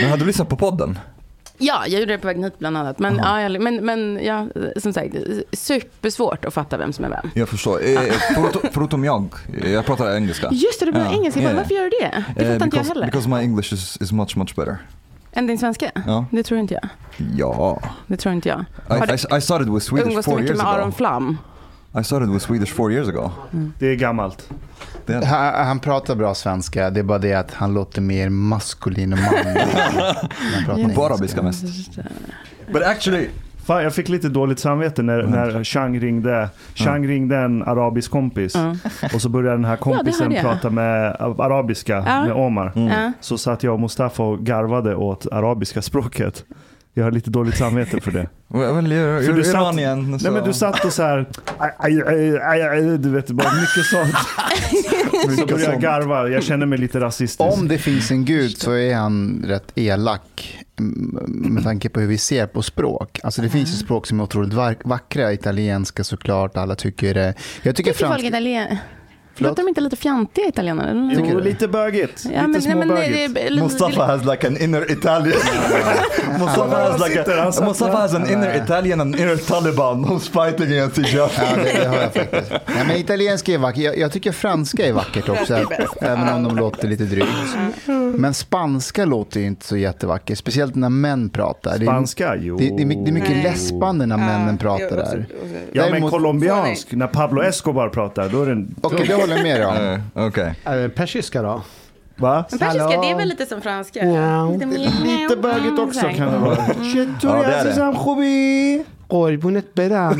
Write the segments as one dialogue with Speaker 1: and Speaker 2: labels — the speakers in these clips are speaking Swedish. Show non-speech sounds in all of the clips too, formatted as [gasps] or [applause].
Speaker 1: Men hade du lyssnat på podden?
Speaker 2: Ja, jag gjorde det på vägen hit bland annat. Men, ja, jag, men, men ja, som sagt, supersvårt att fatta vem som är vem.
Speaker 1: Jag förstår. Eh,
Speaker 2: Ah.
Speaker 1: [laughs] förutom, förutom jag, jag pratar engelska.
Speaker 2: Just det, du pratar
Speaker 1: Ja,
Speaker 2: engelska. Jag bara,
Speaker 1: ja, ja.
Speaker 2: Varför gör du det? Det
Speaker 1: Eh,
Speaker 2: fattar inte jag
Speaker 1: because,
Speaker 2: heller.
Speaker 1: because my English is, is much much better.
Speaker 2: Än din svenska?
Speaker 1: Ja.
Speaker 2: Det tror inte jag.
Speaker 1: Ja.
Speaker 2: Det tror inte jag. Har
Speaker 1: I,
Speaker 2: du-
Speaker 1: I, I started with Swedish
Speaker 2: Umgås du
Speaker 1: four
Speaker 2: mycket
Speaker 1: years
Speaker 2: med Aron
Speaker 1: ago.
Speaker 2: Flam?
Speaker 1: I started with Swedish four years ago.
Speaker 3: Det är gammalt.
Speaker 1: Det-
Speaker 4: Han, han pratar bra svenska, det är bara det att han låter mer maskulin och manlig. när han pratar
Speaker 1: Bara biska
Speaker 4: engelska.
Speaker 1: mest. But actually,
Speaker 3: Fan, jag fick lite dåligt samvete när,
Speaker 4: Mm.
Speaker 3: när Chang ringde. Chang ringde en arabisk kompis.
Speaker 2: Ja.
Speaker 3: Och så började den här kompisen
Speaker 2: hörde jag.
Speaker 3: prata med arabiska
Speaker 2: Ja.
Speaker 3: med Omar.
Speaker 1: Mm.
Speaker 2: Ja.
Speaker 3: Så satt jag och Mustafa och garvade åt arabiska språket. Jag har lite dåligt samvete för
Speaker 4: [laughs]
Speaker 3: det.
Speaker 1: well, you're,
Speaker 3: För
Speaker 1: you're
Speaker 3: du satt-
Speaker 1: Iranian.
Speaker 3: Nej men du satt och så här, aj, aj, aj, aj, aj, du vet bara mycket
Speaker 4: [laughs]
Speaker 3: sånt.
Speaker 1: [laughs]
Speaker 3: Så började jag garva, jag känner mig lite rasistisk.
Speaker 4: Om det finns en gud så är han rätt elak m- med tanke på hur vi ser på språk. Alltså det finns ju språk som är otroligt va- vackra, italienska såklart, alla tycker det. Jag tycker
Speaker 2: Tycker folk
Speaker 4: franska...
Speaker 2: italien...
Speaker 4: Förlåt?
Speaker 2: Låter de inte lite fjantiga italienare?
Speaker 4: tycker
Speaker 3: Jo,
Speaker 4: du?
Speaker 3: lite bögigt.
Speaker 2: Ja, nej,
Speaker 3: lite
Speaker 2: nej,
Speaker 3: småbögigt.
Speaker 2: det är- lite-
Speaker 1: Mustafa has like an inner [laughs] Italian. Mustafa has like
Speaker 3: sitter, han
Speaker 1: a,
Speaker 3: satt
Speaker 1: Mustafa
Speaker 3: där.
Speaker 1: has an inner Italian and inner Taliban who's fighting against each [laughs] other.
Speaker 4: Ja, det, det har jag faktiskt. Nej, men italienska är vackert. Jag, jag tycker franska är vackert också, även om de låter lite drygt. Men spanska låter ju inte så jättevackert, speciellt när män pratar. Det är-
Speaker 3: Spanska, jo.
Speaker 4: Det, det, är mycket- det är mycket
Speaker 5: Nej.
Speaker 4: läspande när männen pratar där.
Speaker 3: Ja men
Speaker 4: Däremot-
Speaker 3: colombiansk, när Pablo Escobar pratar, då är den...
Speaker 4: Okej, det håller jag
Speaker 3: [laughs]
Speaker 4: med dig om.
Speaker 1: Eh, Okej.
Speaker 6: Eh, Persiska då?
Speaker 3: Va?
Speaker 2: Men persiska,
Speaker 6: Hallå?
Speaker 2: det är väl lite som franska?
Speaker 6: Ja.
Speaker 3: Lite bögigt också kan Mm. det vara.
Speaker 1: Ja, det är det.
Speaker 6: قربونت برم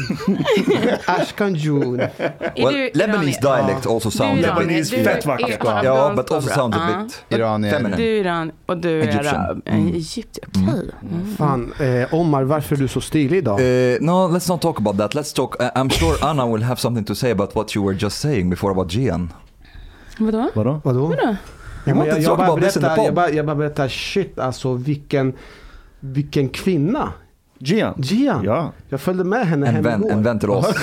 Speaker 6: اشکان جون
Speaker 1: Well, Lebanese dialect
Speaker 6: Oh.
Speaker 1: also sounds a bit.
Speaker 3: Lebanese, fett vackert.
Speaker 1: Ja, but also sounds a bit.
Speaker 4: Iranier.
Speaker 1: Feminine.
Speaker 2: Du är Iran och du är
Speaker 1: Egyptian.
Speaker 2: arab.
Speaker 1: Mm.
Speaker 2: Eh, Egypten, okej. Mm.
Speaker 6: Fan, eh, Omar varför är du så stilig idag?
Speaker 1: Uh, no, let's not talk about that. Let's talk. I- I'm sure Anna will have something to say about what you were just saying before about Gian.
Speaker 2: Vadå?
Speaker 3: Vadå?
Speaker 6: Vadå?
Speaker 1: You
Speaker 6: Men
Speaker 1: wanted
Speaker 6: Jag,
Speaker 1: to
Speaker 6: jag,
Speaker 1: talk
Speaker 6: bara
Speaker 1: about this in the
Speaker 6: berättar, jag,
Speaker 1: pod.
Speaker 6: bara, jag bara berättar, shit alltså vilken, vilken kvinna.
Speaker 3: Gian?
Speaker 6: Gian.
Speaker 3: Ja.
Speaker 6: Jag följde med henne
Speaker 1: En
Speaker 6: hem
Speaker 1: vän,
Speaker 6: igår.
Speaker 1: en vän till
Speaker 6: [laughs]
Speaker 1: oss.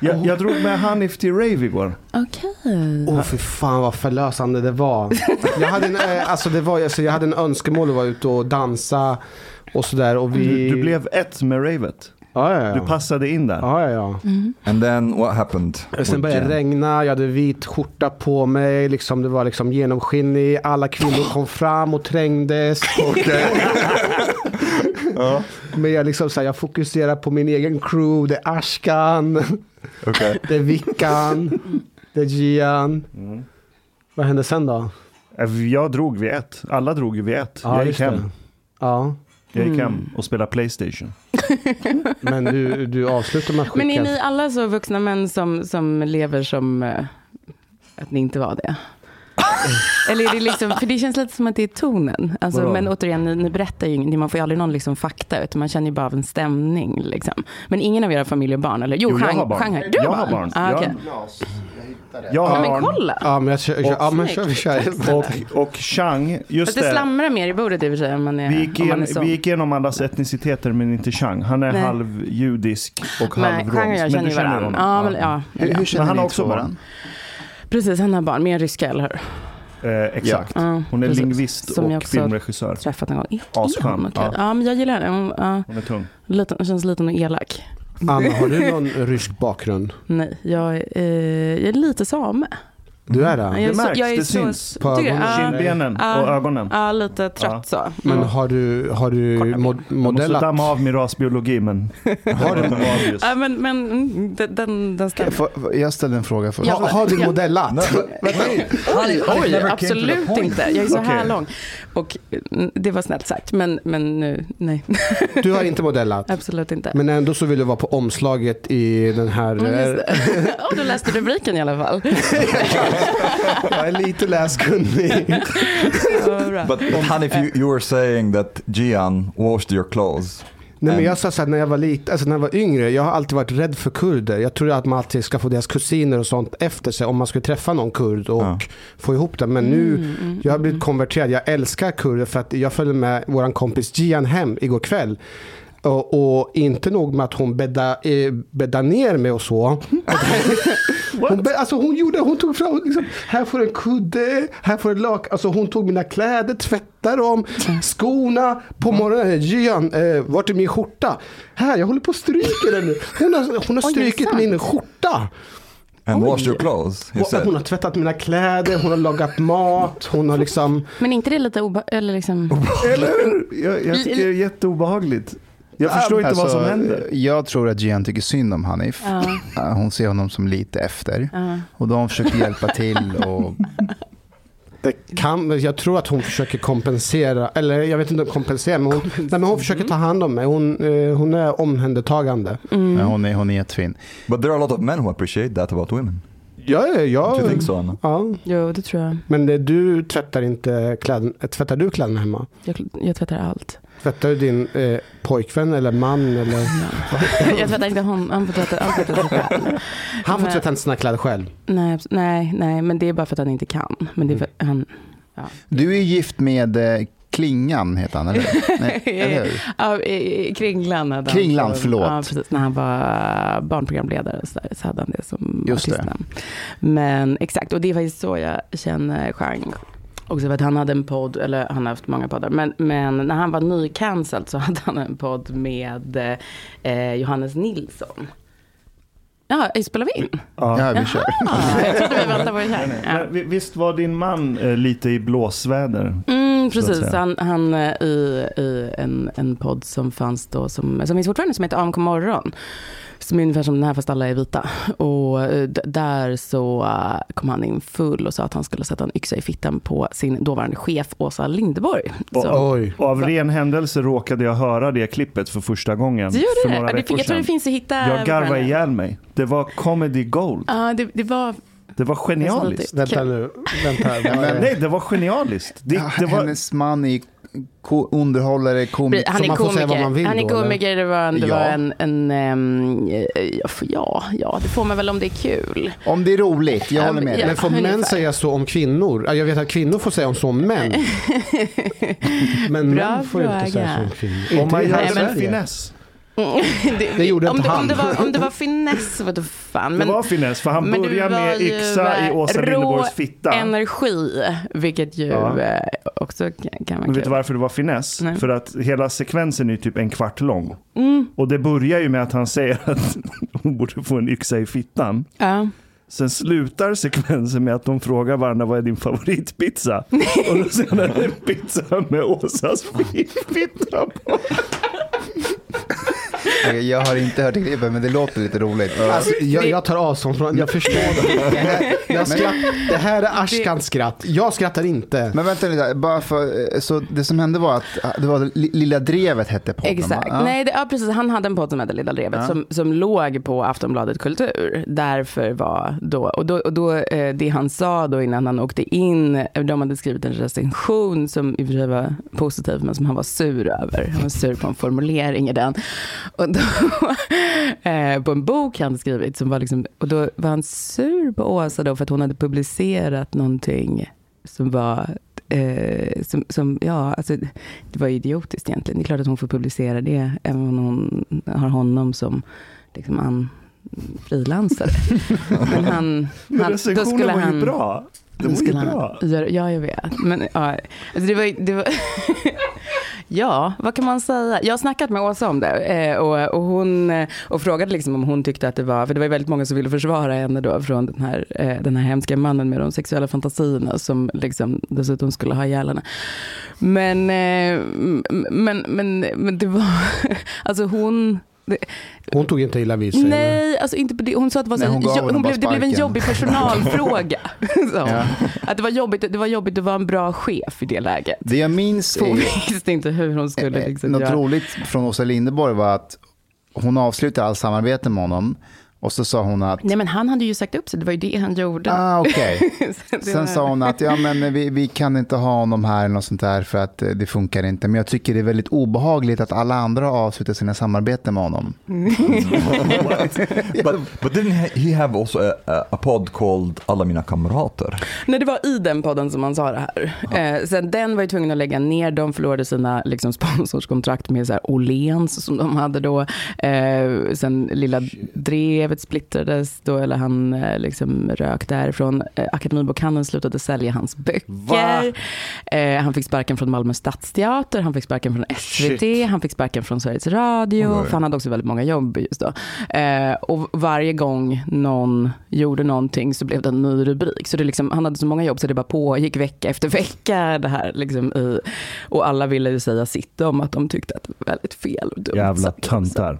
Speaker 3: Jag, jag drog med Hanif till rave igår.
Speaker 2: Okej.
Speaker 6: Åh fy fan vad förlösande det var. Jag hade en, eh, alltså det var, alltså, jag hade en önskemål att vara ute och dansa och sådär. Och vi...
Speaker 3: Du, du blev ett med ravet.
Speaker 6: Ja, ja, ja.
Speaker 3: Du passade in där.
Speaker 6: Ja, ja, ja.
Speaker 1: And then what happened?
Speaker 6: Sen
Speaker 1: with
Speaker 6: började det
Speaker 1: Gian?
Speaker 6: regna, jag hade vit skjorta på mig, liksom, det var liksom genomskinlig, alla kvinnor kom fram och trängdes. Men jag, liksom, så här, jag fokuserar på min egen crew, det är Ashkan,
Speaker 1: Okej.
Speaker 6: [laughs] det är Vickan, det är Gian. Vad hände sen då?
Speaker 3: Äh, Jag drog vid ett. Alla drog ju vid ett. jag gick
Speaker 6: just
Speaker 3: hem.
Speaker 6: det. Ja,
Speaker 3: Jag gick hem och spelade Playstation.
Speaker 6: men du, du avslutar med att skicka.
Speaker 2: Men är ni alla så vuxna män som, som lever som eh, att ni inte var
Speaker 1: [laughs]
Speaker 2: det? Eller är det liksom, för det känns lite som att det är tonen. Alltså,
Speaker 3: Vadå?
Speaker 2: men återigen, ni, ni berättar ju ingenting, man får ju aldrig någon liksom fakta, utan man känner ju bara av en stämning. Liksom. Men ingen av era familjer har barn, eller? Jo,
Speaker 3: Jo, jag
Speaker 2: Chang-
Speaker 3: har barn.
Speaker 2: Chang Du
Speaker 3: Jag
Speaker 2: har
Speaker 3: har barn.
Speaker 2: Ah,
Speaker 3: Jag-
Speaker 2: okej.
Speaker 3: Jag
Speaker 2: Ja,
Speaker 3: har
Speaker 2: men
Speaker 3: barn.
Speaker 2: kolla!
Speaker 6: Ja, men jag kör, kör, ja, men kör, vi kör.
Speaker 3: Och, och Chang, just
Speaker 2: Fast det
Speaker 3: det.
Speaker 2: slamrar mer i bordet i och för sig om man är,
Speaker 3: Vi gick,
Speaker 2: om man
Speaker 3: igen,
Speaker 2: är så.
Speaker 3: vi gick igenom allas etniciteter men inte Chang. Han är
Speaker 2: Nej.
Speaker 3: halvjudisk och
Speaker 2: Nej,
Speaker 3: halvromsk.
Speaker 2: Chang och jag känner ju varandra. Ja, men, ja.
Speaker 4: Hur, hur känner
Speaker 3: han har
Speaker 4: ni
Speaker 3: också
Speaker 4: två
Speaker 3: barn.
Speaker 4: varandra?
Speaker 2: Precis, han har barn med en ryska, eller hur?
Speaker 3: Eh, exakt.
Speaker 2: Ja,
Speaker 3: Hon är
Speaker 2: precis.
Speaker 3: lingvist
Speaker 2: Som jag
Speaker 3: och
Speaker 2: också-
Speaker 3: filmregissör.
Speaker 2: Träffat en gång. Är- är
Speaker 3: Asskön.
Speaker 2: hon okej?
Speaker 3: Ja.
Speaker 2: Ja, men jag gillar henne. Hon ja,
Speaker 3: Hon är tung.
Speaker 2: liten- känns liten och elak.
Speaker 6: Anna, har du någon rysk bakgrund?
Speaker 2: Nej, jag, är, eh, jag är lite same.
Speaker 6: Du är det?
Speaker 2: jag är
Speaker 3: Det märks,
Speaker 2: jag är
Speaker 3: det syns.
Speaker 6: På
Speaker 2: tycker du?
Speaker 6: ögonen.
Speaker 2: Ja,
Speaker 3: Kindbenen
Speaker 2: Ja.
Speaker 3: och ögonen.
Speaker 2: ja, lite trött så.
Speaker 6: Men har du, har du mod,
Speaker 3: Jag måste
Speaker 6: modellat?
Speaker 3: damma av min rasbiologi men... Har du [laughs]
Speaker 2: Ja, men, men mm, den, den, den stämmer.
Speaker 4: Får- får- Jag ställde en fråga först.
Speaker 2: Ja,
Speaker 6: Ha, har du modellat?
Speaker 1: Hanif- Hanif never came to
Speaker 2: Oj,
Speaker 1: the
Speaker 2: absolut
Speaker 1: point.
Speaker 2: inte. Jag är så här
Speaker 3: Okej.
Speaker 2: lång. Och mm, det var snällt sagt, men, men nu, nej, [laughs]
Speaker 6: Du har inte modellat.
Speaker 2: absolut inte.
Speaker 6: Men ändå så vill du vara på omslaget i den här...
Speaker 2: Mm, just [laughs] det. Ja, du läste rubriken i alla fall.
Speaker 6: [laughs] jag är lite läskunnig.
Speaker 2: [laughs] Ja, vad bra.
Speaker 1: But, but Hanif, you, you were saying that Gian washed your clothes.
Speaker 6: Nej, men jag sa så här, när jag var lite, alltså när jag var yngre, jag har alltid varit rädd för kurder. Jag tror att man alltid ska få deras kusiner och sånt efter sig om man skulle träffa någon kurd och
Speaker 1: Ja.
Speaker 6: få ihop det. Men nu,
Speaker 2: Mm,
Speaker 6: jag har blivit konverterad. Jag älskar kurder för att jag följde med vår kompis Gian hem igår kväll. Och, och inte nog med att hon bäddade eh, bädda ner mig och så. Hon, be- alltså hon, gjorde, hon tog fram, liksom, här får du en kudde, här får du ett lakan. Alltså hon tog mina kläder, tvättade dem, skorna. På morgonen, Gian, eh, vart är min skjorta? Här, jag håller på och stryker den nu. Hon har, hon har
Speaker 2: Oj,
Speaker 6: strykit
Speaker 2: sant?
Speaker 6: min skjorta.
Speaker 1: And wash your clothes
Speaker 6: Hon, hon
Speaker 1: instead.
Speaker 6: har tvättat mina kläder, hon har lagat mat, hon har liksom...
Speaker 2: Men inte det lite obe... Eller liksom...
Speaker 3: Eller Jag, jag tycker det är jätteobehagligt. Jag förstår inte vad som
Speaker 4: Alltså,
Speaker 3: händer.
Speaker 4: Jag tror att Gian tycker synd om Hanif.
Speaker 2: Ja,
Speaker 4: Eh, Hon ser honom som lite efter.
Speaker 2: ja.
Speaker 4: Och de försöker hjälpa till. Och,
Speaker 6: Det kan, jag tror att hon försöker kompensera, eller jag vet inte om kompensera, men hon, nej, men hon försöker ta hand om mig. Hon, eh, hon är omhändertagande.
Speaker 2: Mm.
Speaker 4: men hon, är, hon är jättefin.
Speaker 1: But there are a lot of men who appreciate that about women.
Speaker 6: Ja, ja, ja.
Speaker 1: Do you think so,
Speaker 6: [laughs]
Speaker 1: Anna?
Speaker 6: ja.
Speaker 2: Jo, det tror jag.
Speaker 6: Men det, du tvättar inte kläderna, tvättar du kläderna hemma?
Speaker 2: Jag, jag tvättar allt.
Speaker 6: Tvättar du din eh, pojkvän eller man eller?
Speaker 2: [laughs] jag tvättar inte hon, han får tvätta allt. tvättar sig själv.
Speaker 6: Han får
Speaker 2: Nej.
Speaker 6: tvätta sina kläder själv.
Speaker 2: Nej, abs- nej, nej, men det är bara för att han inte kan. Men det är för han...
Speaker 4: Du är gift med eh, Klingan, heter han, eller hur? Nej, eller hur?
Speaker 2: [laughs] Ja, i- i Kringlan hade han
Speaker 4: Kringlan,
Speaker 2: som-
Speaker 4: förlåt.
Speaker 2: Ja, precis. När han var barnprogramledare och så, där, så hade han det som
Speaker 4: Just det.
Speaker 2: artistnamn. Men exakt, och det är faktiskt så jag känner Chang. Också för att han hade en podd, eller han har haft många poddar, men, men när han var nycancelled så hade han en podd med eh, Johannes Nilsson. Ja, spelar
Speaker 4: [laughs]
Speaker 2: vi in?
Speaker 4: Ja, vi kör.
Speaker 2: Ah, jag trodde vi väntade på det här. Ja.
Speaker 3: Men vi- Visst var din man eh, lite i blåsväder?
Speaker 2: Mm,
Speaker 3: så att
Speaker 2: precis,
Speaker 3: säga.
Speaker 2: han, han eh, i, i en, en podd som fanns då, som, som finns fortfarande, som heter AMK morgon. Som är ungefär som den här fast alla är vita. Och eh, d- där så eh, kom han in full och sa att han skulle sätta en yxa i fittan på sin dåvarande chef Åsa Linderborg. Så.
Speaker 6: Oj.
Speaker 3: Och av ren händelse råkade jag höra det klippet för första gången
Speaker 2: Så
Speaker 3: för
Speaker 2: gjorde det?
Speaker 3: några
Speaker 2: Ja, det
Speaker 3: veckor
Speaker 2: fick, jag tror det
Speaker 3: sedan.
Speaker 2: finns att hitta.
Speaker 3: Jag garvade ihjäl mig. Det var comedy gold.
Speaker 2: Ja, det, det var...
Speaker 3: Det var
Speaker 2: Det är typ.
Speaker 3: genialiskt.
Speaker 2: sant.
Speaker 6: Vänta nu. Vänta. vad är det?
Speaker 3: Nej, det var genialiskt. Det, det var,
Speaker 4: Hennes man är ko- underhållare, komiker.
Speaker 2: Han
Speaker 6: Så
Speaker 2: är
Speaker 6: man får säga vad
Speaker 2: komiker,
Speaker 6: man vill
Speaker 2: han är
Speaker 6: då, eller?
Speaker 2: komiker det var en, det var
Speaker 4: Ja.
Speaker 2: en, en ehm, eh, ja, för- ja, ja, det får man väl om det är kul.
Speaker 4: Om det är roligt, jag håller med dig.
Speaker 2: Ja,
Speaker 6: Men får
Speaker 2: ungefär.
Speaker 6: män säga så om kvinnor? Ja, Jag vet att kvinnor får säga om så om män. Men
Speaker 2: Bra
Speaker 6: män får ju inte säga så om
Speaker 2: fråga.
Speaker 6: kvinnor.
Speaker 3: om man
Speaker 6: Inte
Speaker 3: gör
Speaker 6: i
Speaker 2: Nej,
Speaker 3: en
Speaker 2: men-
Speaker 6: Sverige.
Speaker 3: finess.
Speaker 2: Mm. [laughs] det,
Speaker 6: Det gjorde
Speaker 2: om,
Speaker 6: inte
Speaker 2: det, om,
Speaker 6: han.
Speaker 2: det var, om det
Speaker 3: [laughs]
Speaker 2: var finess, vad då fan. Men
Speaker 3: det var finess, för han
Speaker 2: men det
Speaker 3: började
Speaker 2: var
Speaker 3: med
Speaker 2: ju,
Speaker 3: yxa i
Speaker 2: eh,
Speaker 3: Åsa
Speaker 2: rå
Speaker 3: Linderborgs fitta.
Speaker 2: energi, vilket ju
Speaker 3: Ja.
Speaker 2: eh, också kan, kan vara
Speaker 3: Men
Speaker 2: kul.
Speaker 3: vet du varför det var finess?
Speaker 2: Nej. Mm.
Speaker 3: För att hela sekvensen är ju typ en kvart lång. Och det börjar ju med att han säger att [laughs] hon borde få en yxa i fittan.
Speaker 2: Ja.
Speaker 3: Sen slutar sekvensen med att de frågar varandra vad är din favoritpizza? Och då säger han "Det är en pizza med Åsas fitta på.
Speaker 4: Okej, Jag har inte hört klippet, men det låter lite roligt.
Speaker 6: Alltså, jag, jag tar avstånd från jag förstår det. Det här, jag skratt, det här är Ashkans skratt. Jag skrattar inte.
Speaker 4: Men vänta lite, bara för, eh, så det som hände var att eh, det var Li- Lilla Drevet hette podden
Speaker 2: Exakt.
Speaker 4: va? Ja.
Speaker 2: Nej, det, ja, precis. Han hade en podd som hette Lilla Drevet
Speaker 4: Ja.
Speaker 2: som, som låg på Aftonbladet Kultur. Därför var då, och då, och då eh, det han sa då innan han åkte in, eh, de hade skrivit en recension som i och för sig var positiv men som han var sur över. Han var sur på en formulering i den. Och då, [laughs] eh, på en bok han skrivit som var liksom, och då var han sur på Åsa då för att hon hade publicerat någonting som var Eh, som, som, ja, alltså, det var ju idiotiskt egentligen. Det är klart att hon får publicera det, även om hon har honom som liksom, an,
Speaker 3: [laughs]
Speaker 2: frilansare. Men han...
Speaker 3: Men
Speaker 2: han då
Speaker 3: recensionen
Speaker 2: skulle
Speaker 3: var ju
Speaker 2: han,
Speaker 3: bra. Det
Speaker 2: då
Speaker 3: var ju
Speaker 2: skulle
Speaker 3: bra.
Speaker 2: han, göra- ja, jag vet. Men, ja, alltså, det var, ju- det var, [laughs] ja, vad kan man säga? Jag har snackat med Åsa om det eh, och, och hon eh, och frågade liksom om hon tyckte att det var, för det var ju väldigt många som ville försvara henne då från den här, eh, den här hemska mannen med de sexuella fantasierna som liksom dessutom skulle ha ihjäl henne. Men, eh, m- men, men, men det var, [laughs] alltså hon,
Speaker 6: Hon tog inte illa vid sig. eller?
Speaker 2: Nej, alltså inte på det. Hon sa att det, var så
Speaker 4: Nej, hon gav
Speaker 2: jo-
Speaker 4: honom
Speaker 2: hon
Speaker 4: bara
Speaker 2: blev, det blev en
Speaker 4: sparken.
Speaker 2: jobbig
Speaker 4: [laughs]
Speaker 2: personalfråga. sa hon.
Speaker 4: Ja.
Speaker 2: Att det var, jobbigt, det var jobbigt att vara en bra chef i det läget.
Speaker 4: Det jag minns
Speaker 2: För hon
Speaker 4: är,
Speaker 2: visste inte hur hon skulle
Speaker 4: eh,
Speaker 2: liksom
Speaker 4: något
Speaker 2: göra.
Speaker 4: roligt från Åsa Linderborg var att hon avslutade allt samarbete med honom och så sa hon att,
Speaker 2: Nej men han hade ju sagt upp sig, det var ju det han gjorde.
Speaker 4: ah [laughs] okej.
Speaker 2: [laughs] Så det var-
Speaker 4: Sen sa hon att ja, men eh, vi, vi kan inte ha honom här eller något sånt där för att eh, det funkar inte. Men jag tycker det är väldigt obehagligt att alla andra har avslutat sina samarbeten med honom.
Speaker 1: [laughs] But, but didn't he- he have also a, a, a pod called Alla mina kamrater?
Speaker 2: Nej, det var i den podden som han sa det här. Eh, sen den var ju tvungen att lägga ner. De förlorade sina liksom, sponsorskontrakt med så här, Åhléns som de hade då. Eh, sen Lilla Drevet förvärvet splittrades då, eller han eh, liksom rök därifrån. Eh, Akademibokhandeln slutade sälja hans böcker. Eh, han fick sparken från Malmö stadsteater, han fick sparken från SVT, han fick sparken från Sveriges Radio,
Speaker 1: Oj.
Speaker 2: för han hade också väldigt många jobb just då. Eh, och varje gång någon gjorde någonting så blev det en ny rubrik. Så det liksom, han hade så många jobb så det bara pågick vecka efter vecka. Det här, liksom, i, och alla ville ju säga sitt om att de tyckte att det var väldigt fel och dumt.
Speaker 3: Jävla
Speaker 2: Så- [laughs]
Speaker 3: töntar.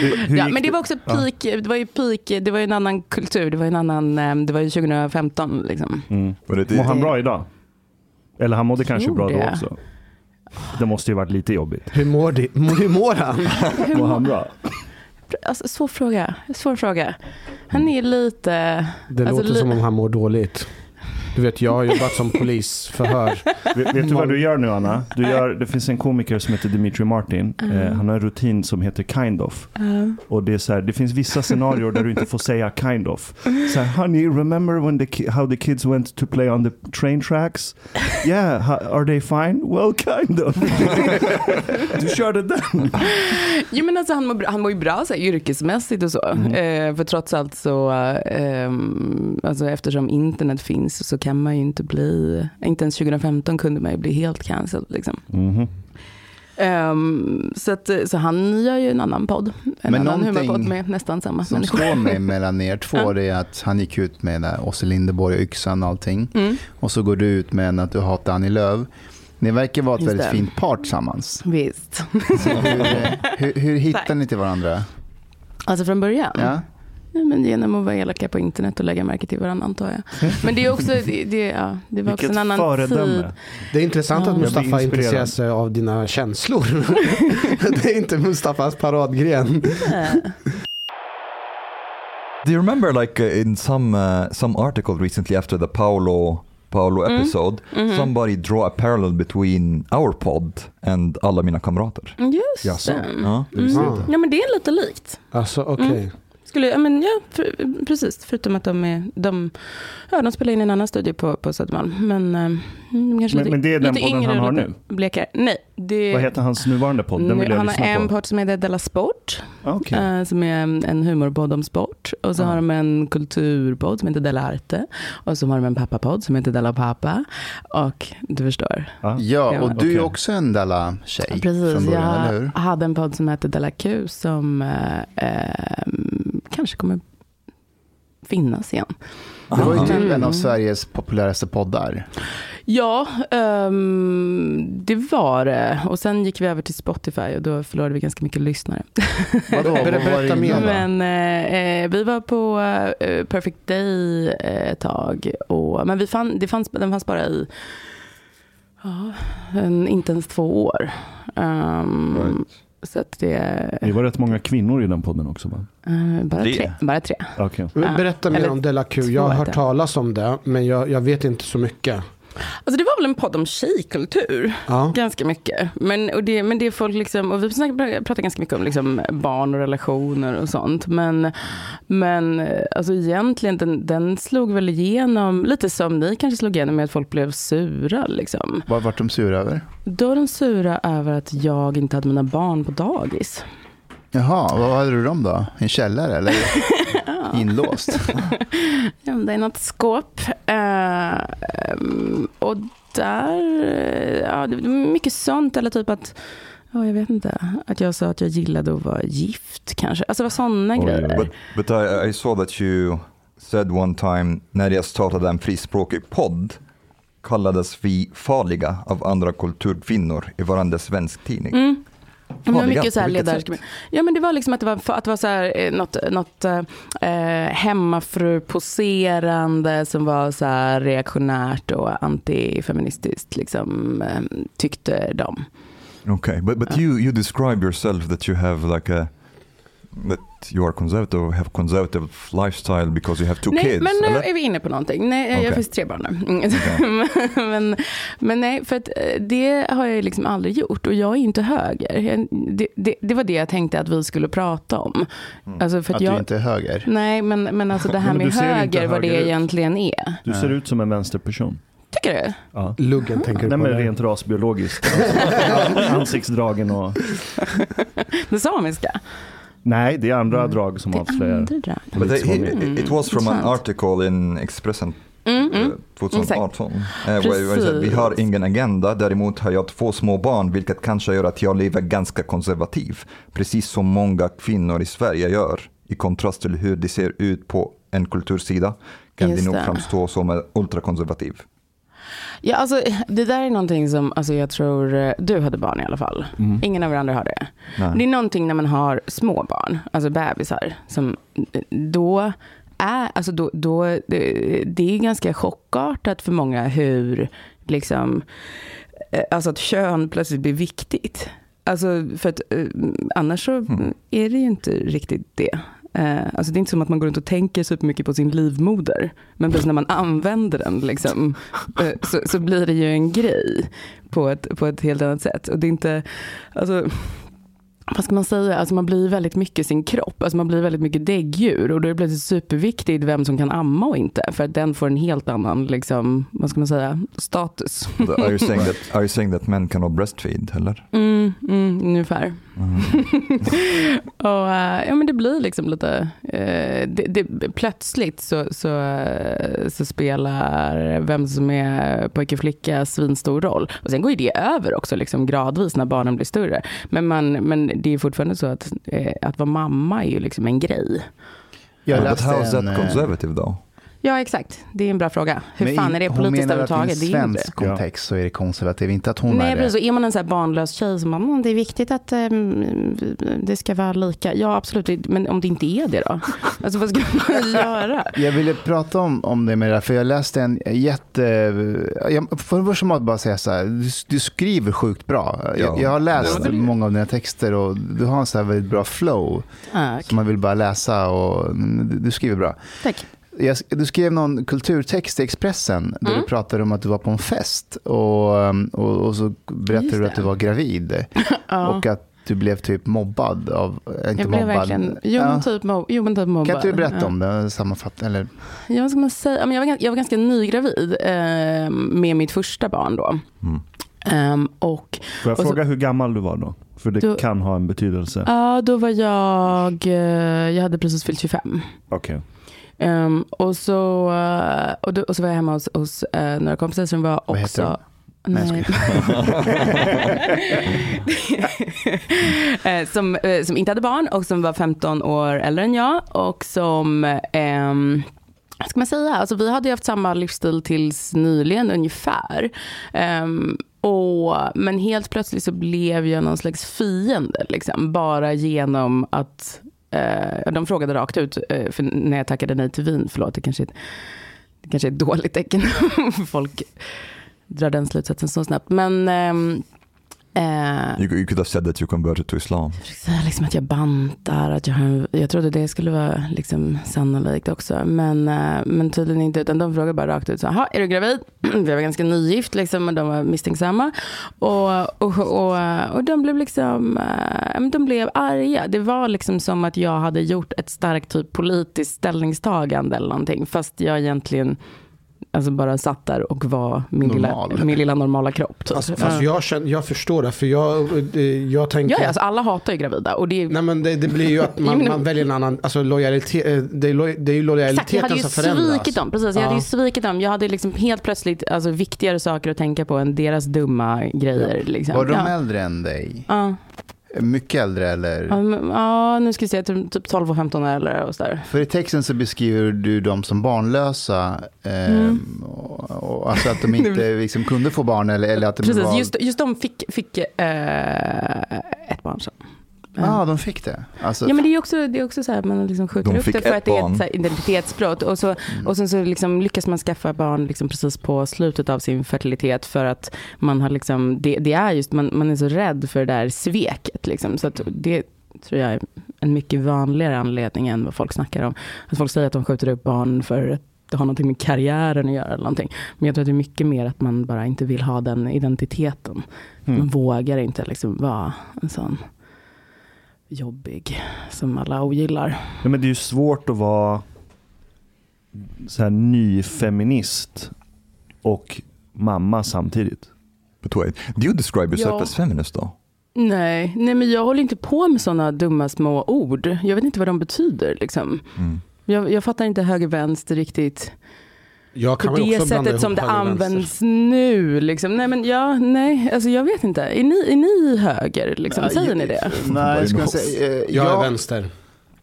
Speaker 3: Hur, hur
Speaker 2: Ja,
Speaker 3: gick
Speaker 2: men det var också peak, det var ju peak, det var ju en annan kultur, det var ju en annan, eh, det var ju 2015 liksom.
Speaker 3: Mm.
Speaker 1: Var det
Speaker 3: Mår han
Speaker 1: det?
Speaker 3: bra idag? Eller han mådde kanske
Speaker 2: tror
Speaker 3: bra då
Speaker 2: det.
Speaker 3: också. Det måste ju varit lite jobbigt.
Speaker 6: Hur mår, det? hur mår han?
Speaker 3: Mår han bra?
Speaker 2: Alltså, svår fråga, svår fråga. Han är lite,
Speaker 6: Det
Speaker 2: Alltså,
Speaker 6: låter
Speaker 2: li-
Speaker 6: som om han mår dåligt. Du vet, jag har jobbat
Speaker 2: [laughs]
Speaker 6: som polisförhör.
Speaker 3: Vet, vet du vad du gör nu Anna? Du gör, det finns en komiker som heter Dimitri Martin. Eh, han har en rutin som heter Kind of. Och det, är så här, det finns vissa scenarier där du inte får säga kind of. Så här, honey, remember when the ki- how the kids went to play on the train tracks? Yeah, ha- are they fine? Well, kind of. [laughs] du körde den.
Speaker 2: jo men alltså han mår, bra- han mår ju bra så här, yrkesmässigt och så.
Speaker 4: Mhm.
Speaker 2: Eh, för trots allt så, eh, ehm, alltså, eftersom internet finns så kan man ju inte bli, inte ens 2015 kunde man ju bli helt cancelled liksom.
Speaker 3: Mhm.
Speaker 2: Ehm, så, att, eh, så han gör ju en annan podd. En
Speaker 4: Men
Speaker 2: annan
Speaker 4: någonting
Speaker 2: humorpodd med nästan samma
Speaker 4: Som
Speaker 2: människor.
Speaker 4: står mig mellan er två det är att han gick ut med där Osse Linderborg och yxan och allting.
Speaker 2: Mm.
Speaker 4: Och så går du ut med en att du hatar Annie Lööf. Ni verkar vara ett
Speaker 2: Just
Speaker 4: väldigt
Speaker 2: det.
Speaker 4: fint
Speaker 2: [laughs]
Speaker 4: par tillsammans.
Speaker 2: Visst.
Speaker 4: Så hur, hur, hur hittar ni till varandra?
Speaker 2: Alltså från början?
Speaker 4: Ja?
Speaker 2: Nej, men genom att vara elaka på internet och lägga märke till varandra antar jag.
Speaker 4: [laughs]
Speaker 2: Men det är också, det, det, ja, det var också
Speaker 3: Vilket
Speaker 2: en annan tid.
Speaker 3: föredöme.
Speaker 6: Det är intressant
Speaker 2: Ja.
Speaker 6: att
Speaker 2: Jag blir
Speaker 6: Mustafa
Speaker 3: inspirerad.
Speaker 6: intresserar sig av dina känslor. [laughs] det är inte Mustafas paradgren.
Speaker 1: Do you remember, like, uh, in some uh, some article recently after the Paolo Paolo episode, somebody draw a parallel between our pod and alla mina kamrater?
Speaker 2: Just
Speaker 6: Jaså?
Speaker 2: det.
Speaker 1: Ja.
Speaker 6: Mm.
Speaker 2: Ja men det är lite likt.
Speaker 6: Alltså okej.
Speaker 2: Mm. Skulle, ja, men ja, för, precis, förutom att de, är, de, ja, de spelar in i en annan studio på, på Södermalm. Men, eh, mm, kanske
Speaker 3: Men-
Speaker 2: lite,
Speaker 3: men det är den
Speaker 2: lite
Speaker 3: podden
Speaker 2: yngre
Speaker 3: han har
Speaker 2: och lite Blekare. Nej, det,
Speaker 3: Vad heter hans nuvarande podd? Den vill jag
Speaker 2: han har
Speaker 3: lyssna
Speaker 2: en
Speaker 3: på.
Speaker 2: podd som heter Della Sport,
Speaker 3: Ah, okej.
Speaker 2: eh, som är en- en humorpodd om sport. Och så
Speaker 3: Ah.
Speaker 2: har de en kulturpodd som heter Della Arte. Och så har de en pappapodd som heter Della Pappa. Och du förstår,
Speaker 3: Ah.
Speaker 4: ja, och du
Speaker 3: Okej.
Speaker 4: är också en Dalla-tjej
Speaker 2: Precis,
Speaker 4: från början, eller hur?
Speaker 2: jag hade en podd som hette Della Q som eh, eh, kanske kommer finnas igen.
Speaker 4: Det var ju
Speaker 1: Aha.
Speaker 4: typ en
Speaker 2: Mm.
Speaker 4: av Sveriges populäraste poddar.
Speaker 2: Ja, ehm, det var det. Och sen gick vi över till Spotify och då förlorade vi ganska mycket lyssnare.
Speaker 4: Vadå, vad
Speaker 6: Ber-
Speaker 4: var
Speaker 6: berätta
Speaker 4: det
Speaker 6: mer.
Speaker 4: innan
Speaker 2: [laughs]
Speaker 4: då?
Speaker 2: Men eh, eh, vi var på eh, Perfect Day eh, ett tag. Och, men vi fann, det fanns, den fanns bara i ja, en, inte ens två år. Ehm, Så att det
Speaker 3: Det var rätt många kvinnor i den podden också va?
Speaker 2: eh, bara
Speaker 1: Tre.
Speaker 2: tre. Bara tre.
Speaker 3: Okej.
Speaker 6: Men
Speaker 2: Ja,
Speaker 6: Berätta mer
Speaker 2: eller
Speaker 6: om Della Q.
Speaker 2: två
Speaker 6: Jag har
Speaker 2: heter
Speaker 6: hört
Speaker 2: det.
Speaker 6: talas om det, men jag, jag vet inte så mycket.
Speaker 2: Alltså det var väl en podd om tjejkultur.
Speaker 6: Ja.
Speaker 2: Ganska mycket. Men, och det, men det är folk liksom, och vi snackar- pratar ganska mycket om liksom barn och relationer och sånt. Men, men eh, alltså egentligen, den, den slog väl igenom, lite som ni kanske slog igenom med att folk blev sura. Liksom.
Speaker 4: Vad vart de sura över?
Speaker 2: Då var de sura över att jag inte hade mina barn på dagis.
Speaker 4: Jaha, vad hade du dem då? En källare eller inlåst?
Speaker 2: Ja, men det är något skåp. Eh, ehm, och där, eh, ja, det det var mycket sånt. Eller typ att, ja, jag vet inte, att jag sa att jag gillade att vara gift kanske. Alltså det var sådana
Speaker 3: Oj,
Speaker 2: grejer.
Speaker 1: But, but I, I saw that you said one time när jag startade en frispråkig podd kallades vi farliga av andra kulturkvinnor i varandra svensk tidning.
Speaker 2: Mm. Men det var
Speaker 1: Farliga,
Speaker 2: mycket så här
Speaker 1: på vilket
Speaker 2: ledar...
Speaker 1: sätt?
Speaker 2: Ja men det var liksom att det var, att det var så här, eh, något, något eh, eh, hemmafru-poserande som var så här reaktionärt och antifeministiskt liksom, eh, tyckte de.
Speaker 1: Okay, but, but you, you describe yourself that you have like a that you are conservative, have conservative lifestyle because you have two
Speaker 2: nej,
Speaker 1: kids.
Speaker 2: men eh, nu
Speaker 1: eller?
Speaker 2: är vi inne på någonting. Nej, eh, jag
Speaker 1: Okej.
Speaker 2: har faktiskt tre barn nu. Mm. [laughs] men, men nej, för att eh, det har jag ju liksom aldrig gjort och jag är inte höger. Jag- Det, det, det var det jag tänkte att vi skulle prata om. Alltså för
Speaker 4: Att
Speaker 2: att
Speaker 4: du
Speaker 2: jag,
Speaker 4: inte är höger?
Speaker 2: Nej, men, men alltså det här
Speaker 3: men du
Speaker 2: med
Speaker 3: ser inte
Speaker 2: höger, vad det
Speaker 3: höger ut.
Speaker 2: egentligen är.
Speaker 3: Du ser ut som en vänsterperson.
Speaker 2: Tycker du?
Speaker 3: Ja.
Speaker 6: Luggen tänker du
Speaker 3: Nej
Speaker 6: på.
Speaker 3: men
Speaker 6: där.
Speaker 3: rent rasbiologiskt. Ansiktsdragen och...
Speaker 2: Den samiska?
Speaker 3: Nej, det är andra
Speaker 2: Mm.
Speaker 3: drag som
Speaker 2: Det är
Speaker 3: avslöjar.
Speaker 2: andra drag.
Speaker 1: But
Speaker 3: Politisk
Speaker 1: it,
Speaker 3: hållning.
Speaker 1: it, it was from an
Speaker 2: Mm. Intressant.
Speaker 1: article in Expressen
Speaker 2: Mm,
Speaker 1: eh,
Speaker 2: mm.
Speaker 1: 2018. Eh, where- where it said, vi
Speaker 2: Precis.
Speaker 1: har ingen agenda, däremot har jag två små barn vilket kanske gör att jag lever ganska konservativ. Precis som många kvinnor i Sverige gör. I kontrast till hur det ser ut på en kultursida kan
Speaker 2: Just
Speaker 1: det nog
Speaker 2: det.
Speaker 1: framstå som eh, ultrakonservativ.
Speaker 2: Ja, alltså, det där är någonting som alltså, jag tror eh, du hade barn i alla fall. Ingen av er andra har det.
Speaker 1: Mm. Nej.
Speaker 2: Det är någonting när man har små barn, alltså bebisar, som eh, då är, alltså då, då, det, det är ganska chockartat för många hur, liksom, eh, alltså att kön plötsligt blir viktigt. Alltså för att eh, annars så
Speaker 1: Mm.
Speaker 2: är det ju inte riktigt det. Eh, alltså det är inte som att man går runt och tänker supermycket på sin livmoder. Men precis när man använder den liksom, eh, så, så blir det ju en grej på ett, på ett helt annat sätt. Och det är inte, alltså, vad ska man säga, alltså man blir väldigt mycket sin kropp. Alltså man blir väldigt mycket däggdjur. Och då är det plötsligt superviktigt vem som kan amma och inte. För att den får en helt annan, liksom, vad ska man säga, status.
Speaker 1: Are you saying that, are you saying that men cannot breastfeed eller?
Speaker 2: Mm, mm, ungefär. [laughs] och, eh, ja, men det blir liksom lite... eh, det, det, plötsligt så, så, eh, så spelar vem som är pojke och flicka svinstor roll. Och sen går ju det över också liksom, gradvis när barnen blir större. Men, man, men det är fortfarande så att, eh, att vara mamma är ju liksom en grej.
Speaker 4: Jag
Speaker 1: But
Speaker 4: läste
Speaker 1: how is
Speaker 4: en...
Speaker 1: that
Speaker 4: eh,
Speaker 1: conservative though?
Speaker 2: Ja, exakt. Det är en bra fråga. Hur
Speaker 4: men
Speaker 2: fan
Speaker 4: i-
Speaker 2: är det
Speaker 4: Hon
Speaker 2: politiskt
Speaker 4: menar att i en
Speaker 2: överhuvudtaget? Det är ju inte
Speaker 4: svensk kontext så är det konservativ, inte att hon
Speaker 2: Nej,
Speaker 4: är
Speaker 2: precis.
Speaker 4: det.
Speaker 2: Och är man en så här barnlös tjej som bara, "Mm, det är viktigt att eh, mm, det ska vara lika. Ja, absolut. Det- Men om det inte är det då? [laughs] Alltså vad ska
Speaker 4: [laughs]
Speaker 2: man göra?
Speaker 4: Jag ville prata om, om det med det här, för jag läste en jätte... Jag, för det första måste jag bara säga så här, du, du skriver sjukt bra. Jag,
Speaker 1: Ja,
Speaker 4: jag har läst
Speaker 1: det är det.
Speaker 4: många av dina texter och du har en så här väldigt bra flow som man vill bara läsa och mm, du, du skriver bra.
Speaker 2: Tack.
Speaker 4: Jag, du skrev någon kulturtext i Expressen där
Speaker 2: Mm.
Speaker 4: du pratade om att du var på en fest och, och, och så
Speaker 2: Just
Speaker 4: berättade du
Speaker 2: det.
Speaker 4: att du var gravid
Speaker 2: Ja.
Speaker 4: och att du blev typ mobbad av, äh, inte
Speaker 2: Jag blev
Speaker 4: mobbad.
Speaker 2: verkligen, jo men
Speaker 4: ja.
Speaker 2: typ, mob, jo, men typ mobbad.
Speaker 4: Kan inte du berätta
Speaker 2: Ja.
Speaker 4: om det? Sammanfatta, eller?
Speaker 2: Ja, vad ska man säga? Ja, men Jag var, gan- jag var ganska nygravid eh, med mitt första barn då.
Speaker 1: Mm.
Speaker 2: Ehm, och
Speaker 3: Får jag
Speaker 2: Och så-
Speaker 3: fråga hur gammal du var då? För det
Speaker 2: Du-
Speaker 3: kan ha en betydelse.
Speaker 2: ja, då var jag, eh, jag hade precis fyllt 25.
Speaker 3: Okej.
Speaker 2: Ehm, och, så, eh, och, då, och så var jag hemma hos, hos eh, några kompisar som var
Speaker 4: Vad heter
Speaker 2: också...
Speaker 4: Nej, jag
Speaker 2: Nej. [laughs] Eh, som, eh, som inte hade barn och som var 15 år äldre än jag. Och som, ehm, vad ska man säga, alltså, vi hade ju haft samma livsstil tills nyligen ungefär. Ehm, och, men helt plötsligt så blev jag någon slags fiende. Liksom, bara genom att Eh, de frågade rakt ut, eh, för när jag tackade nej till vin, förlåt, det kanske, är ett- det kanske är ett dåligt tecken. [laughs] Folk drar den slutsatsen så snabbt. Men ehm, eh,
Speaker 1: You, you could have said that you converted to Islam.
Speaker 2: jag försökte säga liksom att jag bantar, att jag, har en- jag trodde det skulle vara liksom sannolikt också. Men, eh, men tydligen inte, utan de frågade bara rakt ut. Så, "Jaha, är du gravid? [clears throat] Vi var ganska nygift liksom, och de var misstänksamma. Och, och, och, och de blev liksom, eh, men de blev arga. Det var liksom som att jag hade gjort ett starkt typ politiskt ställningstagande eller någonting. Fast jag egentligen Alltså bara satt där och var min, lilla,
Speaker 4: Normal.
Speaker 2: min lilla normala kropp. Typ.
Speaker 6: Alltså, fast jag, känner, jag förstår det, för jag, eh, jag tänker...
Speaker 2: ja, ja, alltså alla hatar ju gravida. Och det är
Speaker 6: Nej men det, det blir ju att
Speaker 2: Jo, [laughs]
Speaker 6: man,
Speaker 2: men-
Speaker 6: man väljer en annan, alltså lojalitet, eh, det är, loj, det är ju
Speaker 2: Exakt, jag hade
Speaker 6: lojaliteten
Speaker 2: ju
Speaker 6: som förändras.
Speaker 2: svikit dem. Precis, jag hade ju
Speaker 6: Ja.
Speaker 2: svikit dem. Jag hade liksom helt plötsligt alltså, viktigare saker att tänka på än deras dumma grejer. Liksom.
Speaker 4: Var de
Speaker 2: ja.
Speaker 4: äldre än dig?
Speaker 2: Ja.
Speaker 4: Mycket äldre eller?
Speaker 2: Ja, men- ja, nu ska vi se, typ typ 12 och 15 eller och sådär.
Speaker 4: För i texten så beskriver du dem som barnlösa. Eh,
Speaker 2: Mm.
Speaker 4: och, och, alltså att
Speaker 2: [laughs]
Speaker 4: de inte liksom, kunde få barn eller, eller att de
Speaker 2: Precis,
Speaker 4: var...
Speaker 2: just, just de fick, fick eh, ett barn sen.
Speaker 4: Ja, ah, de fick det. Alltså,
Speaker 2: Ja men det är ju också, det är också så här, man liksom skjuter
Speaker 1: De
Speaker 2: upp
Speaker 1: fick
Speaker 2: det för
Speaker 1: ett
Speaker 2: att det är
Speaker 1: barn. Mm.
Speaker 2: ett så här, identitetsbrott. Och, så, och sen så liksom lyckas man skaffa barn liksom precis på slutet av sin fertilitet för att man har liksom, det, det är just, man, man är så rädd för det där sveket liksom. Så att det tror jag är en mycket vanligare anledning än vad folk snackar om. Att folk säger att de skjuter upp barn för att det har någonting med karriären att göra eller någonting. Men jag tror att det är mycket mer att man bara inte vill ha den identiteten. Man
Speaker 3: Mm.
Speaker 2: vågar inte liksom vara en sån jobbig som alla ogillar.
Speaker 3: Ja, men det är ju svårt att vara så här nyfeminist och mamma samtidigt.
Speaker 1: But wait, do you describe yourself
Speaker 2: Ja.
Speaker 1: as feminist though?
Speaker 2: Nej, nej, men jag håller inte på med sådana dumma små ord. Jag vet inte vad de betyder. Liksom.
Speaker 1: Mm.
Speaker 2: Jag, jag fattar inte höger-vänster riktigt.
Speaker 6: Jag kan
Speaker 2: På
Speaker 6: väl
Speaker 2: det
Speaker 6: också blanda
Speaker 2: sättet
Speaker 6: ihop
Speaker 2: som det
Speaker 6: höger och vänster.
Speaker 2: används nu. Liksom. Nej, men ja, nej, alltså jag vet inte. Är ni, är ni höger? Liksom? Säger ni det?
Speaker 4: Nej, jag skulle säga... eh,
Speaker 6: Jag är
Speaker 4: jag-
Speaker 6: vänster.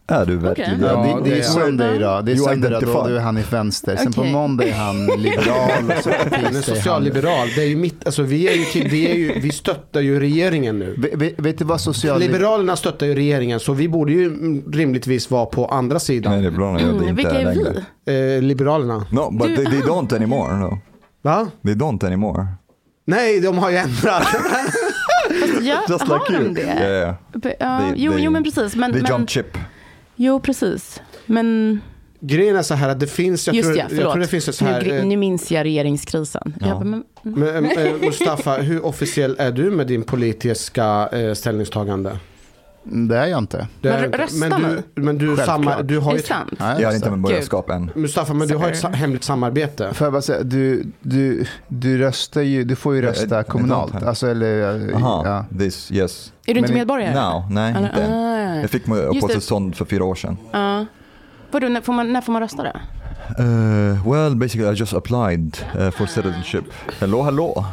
Speaker 1: Är du verkligen?
Speaker 4: Ja, det, det är
Speaker 6: det är-
Speaker 4: söndag idag. Det är
Speaker 1: You
Speaker 4: söndag idag, då
Speaker 1: identify.
Speaker 4: är han i vänster. Sen på
Speaker 2: Okej.
Speaker 4: måndag är han liberal och så på tisdag är
Speaker 6: Men
Speaker 4: han-
Speaker 6: en socialliberal, det är ju mitt, alltså vi, är ju till, vi, är ju, vi stöttar ju regeringen nu.
Speaker 4: Ve- ve- Vet du vad socialliberal...
Speaker 6: Liberalerna stöttar ju regeringen så vi borde ju mm, rimligtvis vara på andra
Speaker 1: Nej,
Speaker 6: sidan.
Speaker 1: det är bra när
Speaker 4: Mm,
Speaker 1: jag det inte
Speaker 2: Mm, Vilka
Speaker 1: är
Speaker 2: är
Speaker 1: längre.
Speaker 2: vi?
Speaker 6: Eh, liberalerna.
Speaker 1: No, but they, they don't anymore. No.
Speaker 6: Va?
Speaker 1: They don't anymore.
Speaker 4: [laughs]
Speaker 6: Nej, de har ju ändrat.
Speaker 2: [laughs] Ja,
Speaker 1: Just like
Speaker 2: har
Speaker 1: you.
Speaker 2: de
Speaker 1: Yeah,
Speaker 2: det?
Speaker 1: yeah.
Speaker 2: Be- ja,
Speaker 1: They-
Speaker 2: jo,
Speaker 1: they-
Speaker 2: jo, men precis. Men,
Speaker 1: They
Speaker 2: men,
Speaker 1: jump chip.
Speaker 2: jo, precis. Men
Speaker 6: Grejen är så här att det finns, jag,
Speaker 2: just
Speaker 6: tror,
Speaker 2: ja,
Speaker 6: jag
Speaker 2: förlåt.
Speaker 6: tror det finns ett så här.
Speaker 2: nu, gr-
Speaker 6: eh,
Speaker 2: nu minns jag regeringskrisen.
Speaker 1: Ja.
Speaker 2: Jag bara, men,
Speaker 6: Men, eh, Mustafa, hur officiell är du med din politiska eh, ställningstagande?
Speaker 4: Mm, Det är jag inte.
Speaker 6: Du
Speaker 2: Men
Speaker 6: är
Speaker 2: rö-
Speaker 6: inte-
Speaker 2: röstar
Speaker 6: men du, men du,
Speaker 4: Självklart.
Speaker 6: samma, du
Speaker 2: är
Speaker 6: har ju
Speaker 2: det
Speaker 6: ett,
Speaker 2: sant?
Speaker 4: Nej,
Speaker 1: Jag är
Speaker 4: just
Speaker 1: inte
Speaker 4: det.
Speaker 1: med borgarskap än.
Speaker 6: Mustafa, men du har ett
Speaker 2: Sorry.
Speaker 6: sa- hemligt samarbete.
Speaker 4: Får jag bara säga, du, du, du, röstar ju, du får ju
Speaker 1: Eh,
Speaker 4: rösta
Speaker 1: eh,
Speaker 4: kommunalt.
Speaker 1: eh,
Speaker 4: Alltså, eller, eh,
Speaker 1: Aha,
Speaker 4: ja.
Speaker 1: this, yes.
Speaker 2: Är du inte
Speaker 4: Men-
Speaker 2: medborgare?
Speaker 1: Now, nej
Speaker 2: Eller-
Speaker 1: inte än.
Speaker 2: Ah.
Speaker 1: Jag fick mig
Speaker 2: det.
Speaker 1: uppehållstillstånd för fyra år sedan.
Speaker 2: Ja. Vadå, när får man, när får man rösta då?
Speaker 1: Eh, well, basically I just applied eh,
Speaker 2: Ah.
Speaker 1: for citizenship. Hallå, hallå.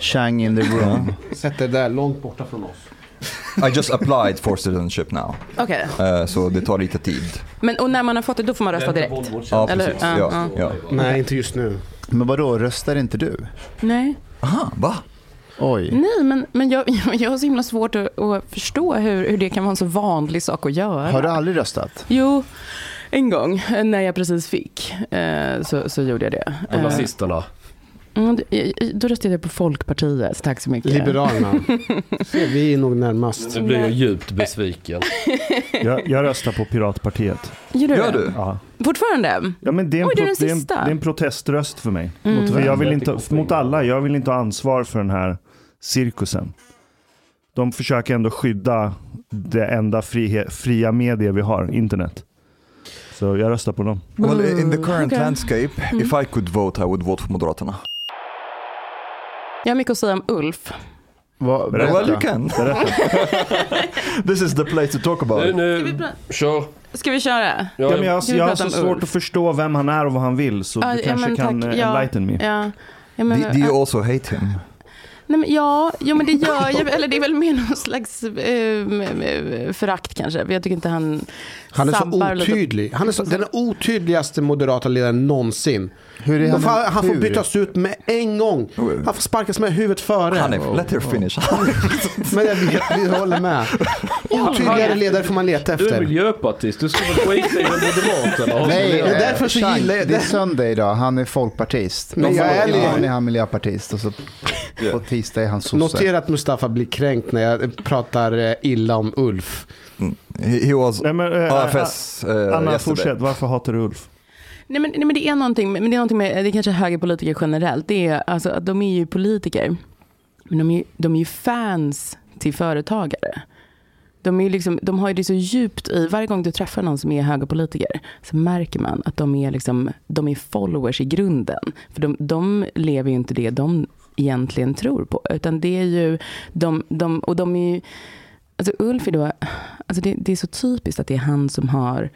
Speaker 4: Chang in the room.
Speaker 6: Sätt dig där långt borta från oss.
Speaker 1: I just applied for citizenship now.
Speaker 2: Okej,
Speaker 1: Eh, så det tar lite tid.
Speaker 2: men, och när man har fått det då får man rösta direkt?
Speaker 1: Ja,
Speaker 2: Eller
Speaker 1: precis.
Speaker 2: hur? Ja,
Speaker 1: Ja, ja.
Speaker 6: Nej, inte just nu.
Speaker 4: Men vadå, röstar inte du?
Speaker 2: Nej.
Speaker 1: Aha, va?
Speaker 4: Oj.
Speaker 2: Nej, men, men jag, [laughs] jag, jag har så himla svårt att, att förstå hur, hur det kan vara en så vanlig sak att göra.
Speaker 4: Har du aldrig röstat?
Speaker 2: Jo, en gång eh, när jag precis fick eh, så, så gjorde jag det.
Speaker 7: Och
Speaker 2: Eh,
Speaker 7: nazisterna.
Speaker 2: mm, d- eh, då röstade jag på Folkpartiet, tack så mycket. [laughs]
Speaker 6: Liberalerna. Se, vi är nog närmast.
Speaker 7: Nu blir jag djupt besviken.
Speaker 3: Jag, jag röstar på Piratpartiet.
Speaker 2: Gör du?
Speaker 1: Gör
Speaker 2: det?
Speaker 1: du?
Speaker 3: Ja.
Speaker 2: Fortfarande?
Speaker 3: Ja, men det, är en
Speaker 2: Oj, det är den
Speaker 3: pro- det, är en, det
Speaker 2: sista.
Speaker 3: är en proteströst för mig.
Speaker 2: Mm.
Speaker 3: Mot, för jag vill inte,
Speaker 7: Väldigt
Speaker 3: mot alla. Jag vill inte ha ansvar för den här cirkusen. De försöker ändå skydda det enda frihe, fria media vi har, internet. Så jag röstar på dem.
Speaker 1: Well, in the current
Speaker 2: Okej. Mm.
Speaker 1: landscape, if I could vote I would vote för Moderaterna.
Speaker 2: Jag har mycket att säga om Ulf.
Speaker 4: Vad-
Speaker 3: Berätta.
Speaker 1: Well, you can.
Speaker 7: [laughs]
Speaker 1: This is the place to talk about
Speaker 7: Eh. Nu,
Speaker 1: it.
Speaker 7: nu, kör.
Speaker 2: Ska vi köra?
Speaker 3: Ja, men
Speaker 7: jag,
Speaker 3: jag,
Speaker 2: Ska vi
Speaker 3: jag har
Speaker 2: prata
Speaker 3: så
Speaker 2: om
Speaker 3: svårt
Speaker 2: Ulf?
Speaker 3: att förstå vem han är och vad han vill, så
Speaker 2: Ja,
Speaker 3: du
Speaker 2: ja,
Speaker 3: kanske
Speaker 2: men
Speaker 3: kan
Speaker 2: tack.
Speaker 3: eh,
Speaker 2: Ja.
Speaker 3: enlighten me.
Speaker 2: Ja. Ja, men, eh,
Speaker 1: Do, do you also hate him?
Speaker 2: Nej, men ja, jo, men det gör
Speaker 3: [laughs]
Speaker 2: jag. Eller det är väl mer någon slags eh, förakt kanske. För Jag tycker inte han
Speaker 6: Han är
Speaker 2: sabbar
Speaker 6: så
Speaker 2: lite.
Speaker 6: otydlig. Han är så, den otydligaste moderata ledaren någonsin.
Speaker 4: Hur är han?
Speaker 6: Han, får, han får
Speaker 4: hur?
Speaker 6: bytas ut med en gång. Han får sparkas med huvudet före.
Speaker 1: Hanif, let her finish.
Speaker 6: Men jag vet, vi
Speaker 2: [laughs]
Speaker 6: håller med. Otydligare ledare får man leta
Speaker 7: du är
Speaker 6: efter.
Speaker 7: miljöpartist, du ska väl skita i vad Moderaterna
Speaker 4: Nej,
Speaker 6: Och
Speaker 4: eh,
Speaker 6: därför så
Speaker 4: Chang,
Speaker 6: gillar jag-
Speaker 4: det är söndag idag. Han är folkpartist.
Speaker 6: Men
Speaker 4: På
Speaker 6: jag är
Speaker 4: måndag
Speaker 6: li-
Speaker 4: är han miljöpartist och så på tisdag är han sosse.
Speaker 6: Notera att Mustafa blir kränkt när jag pratar eh, illa om Ulf.
Speaker 1: he, he was
Speaker 3: Nej, men, eh,
Speaker 1: AFS uh,
Speaker 3: Anna,
Speaker 1: yesterday.
Speaker 3: fortsätt. Varför hatar du Ulf?
Speaker 2: Nej men, nej men det är någonting, men det är någonting med, det är kanske högerpolitiker generellt, det är alltså att de är ju politiker, men de är, ju- de är ju fans till företagare. De, är ju liksom, de har ju det så djupt i, varje gång du träffar någon som är högerpolitiker så märker man att de är, liksom, de är followers i grunden. För de, de lever ju inte det de egentligen tror på. Utan det är ju, de, de, och de är ju, alltså Ulf är då, alltså det, det är så typiskt att det är han som har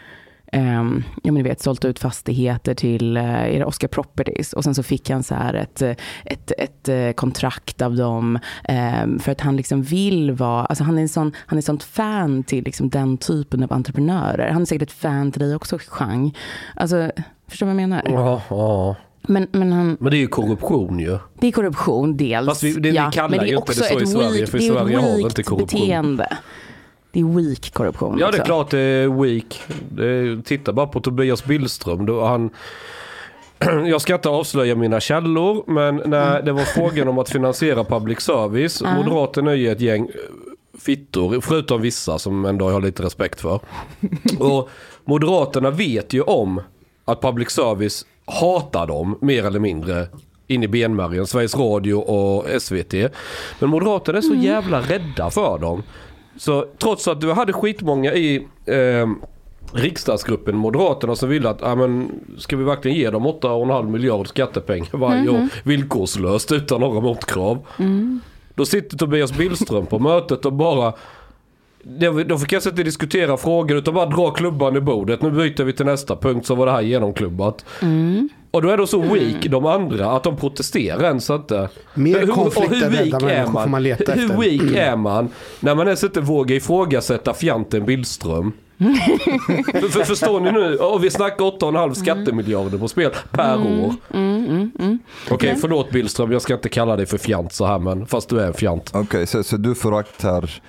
Speaker 2: ehm, ja, men ni vet, sålt ut fastigheter till eh, är det Oscar Properties och sen så fick han så här ett, eh, ett, ett eh, kontrakt av dem ehm, för att han liksom vill vara, alltså han är en sån, han är sånt fan till liksom den typen av entreprenörer. Han är säkert ett fan till dig också, Chang. Alltså, förstår du vad jag menar?
Speaker 7: Ja, ja.
Speaker 2: Men, men han,
Speaker 7: Men det är ju korruption ju.
Speaker 2: Det är korruption dels.
Speaker 7: Fast vi- det- vi kallar
Speaker 2: men
Speaker 7: ju inte det så i Sverige,
Speaker 2: weak-
Speaker 7: för i
Speaker 2: det är ju
Speaker 7: Sverige har vi
Speaker 2: weakt
Speaker 7: inte korruption.
Speaker 2: beteende. Det är weak korruption.
Speaker 7: Ja, det är
Speaker 2: också.
Speaker 7: klart det är weak. Det är, titta bara på Tobias Billström. Då han, [clears throat] jag ska inte avslöja mina källor, men när det var frågan om att finansiera public service.
Speaker 2: Mm. Ja.
Speaker 7: Moderaterna är ju ett gäng eh, fittor, förutom vissa som ändå jag har lite respekt för. [laughs] Och Moderaterna vet ju om att public service hatar dem mer eller mindre in i benmärgen. Sveriges Radio och SVT. Men Moderaterna är så jävla rädda för dem. Så trots att du hade skitmånga i eh, riksdagsgruppen, Moderaterna, som ville att ja, men, ska vi verkligen ge dem 8,5 miljard skattepengar varje år villkorslöst utan några motkrav. Då sitter Tobias Billström på mötet och bara... det- De fick kanske inte diskutera frågor utan bara dra klubban i bordet. Nu byter vi till nästa punkt så var det här genomklubbat. Och då är de så weak de andra att de protesterar ens inte.
Speaker 6: Mer
Speaker 7: och
Speaker 6: konflikter rädda människor får man leta
Speaker 7: hur
Speaker 6: efter. Mm.
Speaker 7: weak är man när man ens inte vågar ifrågasätta fjanten Billström? för, för, förstår ni nu? Ja, vi snackar 8,5 skattemiljarder på spel per år. Okej, förlåt Billström. Jag ska inte kalla dig för fjant så här, men fast du är en fjant.
Speaker 1: Okej, så, så du föraktar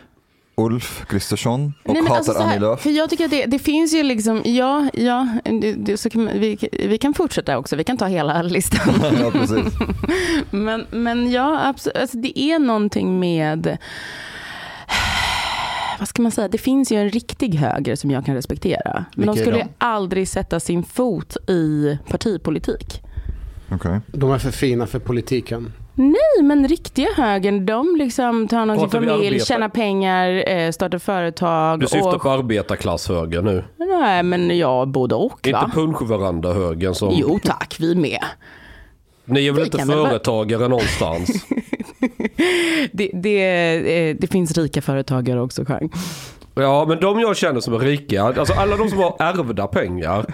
Speaker 1: Ulf Kristersson och
Speaker 2: men
Speaker 1: hatar
Speaker 2: alltså så här,
Speaker 1: Annie Lööf?
Speaker 2: För jag tycker att det, det finns ju liksom, ja, ja, det, det, så kan, man- vi, vi kan fortsätta också, vi kan ta hela
Speaker 7: [laughs]
Speaker 2: listan.
Speaker 1: [laughs] ja, precis.
Speaker 2: Men, men ja, absolut. Alltså, det är någonting med... [sighs] Vad ska man säga? Det finns ju en riktig höger som jag kan respektera. Men
Speaker 4: Vilka
Speaker 2: de
Speaker 4: är
Speaker 2: skulle
Speaker 4: de?
Speaker 2: ju aldrig sätta sin fot i partipolitik.
Speaker 1: Okej.
Speaker 6: Mm-hmm.
Speaker 5: De är för fina för politiken.
Speaker 2: Nej, men riktiga högern, de liksom tar hand om
Speaker 7: Pratar
Speaker 2: sin
Speaker 7: vi
Speaker 2: familj,
Speaker 7: arbetare?
Speaker 2: tjänar pengar, eh, startar företag.
Speaker 7: Du syftar
Speaker 2: och,
Speaker 7: på arbetarklasshöger nu.
Speaker 2: Nej, men ja, både och
Speaker 7: Inte
Speaker 2: va?
Speaker 7: punschveranda-högern som...
Speaker 2: Jo tack, vi
Speaker 7: [laughs]
Speaker 2: med.
Speaker 7: Ni är väl
Speaker 2: Vi
Speaker 7: inte
Speaker 2: kan väl vara- [laughs]
Speaker 7: företagare någonstans?
Speaker 2: Det, det, eh, det finns rika företagare också, Chang.
Speaker 7: Ja, men de jag känner som är rika, alltså alla de som har ärvda pengar.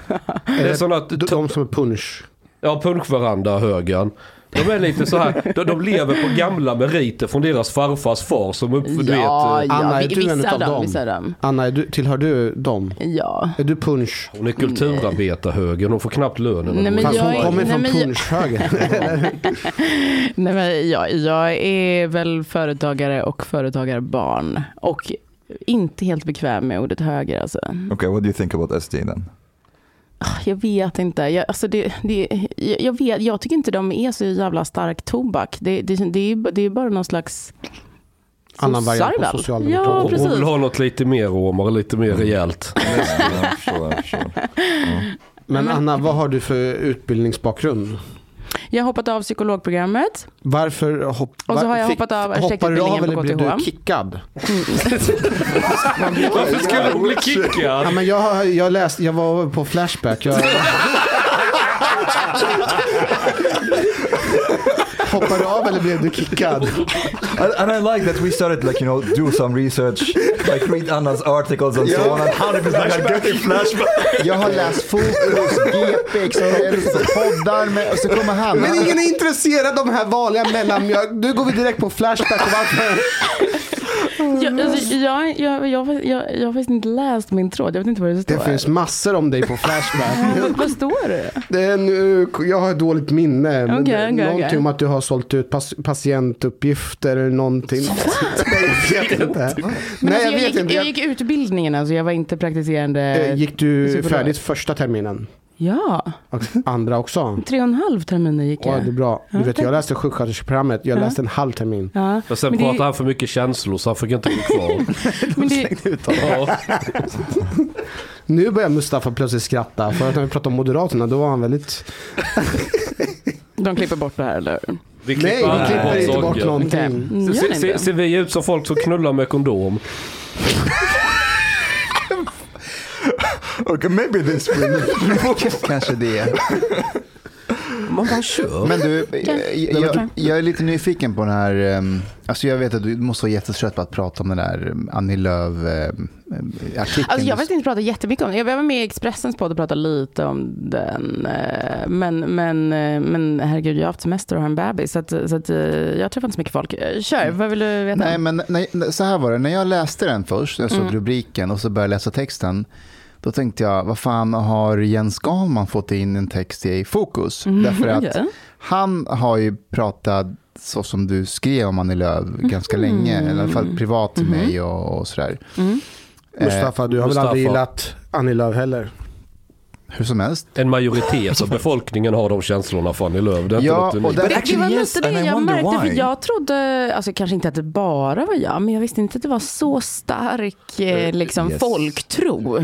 Speaker 7: Det är sådana att...
Speaker 5: De, de som är punch.
Speaker 7: Ja, punschveranda högern. De är lite så här, de, de lever på gamla meriter från deras farfars far som eh, upp, du
Speaker 2: Ja,
Speaker 7: vet,
Speaker 2: ja,
Speaker 5: Anna, är
Speaker 2: vi-
Speaker 5: du en
Speaker 2: vissa
Speaker 5: utav
Speaker 2: av dem.
Speaker 5: dem?
Speaker 2: Vissa av dem.
Speaker 5: Anna, är du, tillhör du dem?
Speaker 2: Ja.
Speaker 5: Är du punch?
Speaker 7: hon är kulturarbetarhögern, hon får knappt lönen.
Speaker 2: Nej, men
Speaker 5: Fast
Speaker 2: jag
Speaker 5: hon
Speaker 2: är-
Speaker 5: kommer
Speaker 2: nej,
Speaker 5: från
Speaker 2: men jag- [laughs]
Speaker 6: [laughs]
Speaker 5: punschhögern.
Speaker 2: Nej, men jag, jag är väl företagare och företagarbarn. Och inte helt bekväm med ordet höger. Alltså.
Speaker 1: Okej, what do you think about SD then?
Speaker 2: Ah, Jag vet inte. Jag, alltså det, det, jag, jag vet, jag tycker inte de är så jävla stark tobak. Det, det, det, är, ju b- det är bara någon slags...
Speaker 5: Annan variant på
Speaker 2: sossar väl?
Speaker 5: Socialdemokraterna.
Speaker 2: Ja,
Speaker 7: hon, hon
Speaker 2: precis.
Speaker 7: vill ha något lite mer romare, lite mer rejält.
Speaker 1: jag förstår, jag förstår.
Speaker 5: Men
Speaker 2: Mm.
Speaker 5: Anna, vad har du för utbildningsbakgrund?
Speaker 2: Jag har hoppat av psykologprogrammet.
Speaker 5: Varför hopp,
Speaker 2: Och så har jag
Speaker 5: fick-
Speaker 2: hoppat av
Speaker 5: Hoppar du av
Speaker 2: arkitektutbildningen
Speaker 5: eller
Speaker 2: på
Speaker 5: blev du
Speaker 2: KTH.
Speaker 5: kickad?
Speaker 7: Varför skulle hon bli
Speaker 5: Ja,
Speaker 7: kickad?
Speaker 5: men jag, jag, läste, jag var på Flashback. Jag
Speaker 6: Hoppar du av eller blev du kickad?
Speaker 1: And, and I like that we started like you know do some research, like read Anna's articles and so on. And hundred percent I get it flashback.
Speaker 4: Jag har läst Fokus, GP, Expressen, poddar med, och så kommer han.
Speaker 6: Men ingen är intresserad av de här vanliga mellanmjölk. Nu går vi direkt på Flashback. Och varför?
Speaker 2: Jag, alltså, jag, jag, jag, jag, jag har faktiskt inte läst min tråd. Jag vet inte vad det står.
Speaker 6: Det finns massor om dig
Speaker 2: [laughs]
Speaker 6: på Flashback.
Speaker 2: Vad står det?
Speaker 6: Det är nu, jag har dåligt minne. Men
Speaker 2: Okej,
Speaker 6: det är
Speaker 2: okej,
Speaker 6: någonting
Speaker 2: okej.
Speaker 6: om att du har sålt ut pas, patientuppgifter eller någonting. [laughs] jag vet inte.
Speaker 2: Men
Speaker 6: Nej,
Speaker 2: alltså,
Speaker 6: jag
Speaker 2: jag,
Speaker 6: vet
Speaker 2: gick,
Speaker 6: inte.
Speaker 2: jag
Speaker 6: Jag,
Speaker 2: gick utbildningen, alltså, jag var inte praktiserande.
Speaker 6: eh, gick du
Speaker 2: Superbra.
Speaker 6: färdigt första terminen?
Speaker 2: Ja,
Speaker 6: Och andra också?
Speaker 2: tre och en halv terminer gick
Speaker 6: Ja,
Speaker 2: jag.
Speaker 6: det är bra. Du vet, jag läste sjuksköterskeprogrammet. Jag läste en halv termin. [laughs]
Speaker 2: Ja,
Speaker 7: Men sen
Speaker 2: Men det-
Speaker 7: pratade han för mycket känslor så han fick inte gå kvar.
Speaker 2: men det,
Speaker 7: Ja.
Speaker 6: Nu börjar Mustafa plötsligt skratta. Förut när vi pratade om Moderaterna, då var han väldigt...
Speaker 2: de klipper bort det här eller?
Speaker 7: Vi
Speaker 6: Nej,
Speaker 7: aldrig
Speaker 6: vi klipper
Speaker 7: bort
Speaker 6: inte bort
Speaker 7: saker.
Speaker 6: någonting.
Speaker 2: Gör
Speaker 7: Se-
Speaker 2: ni
Speaker 7: se-
Speaker 2: inte?
Speaker 7: Ser vi ut som folk som knullar med kondom?
Speaker 1: Okay, maybe this will.
Speaker 4: [laughs] Kanske det.
Speaker 7: Man bara kör.
Speaker 4: Men du, jag, jag, jag är lite nyfiken på den här, ehm, alltså jag vet att du måste vara jättetrött på att prata om den där ehm, Annie ehm, eh, Lööf-artikeln.
Speaker 2: Alltså jag har faktiskt inte pratat jättemycket om det. Jag var med i Expressens podd och pratade lite om den. eh, Men, men, eh, men herregud, jag har haft semester och har en bebis. Så, att, så att, eh, jag träffar inte så mycket folk. Eh, Kör, vad Mm. vill du veta?
Speaker 4: Nej, men nej, nej, så här var det. När jag läste den först, jag såg rubriken och så började jag läsa texten. Då tänkte jag, vad fan har Jens Gahlman fått in en text i Fokus?
Speaker 2: Mm. [laughs]
Speaker 4: Därför att
Speaker 2: okej.
Speaker 4: han har ju pratat så som du skrev om Annie Lööf
Speaker 2: Mm.
Speaker 4: ganska länge, eller i alla fall privat till
Speaker 2: Mm-hmm.
Speaker 4: mig och, och sådär.
Speaker 2: Mm.
Speaker 4: Eh,
Speaker 6: Eh,
Speaker 5: Mustafa, du har
Speaker 7: Mustafa.
Speaker 5: väl aldrig gillat Annie Lööf heller?
Speaker 4: Hur som helst.
Speaker 7: En majoritet av befolkningen har de känslorna för Annie Lööf. Det är
Speaker 4: Ja,
Speaker 7: inte
Speaker 4: och
Speaker 7: något
Speaker 4: där-
Speaker 7: unikt.
Speaker 2: Det,
Speaker 1: Actually,
Speaker 2: det var
Speaker 1: yes,
Speaker 2: lite
Speaker 1: and
Speaker 2: det
Speaker 1: I
Speaker 2: jag
Speaker 1: wonder
Speaker 2: märkte.
Speaker 1: why.
Speaker 2: För jag trodde, alltså kanske inte att det bara var jag, men jag visste inte att det var så stark eh, liksom,
Speaker 1: yes.
Speaker 2: folktro. eh,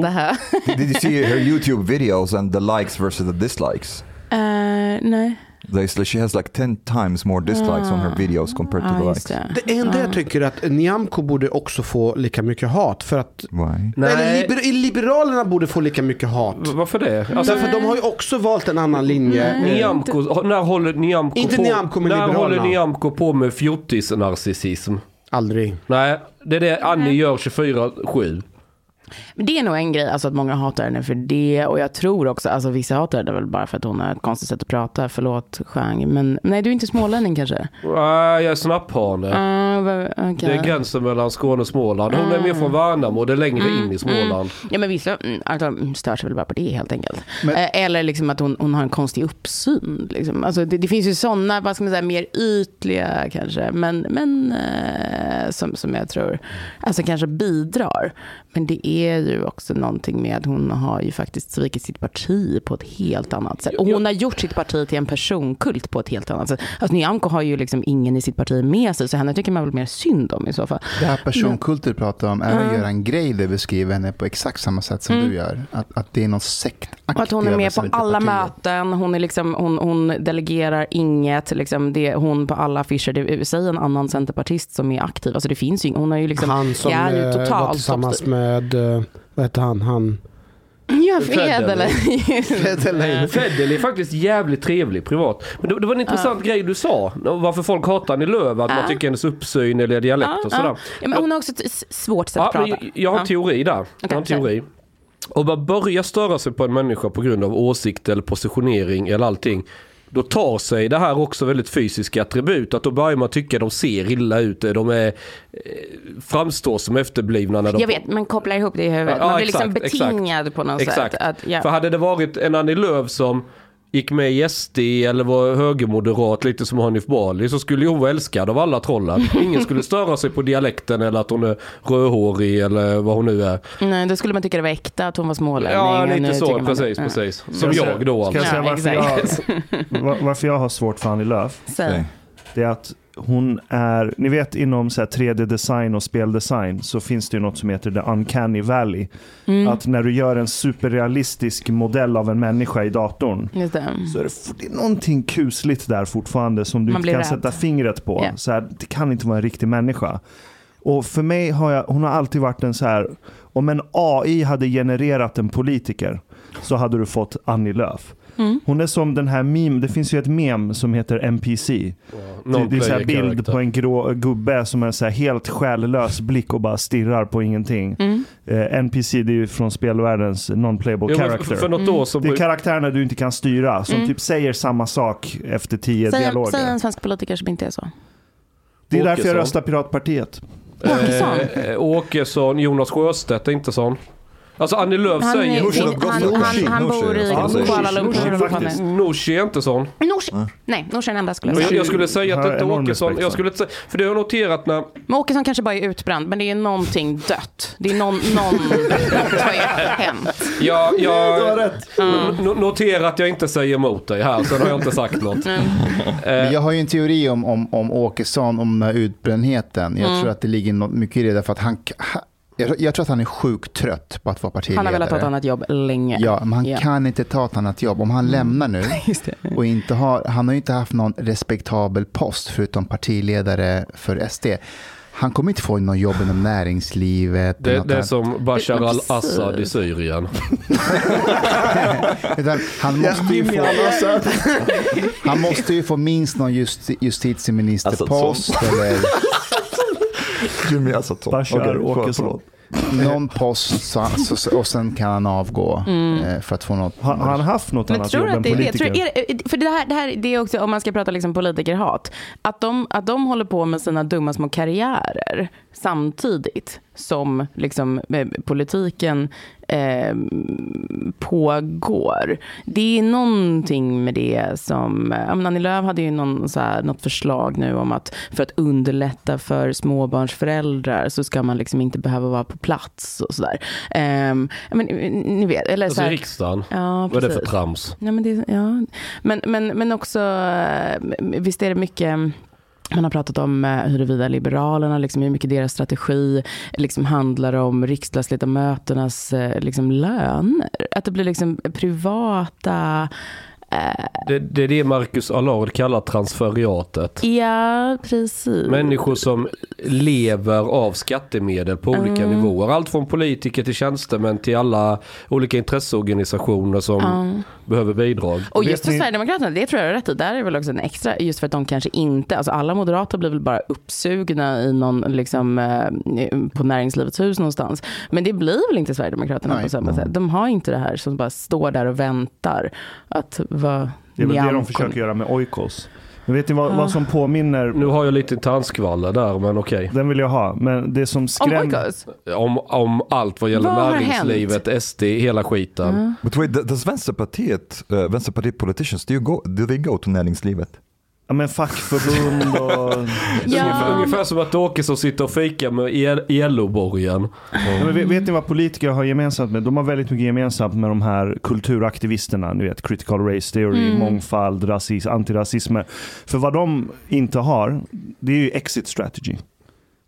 Speaker 2: det här.
Speaker 1: Did you see her YouTube videos and the likes versus the dislikes?
Speaker 2: Eh, nej.
Speaker 1: They, she has like 10 times more dislikes on her videos compared to the
Speaker 2: Ja, just
Speaker 1: likes.
Speaker 2: det.
Speaker 6: Det enda jag tycker är att Nyamko borde också få lika mycket hat. För att,
Speaker 1: Why?
Speaker 6: eller liber, Liberalerna borde få lika mycket hat.
Speaker 7: V- Varför det? Alltså,
Speaker 6: Därför att de har ju också valt en annan linje.
Speaker 7: Nyamko, när håller Nyamko
Speaker 6: Inte
Speaker 7: på,
Speaker 6: Nyamko, men
Speaker 7: när
Speaker 6: Liberalerna.
Speaker 7: håller Nyamko på med fjortis-narcissism?
Speaker 6: Aldrig.
Speaker 7: Nej, det är det Annie gör 24-7.
Speaker 2: Men det är nog en grej, alltså att många hatar henne för det. Och jag tror också, alltså vissa hatar henne väl bara för att hon har ett konstigt sätt att prata. Förlåt Chang, men nej du är inte smålänning kanske?
Speaker 7: Nej, jag är snapphane.
Speaker 2: Ah, va-
Speaker 7: Det
Speaker 2: okej. Ah.
Speaker 7: är gränsen mellan Skåne och Småland. Hon är mer från Värnamo, det är längre
Speaker 2: Mm,
Speaker 7: in i Småland.
Speaker 2: Ja men vissa mm, antagligen stör sig väl bara på det helt enkelt. Eh, Eller liksom att hon, hon har en konstig uppsyn. Liksom. Alltså, det, det finns ju sådana, vad ska man säga, mer ytliga kanske. Men, men eh, som, som jag tror alltså, kanske bidrar. Men det är ju också någonting med att hon har ju faktiskt svikit sitt parti på ett helt annat sätt. Och hon har gjort sitt parti till en personkult på ett helt annat sätt. Alltså Nyamko har ju liksom ingen i sitt parti med sig. Så henne tycker man väl mer synd om i så fall.
Speaker 4: Det här personkulter du pratar om, även Göran Greider beskriver henne på exakt samma sätt som du gör. Att, att det är någon sektaktig
Speaker 2: Mm. Och att hon är med på
Speaker 4: representant i
Speaker 2: alla
Speaker 4: partiet.
Speaker 2: möten, hon, är liksom, hon, hon delegerar inget, liksom det är hon på alla affischer. Det är, säg en annan centerpartist som är aktiv, alltså det finns ju ing- hon har ju liksom,
Speaker 5: Han som
Speaker 2: det är ju
Speaker 5: eh, var
Speaker 2: totalt
Speaker 5: tillsammans
Speaker 2: toppstyrt.
Speaker 5: med, eh, vad hette han? han
Speaker 2: Ja, Fred eller?
Speaker 7: Fedel Eh, är faktiskt jävligt trevlig privat. Men det, det var en intressant grej du sa. Varför folk hatar Annie Lööf, att man tycker hennes uppsyn eller dialekt och sådär.
Speaker 2: ja. ja, men hon har också ett s- svårt sätt
Speaker 7: Ja,
Speaker 2: att
Speaker 7: men
Speaker 2: prata.
Speaker 7: jag, jag har en teori där. jag har en
Speaker 2: säg.
Speaker 7: teori. Om man börjar störa sig på en människa på grund av åsikt eller positionering eller allting. Då tar sig det här också väldigt fysiska attribut. Att då börjar man tycka de ser illa ut. De är, eh, framstår som efterblivna när de
Speaker 2: Jag vet, men kopplar ihop det i huvudet.
Speaker 7: Ja,
Speaker 2: Man blir
Speaker 7: exakt,
Speaker 2: liksom betingad på något
Speaker 7: Exakt.
Speaker 2: sätt. Att,
Speaker 7: För
Speaker 2: ja.
Speaker 7: hade det varit en Annie Lööf som gick med i SD eller var högermoderat lite som Hanif Bali så skulle ju hon vara älskad av
Speaker 2: [laughs]
Speaker 7: alla trollen. Ingen skulle störa sig på dialekten eller att hon är rödhårig eller vad hon nu är.
Speaker 2: Nej, då skulle man tycka det var äkta att hon var smålänning.
Speaker 7: Ja,
Speaker 2: och nu
Speaker 7: lite
Speaker 2: tycker
Speaker 7: så.
Speaker 2: man-
Speaker 7: Precis,
Speaker 2: ja.
Speaker 7: precis. Som
Speaker 3: Ska
Speaker 7: jag då
Speaker 3: Ska
Speaker 7: alltså.
Speaker 3: jag säga
Speaker 2: Ja,
Speaker 3: varför jag, var- varför jag har svårt för Annie Lööf?
Speaker 2: Säg.
Speaker 1: Okej.
Speaker 3: Det är att hon är, ni vet inom så här 3D-design och speldesign så finns det ju något som heter the uncanny valley.
Speaker 2: Mm.
Speaker 3: Att när du gör en superrealistisk modell av en människa i datorn
Speaker 2: Just det.
Speaker 3: så är det, f- det är någonting kusligt där fortfarande som du
Speaker 2: Man
Speaker 3: inte
Speaker 2: blir
Speaker 3: kan
Speaker 2: rädd.
Speaker 3: sätta fingret på.
Speaker 2: Ja.
Speaker 3: Så här, det kan inte vara en riktig människa. Och för mig har jag, hon har alltid varit en så här, om en AI hade genererat en politiker så hade du fått Annie Lööf.
Speaker 2: Mm.
Speaker 3: Hon är som den här meme, det finns ju ett meme som heter NPC. Det, det är så här bild på en grå gubbe som är så här helt själlös blick och bara stirrar på ingenting.
Speaker 2: Mm.
Speaker 3: Eh, NPC det är ju från spelvärldens non-playable
Speaker 7: Jo, men
Speaker 3: character.
Speaker 7: För något år så...
Speaker 3: Det är karaktärerna du inte kan styra
Speaker 2: Mm.
Speaker 3: som typ säger samma sak efter tio
Speaker 2: Säg, en-
Speaker 3: dialoger.
Speaker 2: säg en svensk politiker som inte är så.
Speaker 3: det är därför
Speaker 7: Åkesson.
Speaker 3: jag röstar Piratpartiet.
Speaker 2: Åkesson.
Speaker 7: Eh, eh, Åkesson, Jonas Sjöstedt är inte sån. Alltså Annie Lööf
Speaker 2: Han, är,
Speaker 7: säger...
Speaker 1: Nooshi
Speaker 2: in, han, han,
Speaker 1: Nooshi,
Speaker 2: han
Speaker 1: Nooshi,
Speaker 2: bor i
Speaker 1: ska man
Speaker 7: säga.
Speaker 2: Kuala
Speaker 3: Nooshi,
Speaker 2: Lumpur.
Speaker 3: Nooshi, faktiskt.
Speaker 7: Nooshi är inte sån.
Speaker 2: Nooshi. Nej, Nooshi är den enda skulle jag
Speaker 7: Och jag,
Speaker 2: säga.
Speaker 7: jag skulle säga att
Speaker 3: Har
Speaker 7: inte
Speaker 3: Alltså, enorm
Speaker 7: Åkesson,
Speaker 3: respekt
Speaker 7: jag
Speaker 3: för.
Speaker 7: skulle inte säga, för det har jag
Speaker 4: [laughs]
Speaker 7: noterat när,
Speaker 2: Men Åkesson kanske bara är utbränd, men det är någonting dött. Det är någon, någon, något har ju hänt.
Speaker 7: jag, jag no- no- noterar att jag inte säger emot dig här, sen har jag inte sagt något. Eh,
Speaker 4: Men jag har ju en teori om, om, om Åkesson, om den här utbrändheten.
Speaker 2: Mm.
Speaker 4: Jag tror att det ligger något mycket i det, därför att han, han- jag, jag tror att han är sjukt trött på att vara partiledare.
Speaker 2: Han har velat ta ett annat jobb länge.
Speaker 4: Ja, men han
Speaker 2: Ja.
Speaker 4: kan inte ta ett annat jobb. Om han lämnar nu och inte har, han har ju inte haft någon respektabel post förutom partiledare för SD. Han kommer inte få något jobb inom näringslivet. eller
Speaker 7: Det,
Speaker 4: något
Speaker 7: det är
Speaker 4: annat.
Speaker 7: som Bashar
Speaker 2: Det är
Speaker 7: al-Assad i
Speaker 2: absurd.
Speaker 7: Syrien.
Speaker 4: Utan
Speaker 7: [laughs]
Speaker 4: han, måste ju få, han måste ju få minst någon just, justitieministerpost
Speaker 3: Alltså, [laughs]
Speaker 4: eller
Speaker 1: Jimmy Assaton.
Speaker 3: Bashar
Speaker 1: Okej, för-
Speaker 3: Åkesson.
Speaker 1: förlåt.
Speaker 4: någon post så, så, så, och sen kan han avgå eh, för att få något.
Speaker 3: Har har han haft något
Speaker 2: Men
Speaker 3: annat
Speaker 2: tror
Speaker 3: jobb
Speaker 2: du att
Speaker 3: än
Speaker 2: det är det?
Speaker 3: politiker?
Speaker 2: Tror, du- är, det- för det här, det här det är också, om man ska prata liksom politikerhat, att de, att de håller på med sina dumma små karriärer samtidigt som liksom, eh, politiken eh, pågår. Det är någonting med det som, eh, ja, men Annie Lööf hade ju någon, så här, något förslag nu om att för att underlätta för småbarnsföräldrar så ska man liksom inte behöva vara på plats och sådär. Eh, men, eh, ni vet, eller
Speaker 7: Alltså
Speaker 2: så
Speaker 7: i
Speaker 2: här,
Speaker 7: riksdagen.
Speaker 2: Ja,
Speaker 7: Vad är det
Speaker 2: precis.
Speaker 7: för trams?
Speaker 2: Nej, men, det, ja. men, men, men också, eh, visst är det mycket mm, man har pratat om eh, huruvida Liberalerna, liksom, hur mycket deras strategi liksom, handlar om riksdagsledamöternas eh, liksom, löner. Att det blir liksom privata
Speaker 7: Det, det är det Marcus Allard kallar transferiatet.
Speaker 2: Ja, precis.
Speaker 7: Människor som lever av skattemedel på olika
Speaker 2: Mm.
Speaker 7: nivåer. Allt från politiker till tjänstemän till alla olika intresseorganisationer som
Speaker 2: Ja.
Speaker 7: behöver bidrag.
Speaker 2: Och
Speaker 3: Vet
Speaker 2: just för
Speaker 3: ni-
Speaker 2: Sverigedemokraterna, det tror jag är rätt i. Där är väl också en extra, just för att de kanske inte, alltså alla moderater blir väl bara uppsugna i någon, liksom eh, på näringslivets hus någonstans. Men det blir väl inte Sverigedemokraterna
Speaker 4: Nej.
Speaker 2: på samma sätt. De har inte det här som bara står där och väntar att vad
Speaker 3: Det är väl det de
Speaker 2: Nyamko-
Speaker 3: försöker göra med Oikos. Men vet ni vad,
Speaker 2: Ah.
Speaker 3: vad som påminner?
Speaker 7: Nu har jag lite tandskvaller där men okej.
Speaker 3: Den vill jag ha, men det som
Speaker 2: Om
Speaker 3: skrämmer...
Speaker 2: Oikos?
Speaker 7: Om, om allt vad gäller
Speaker 2: Vad har
Speaker 7: näringslivet, SD, hela skiten.
Speaker 1: But wait, th- does Vänsterpartiet, uh, Vänsterpartiet politicians, do, you go, do they go to näringslivet?
Speaker 3: Ja, men fackförbund och...
Speaker 2: Ja.
Speaker 7: Ungefär som att Åkesson sitter och fikar med ILO-borgen.
Speaker 3: Ja, men vet, vet ni vad politiker har gemensamt med? De har väldigt mycket gemensamt med de här kulturaktivisterna. Ni vet, critical race theory, mångfald, rasism, antirasism. För vad de inte har, det är ju exit strategy.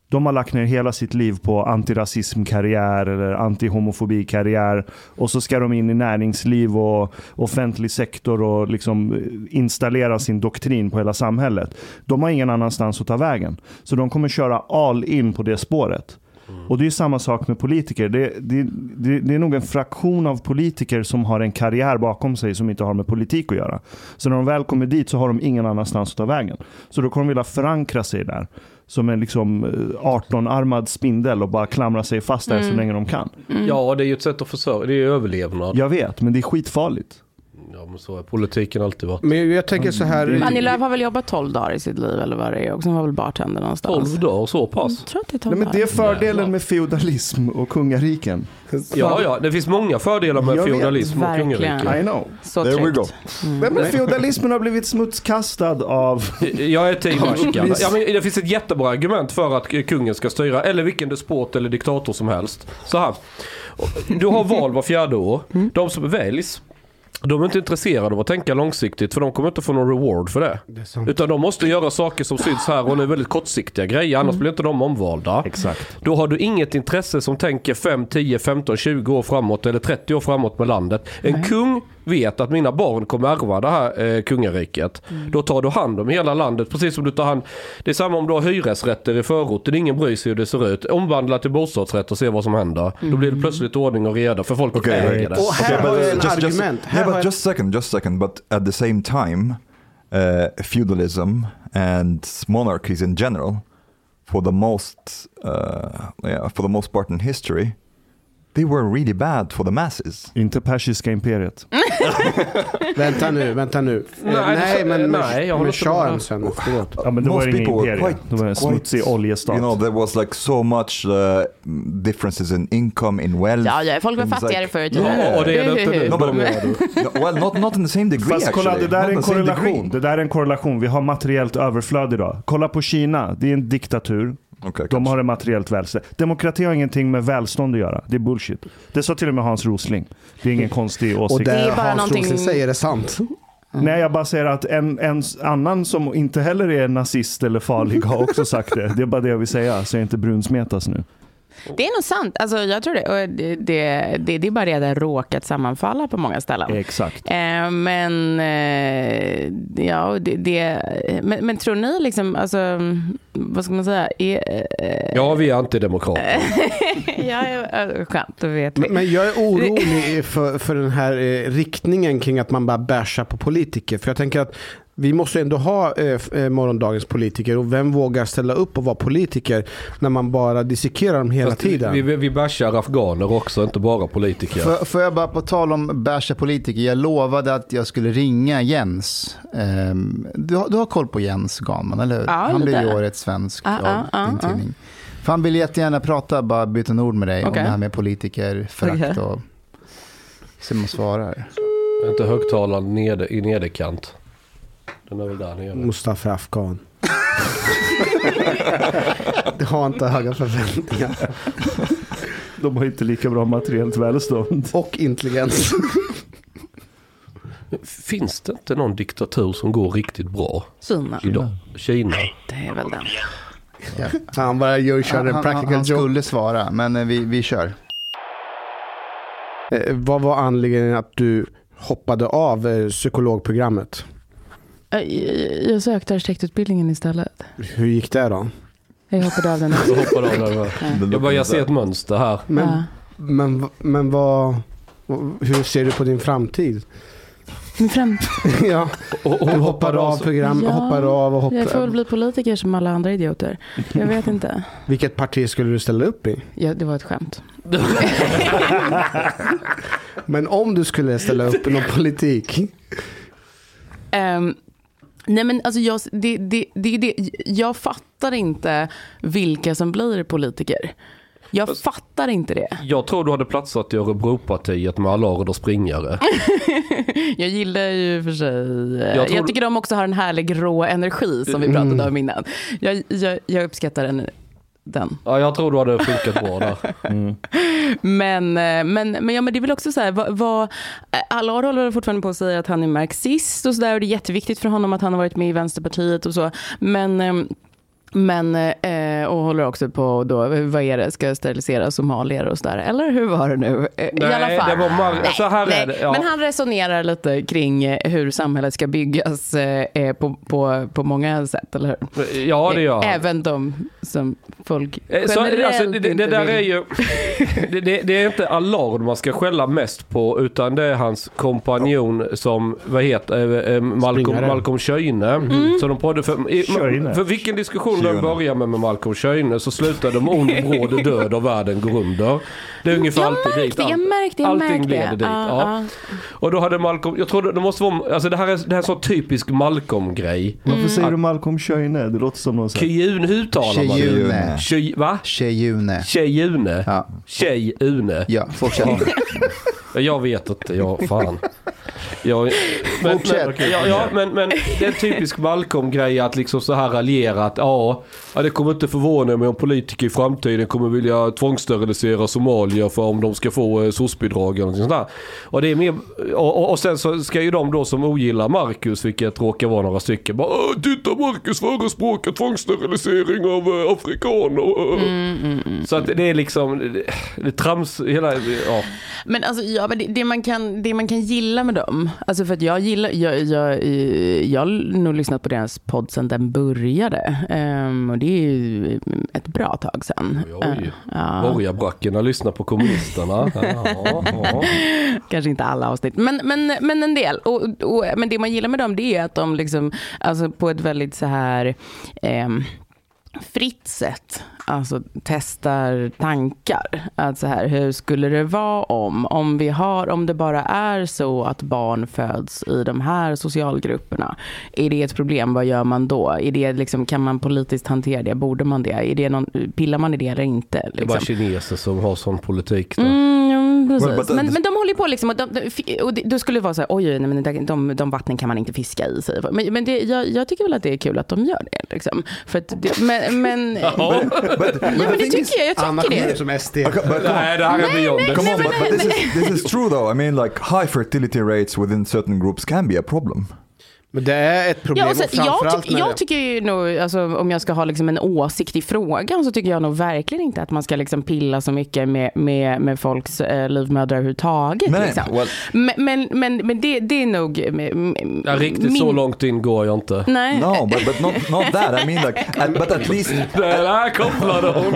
Speaker 3: De har lagt ner hela sitt liv på antirasismkarriär eller antihomofobikarriär. Och så ska de in i näringsliv och offentlig sektor och liksom installera sin doktrin på hela samhället. De har ingen annanstans att ta vägen. Så de kommer köra all in på det spåret. Mm. Och det är ju samma sak med politiker. Det, det, det, det är nog en fraktion av politiker som har en karriär bakom sig som inte har med politik att göra. Så när de väl kommer dit så har de ingen annanstans att ta vägen. Så då kommer de vilja förankra sig där. Som en liksom eh, 18-armad spindel och bara klamra sig fast där så länge de kan.
Speaker 2: Mm.
Speaker 7: Ja, det är ju ett sätt att försörja, det är ju överlevnad.
Speaker 3: Jag vet, men det är skitfarligt.
Speaker 7: Ja, men så har politiken alltid varit.
Speaker 6: Men jag tänker så här.
Speaker 2: Mm. Annie Lööf har väl jobbat 12 dagar i sitt liv eller vad det är och sen var väl bartender någonstans.
Speaker 7: 12 dagar, så pass.
Speaker 2: Jag tror att det är 12
Speaker 3: Nej, men det är
Speaker 2: dagar.
Speaker 3: fördelen med feodalism och kungariken.
Speaker 7: Ja, ja, det finns många fördelar med
Speaker 3: Jag vet,
Speaker 7: feodalism och
Speaker 2: verkligen.
Speaker 7: kungarike.
Speaker 3: I know.
Speaker 2: Så
Speaker 1: There we
Speaker 2: tryggt.
Speaker 1: go.
Speaker 3: Nej, men feodalismen har blivit smutskastad av...
Speaker 7: Eh, Jag är team Ashkan.
Speaker 3: visst.
Speaker 7: ja, men Det finns ett jättebra argument för att kungen ska styra, eller vilken despot eller diktator som helst. Så här. Du har val var fjärde år.
Speaker 3: Mm.
Speaker 7: De som väljs, de är inte intresserade av att tänka långsiktigt för de kommer inte få någon reward för det.
Speaker 6: Det är
Speaker 3: Mm.
Speaker 6: sant.
Speaker 7: Utan de måste göra saker som syns här och nu väldigt kortsiktiga grejer, annars blir inte de omvalda.
Speaker 3: Mm. Exakt.
Speaker 7: Då har du inget intresse som tänker 5, 10, 15, 20 år framåt eller 30 år framåt med landet. En kung vet att mina barn kommer ärva det här eh, kungariket. Då tar du hand om hela landet precis som du tar hand. Det är samma om du har hyresrätter i förorten. Ingen bryr sig hur det ser ut. Omvandla till bostadsrätt och se vad som händer. Då blir det plötsligt ordning och reda för folk
Speaker 1: Okej,
Speaker 7: äger
Speaker 1: right.
Speaker 7: det.
Speaker 6: Och här har jag en
Speaker 1: just,
Speaker 6: argument. Här
Speaker 1: yeah,
Speaker 6: har
Speaker 1: but
Speaker 6: jag-
Speaker 1: just second, just second. But at the same time, uh, feudalism and monarchies in general, for the most, uh, yeah, for the most part in history, they were really bad for the masses.
Speaker 3: Inte persiska imperiet.
Speaker 6: Vänta nu, vänta nu. Eh,
Speaker 7: Nej,
Speaker 6: Nej,
Speaker 7: det-
Speaker 6: men
Speaker 7: nej, jag håller
Speaker 6: men
Speaker 7: inte
Speaker 6: kör
Speaker 7: med.
Speaker 6: en sen. Förlåt.
Speaker 3: Ja, men det
Speaker 1: Most
Speaker 3: var ingen
Speaker 1: people were
Speaker 3: imperie.
Speaker 1: quite-
Speaker 3: det var en
Speaker 1: quite-
Speaker 3: smutsig oljestat.
Speaker 1: You know, there was like so much uh, differences in income, in wealth.
Speaker 2: Ja, ja, folk var
Speaker 1: Things like-
Speaker 2: fattigare förr i tiden.
Speaker 7: Ja, och det är det inte nu.
Speaker 1: No,
Speaker 3: [laughs]
Speaker 1: but, no, well, not, not in the same degree
Speaker 3: Fast
Speaker 1: actually.
Speaker 3: kolla, det där
Speaker 1: Not
Speaker 3: är
Speaker 1: in the
Speaker 3: en
Speaker 1: same
Speaker 3: korrelation.
Speaker 1: degree.
Speaker 3: Det där är en korrelation. Vi har materiellt överflöd idag. Kolla på Kina. Det är en diktatur.
Speaker 1: Okej,
Speaker 3: De
Speaker 1: kanske.
Speaker 3: har en materiellt välstånd. Demokrati har ingenting med välstånd att göra. Det är bullshit. Det sa till och med Hans Rosling. Det är ingen konstig
Speaker 6: Och
Speaker 3: åsikt.
Speaker 6: det,
Speaker 2: är bara
Speaker 6: Hans
Speaker 2: någonting-
Speaker 6: Rosling säger är sant.
Speaker 3: Nej, jag bara säger att en, en annan som inte heller är nazist eller farlig har också sagt det. Det är bara det jag vill säga, så jag inte brunsmetas nu.
Speaker 2: Det är nog sant. Alltså, jag tror det. Och det, det, det, det är bara det att det har råkat sammanfalla på många ställen.
Speaker 3: Exakt.
Speaker 2: Eh, men, eh, ja, och det, det, men, men tror ni liksom, alltså, vad ska man säga? Är, eh,
Speaker 7: Ja, vi är antidemokrater.
Speaker 2: [laughs] ja, ja, skönt, då vet vi.
Speaker 6: Men men jag är orolig för, för den här eh, riktningen kring att man bara bashar på politiker. För jag tänker att vi måste ändå ha eh, f- eh, morgondagens politiker och vem vågar ställa upp och vara politiker när man bara dissekerar dem hela
Speaker 7: Fast
Speaker 6: tiden?
Speaker 7: Vi, vi, vi bashar afghaner också, inte bara politiker.
Speaker 4: Får, får jag bara på tal om bärsa politiker, jag lovade att jag skulle ringa Jens. Ehm, du, har, du har koll på Jens Ganman, eller hur?
Speaker 2: Ja,
Speaker 4: han blir ju
Speaker 2: lite.
Speaker 4: årets svensk
Speaker 2: Ja,
Speaker 4: av
Speaker 2: ja,
Speaker 4: din
Speaker 2: ja,
Speaker 4: tidning. För han vill jättegärna prata, bara byta en ord med dig
Speaker 2: Okej.
Speaker 4: om det här med politiker, förakt
Speaker 2: Okej.
Speaker 4: och... Se om han svarar.
Speaker 7: Inte högtalaren neder, i nederkant. Den är väl där nere.
Speaker 6: Mustafa Afghan. [laughs] det har inte höga förväntningar.
Speaker 3: De har inte lika bra materiellt välstånd.
Speaker 6: Och intelligens.
Speaker 7: Finns det inte någon diktatur som går riktigt bra
Speaker 2: Kina,
Speaker 7: idag? Kina.
Speaker 2: det är väl den.
Speaker 6: Han bara gör, kör
Speaker 4: Han,
Speaker 6: en
Speaker 4: han, han,
Speaker 6: practical
Speaker 4: han
Speaker 6: joke.
Speaker 4: skulle svara, men eh, vi, vi kör.
Speaker 6: Eh, vad var anledningen att du
Speaker 5: hoppade av eh, psykologprogrammet.
Speaker 2: Jag, jag sökte arkitektutbildningen istället.
Speaker 5: Hur gick det då?
Speaker 2: Jag hoppade av den. [laughs]
Speaker 7: Så hoppade jag av den. Jag bara, jag ser ett mönster här.
Speaker 5: Men,
Speaker 2: Ja.
Speaker 5: men, v- men vad, hur ser du på din framtid?
Speaker 2: Men fram,
Speaker 5: ja,
Speaker 7: Och, och
Speaker 5: du hoppar av program,
Speaker 2: Ja,
Speaker 5: hoppar av och
Speaker 2: jag får väl
Speaker 5: hoppar.
Speaker 2: bli politiker som alla andra idioter. Jag vet inte.
Speaker 5: Vilket parti skulle du ställa upp i?
Speaker 2: Ja, det var ett skämt.
Speaker 5: Men om du skulle ställa upp i någon politik?
Speaker 2: Ehm, nej men alltså jag, det, det, det, det, jag fattar inte vilka som blir politiker. Jag fattar inte det.
Speaker 7: Jag tror du hade platsat i Örebropartiet med Allard och springare.
Speaker 2: Jag gillar ju för sig... eh,
Speaker 7: Jag tror- Mm.
Speaker 2: Jag tycker de också har en härlig rå energi som vi pratade om innan. Jag, jag, jag uppskattar den. den.
Speaker 7: Ja, jag tror du hade funkat bra där.
Speaker 2: Men, eh, men, men, ja, men det är väl också så här, vad, vad, eh, Allard håller fortfarande på att säga att han är marxist och så där och det är jätteviktigt för honom att han har varit med i Vänsterpartiet och så. Men, eh, men eh, och håller också på då, vad är det, ska sterilisera somalier och sådär. Eller hur var det nu? Eh, I alla fall.
Speaker 7: det var mar-
Speaker 2: Nej,
Speaker 7: så här
Speaker 2: nej.
Speaker 7: är det. Ja.
Speaker 2: Men han resonerar lite kring eh, hur samhället ska byggas eh, eh, på, på, på många sätt, eller hur?
Speaker 7: ja, det gör han.
Speaker 2: Även de som folk
Speaker 7: Eh,
Speaker 2: generellt
Speaker 7: Så, alltså, det, det, det
Speaker 2: inte
Speaker 7: där
Speaker 2: vill.
Speaker 7: är ju... [laughs] Det, det, det är inte Allard man ska skälla mest på, utan det är hans kompanjon som, vad heter eh, eh, Malcolm,
Speaker 5: Springare.
Speaker 7: Malcolm Schöne.
Speaker 2: Mm.
Speaker 7: Som de poddade för, i,
Speaker 3: Schöne.
Speaker 7: för vilken diskussion de
Speaker 1: Schöne.
Speaker 7: börjar med med Malcolm Schöne så slutar de ond, bråd, död och världen går under. Det är ungefär
Speaker 2: Mm. Jag
Speaker 7: alltid dit.
Speaker 2: märkte, jag märkte, jag
Speaker 7: Allting
Speaker 2: märkte.
Speaker 7: leder dit.
Speaker 2: Ja,
Speaker 7: ja.
Speaker 2: ja.
Speaker 7: Och då hade Malcolm, jag tror det, det måste vara, alltså det här är, det här är så typisk Malcolm-grej.
Speaker 3: Varför säger du Malcolm Schöne? Det låter som någon sån här-
Speaker 7: Kyun, hur uttalar man det?
Speaker 4: Tjejune.
Speaker 7: Ky, va?
Speaker 4: Tjejune.
Speaker 7: Tjejune?
Speaker 4: Ja.
Speaker 7: Tjejune?
Speaker 4: Ja, fortsätt.
Speaker 7: Jag vet inte, jag fan. Jag, men, men,
Speaker 4: Fortsätt.
Speaker 7: ja, ja, men, men det är en typisk Malcolm-grej att liksom så här raljera att ja, ja, det kommer inte förvåna mig om politiker i framtiden kommer vilja tvångssterilisera somalier för om de ska få eh, soc-bidrag eller någonting sånt där. Och, det är mer, och, och, och sen så ska ju de då som ogillar Marcus, vilket råkar vara några stycken, bara "Åh, titta Marcus förespråkar tvångssterilisering av eh, afrikaner. Så att det är liksom, det, det trams, hela, ja.
Speaker 2: Men alltså, ja, men det, det, man kan, det man kan gilla med dem, alltså för att jag gillar, jag, jag, eh, jag har nog lyssnat på deras podd sedan den började. Ehm, och det är ju ett bra tag sedan.
Speaker 7: Oj, oj.
Speaker 2: Eh, ja.
Speaker 7: Borgarbrackorna lyssnar
Speaker 2: [laughs]
Speaker 7: på kommunisterna. Ja, ja.
Speaker 2: Kanske inte alla avsnitt, men, men, men en del. Och, och, men det man gillar med dem det är att de liksom, alltså på ett väldigt så här ehm, fritt sätt alltså, testar tankar. Att så här, hur skulle det vara om, om, vi har, om det bara är så att barn föds i de här socialgrupperna? Är det ett problem? Vad gör man då? Är det liksom, kan man politiskt hantera det? Borde man det? Är det någon, pillar man i det eller inte?
Speaker 7: Det är bara
Speaker 2: Liksom?
Speaker 7: kineser som har sån politik. Då.
Speaker 2: Mm, jo,
Speaker 1: Well, but
Speaker 2: precis.
Speaker 1: that-
Speaker 2: Men, men de håller ju på liksom och, de, de, fi- och det, då skulle det vara så här, oj, oj, nej, men de, de, de vattnen kan man inte fiska i sig. Men, men det, jag, jag tycker väl att det är kul att de gör det. Liksom. För att det, men, men, [laughs] ja,
Speaker 1: But,
Speaker 2: men det tycker jag. Jag
Speaker 5: Anna
Speaker 2: tycker
Speaker 5: kommer
Speaker 2: det.
Speaker 5: ut som SD.
Speaker 1: okay, but
Speaker 7: [laughs]
Speaker 1: come on.
Speaker 7: Nej, det här är beyond.
Speaker 1: Come on,
Speaker 2: Nej,
Speaker 1: but, but this, is, this is true though. I mean, like high fertility rates within certain groups can be a problem.
Speaker 5: Men det är ett problem.
Speaker 2: Ja,
Speaker 5: och
Speaker 2: och sen, jag,
Speaker 5: framförallt
Speaker 2: tyck,
Speaker 5: när
Speaker 2: jag
Speaker 5: det-
Speaker 2: tycker ju nog, alltså, om jag ska ha liksom en åsikt i frågan så tycker jag nog verkligen inte att man ska liksom pilla så mycket med, med, med folks eh, livmödrar överhuvudtaget.
Speaker 1: Nej,
Speaker 2: liksom.
Speaker 1: well-
Speaker 2: Men, men, men, men det, det är nog eh, m- m-
Speaker 7: Ja, riktigt så långt in går jag inte.
Speaker 2: Nej.
Speaker 1: No, but, but not not that. I mean, like, at, but at least
Speaker 7: Det där kopplade [laughs] hon.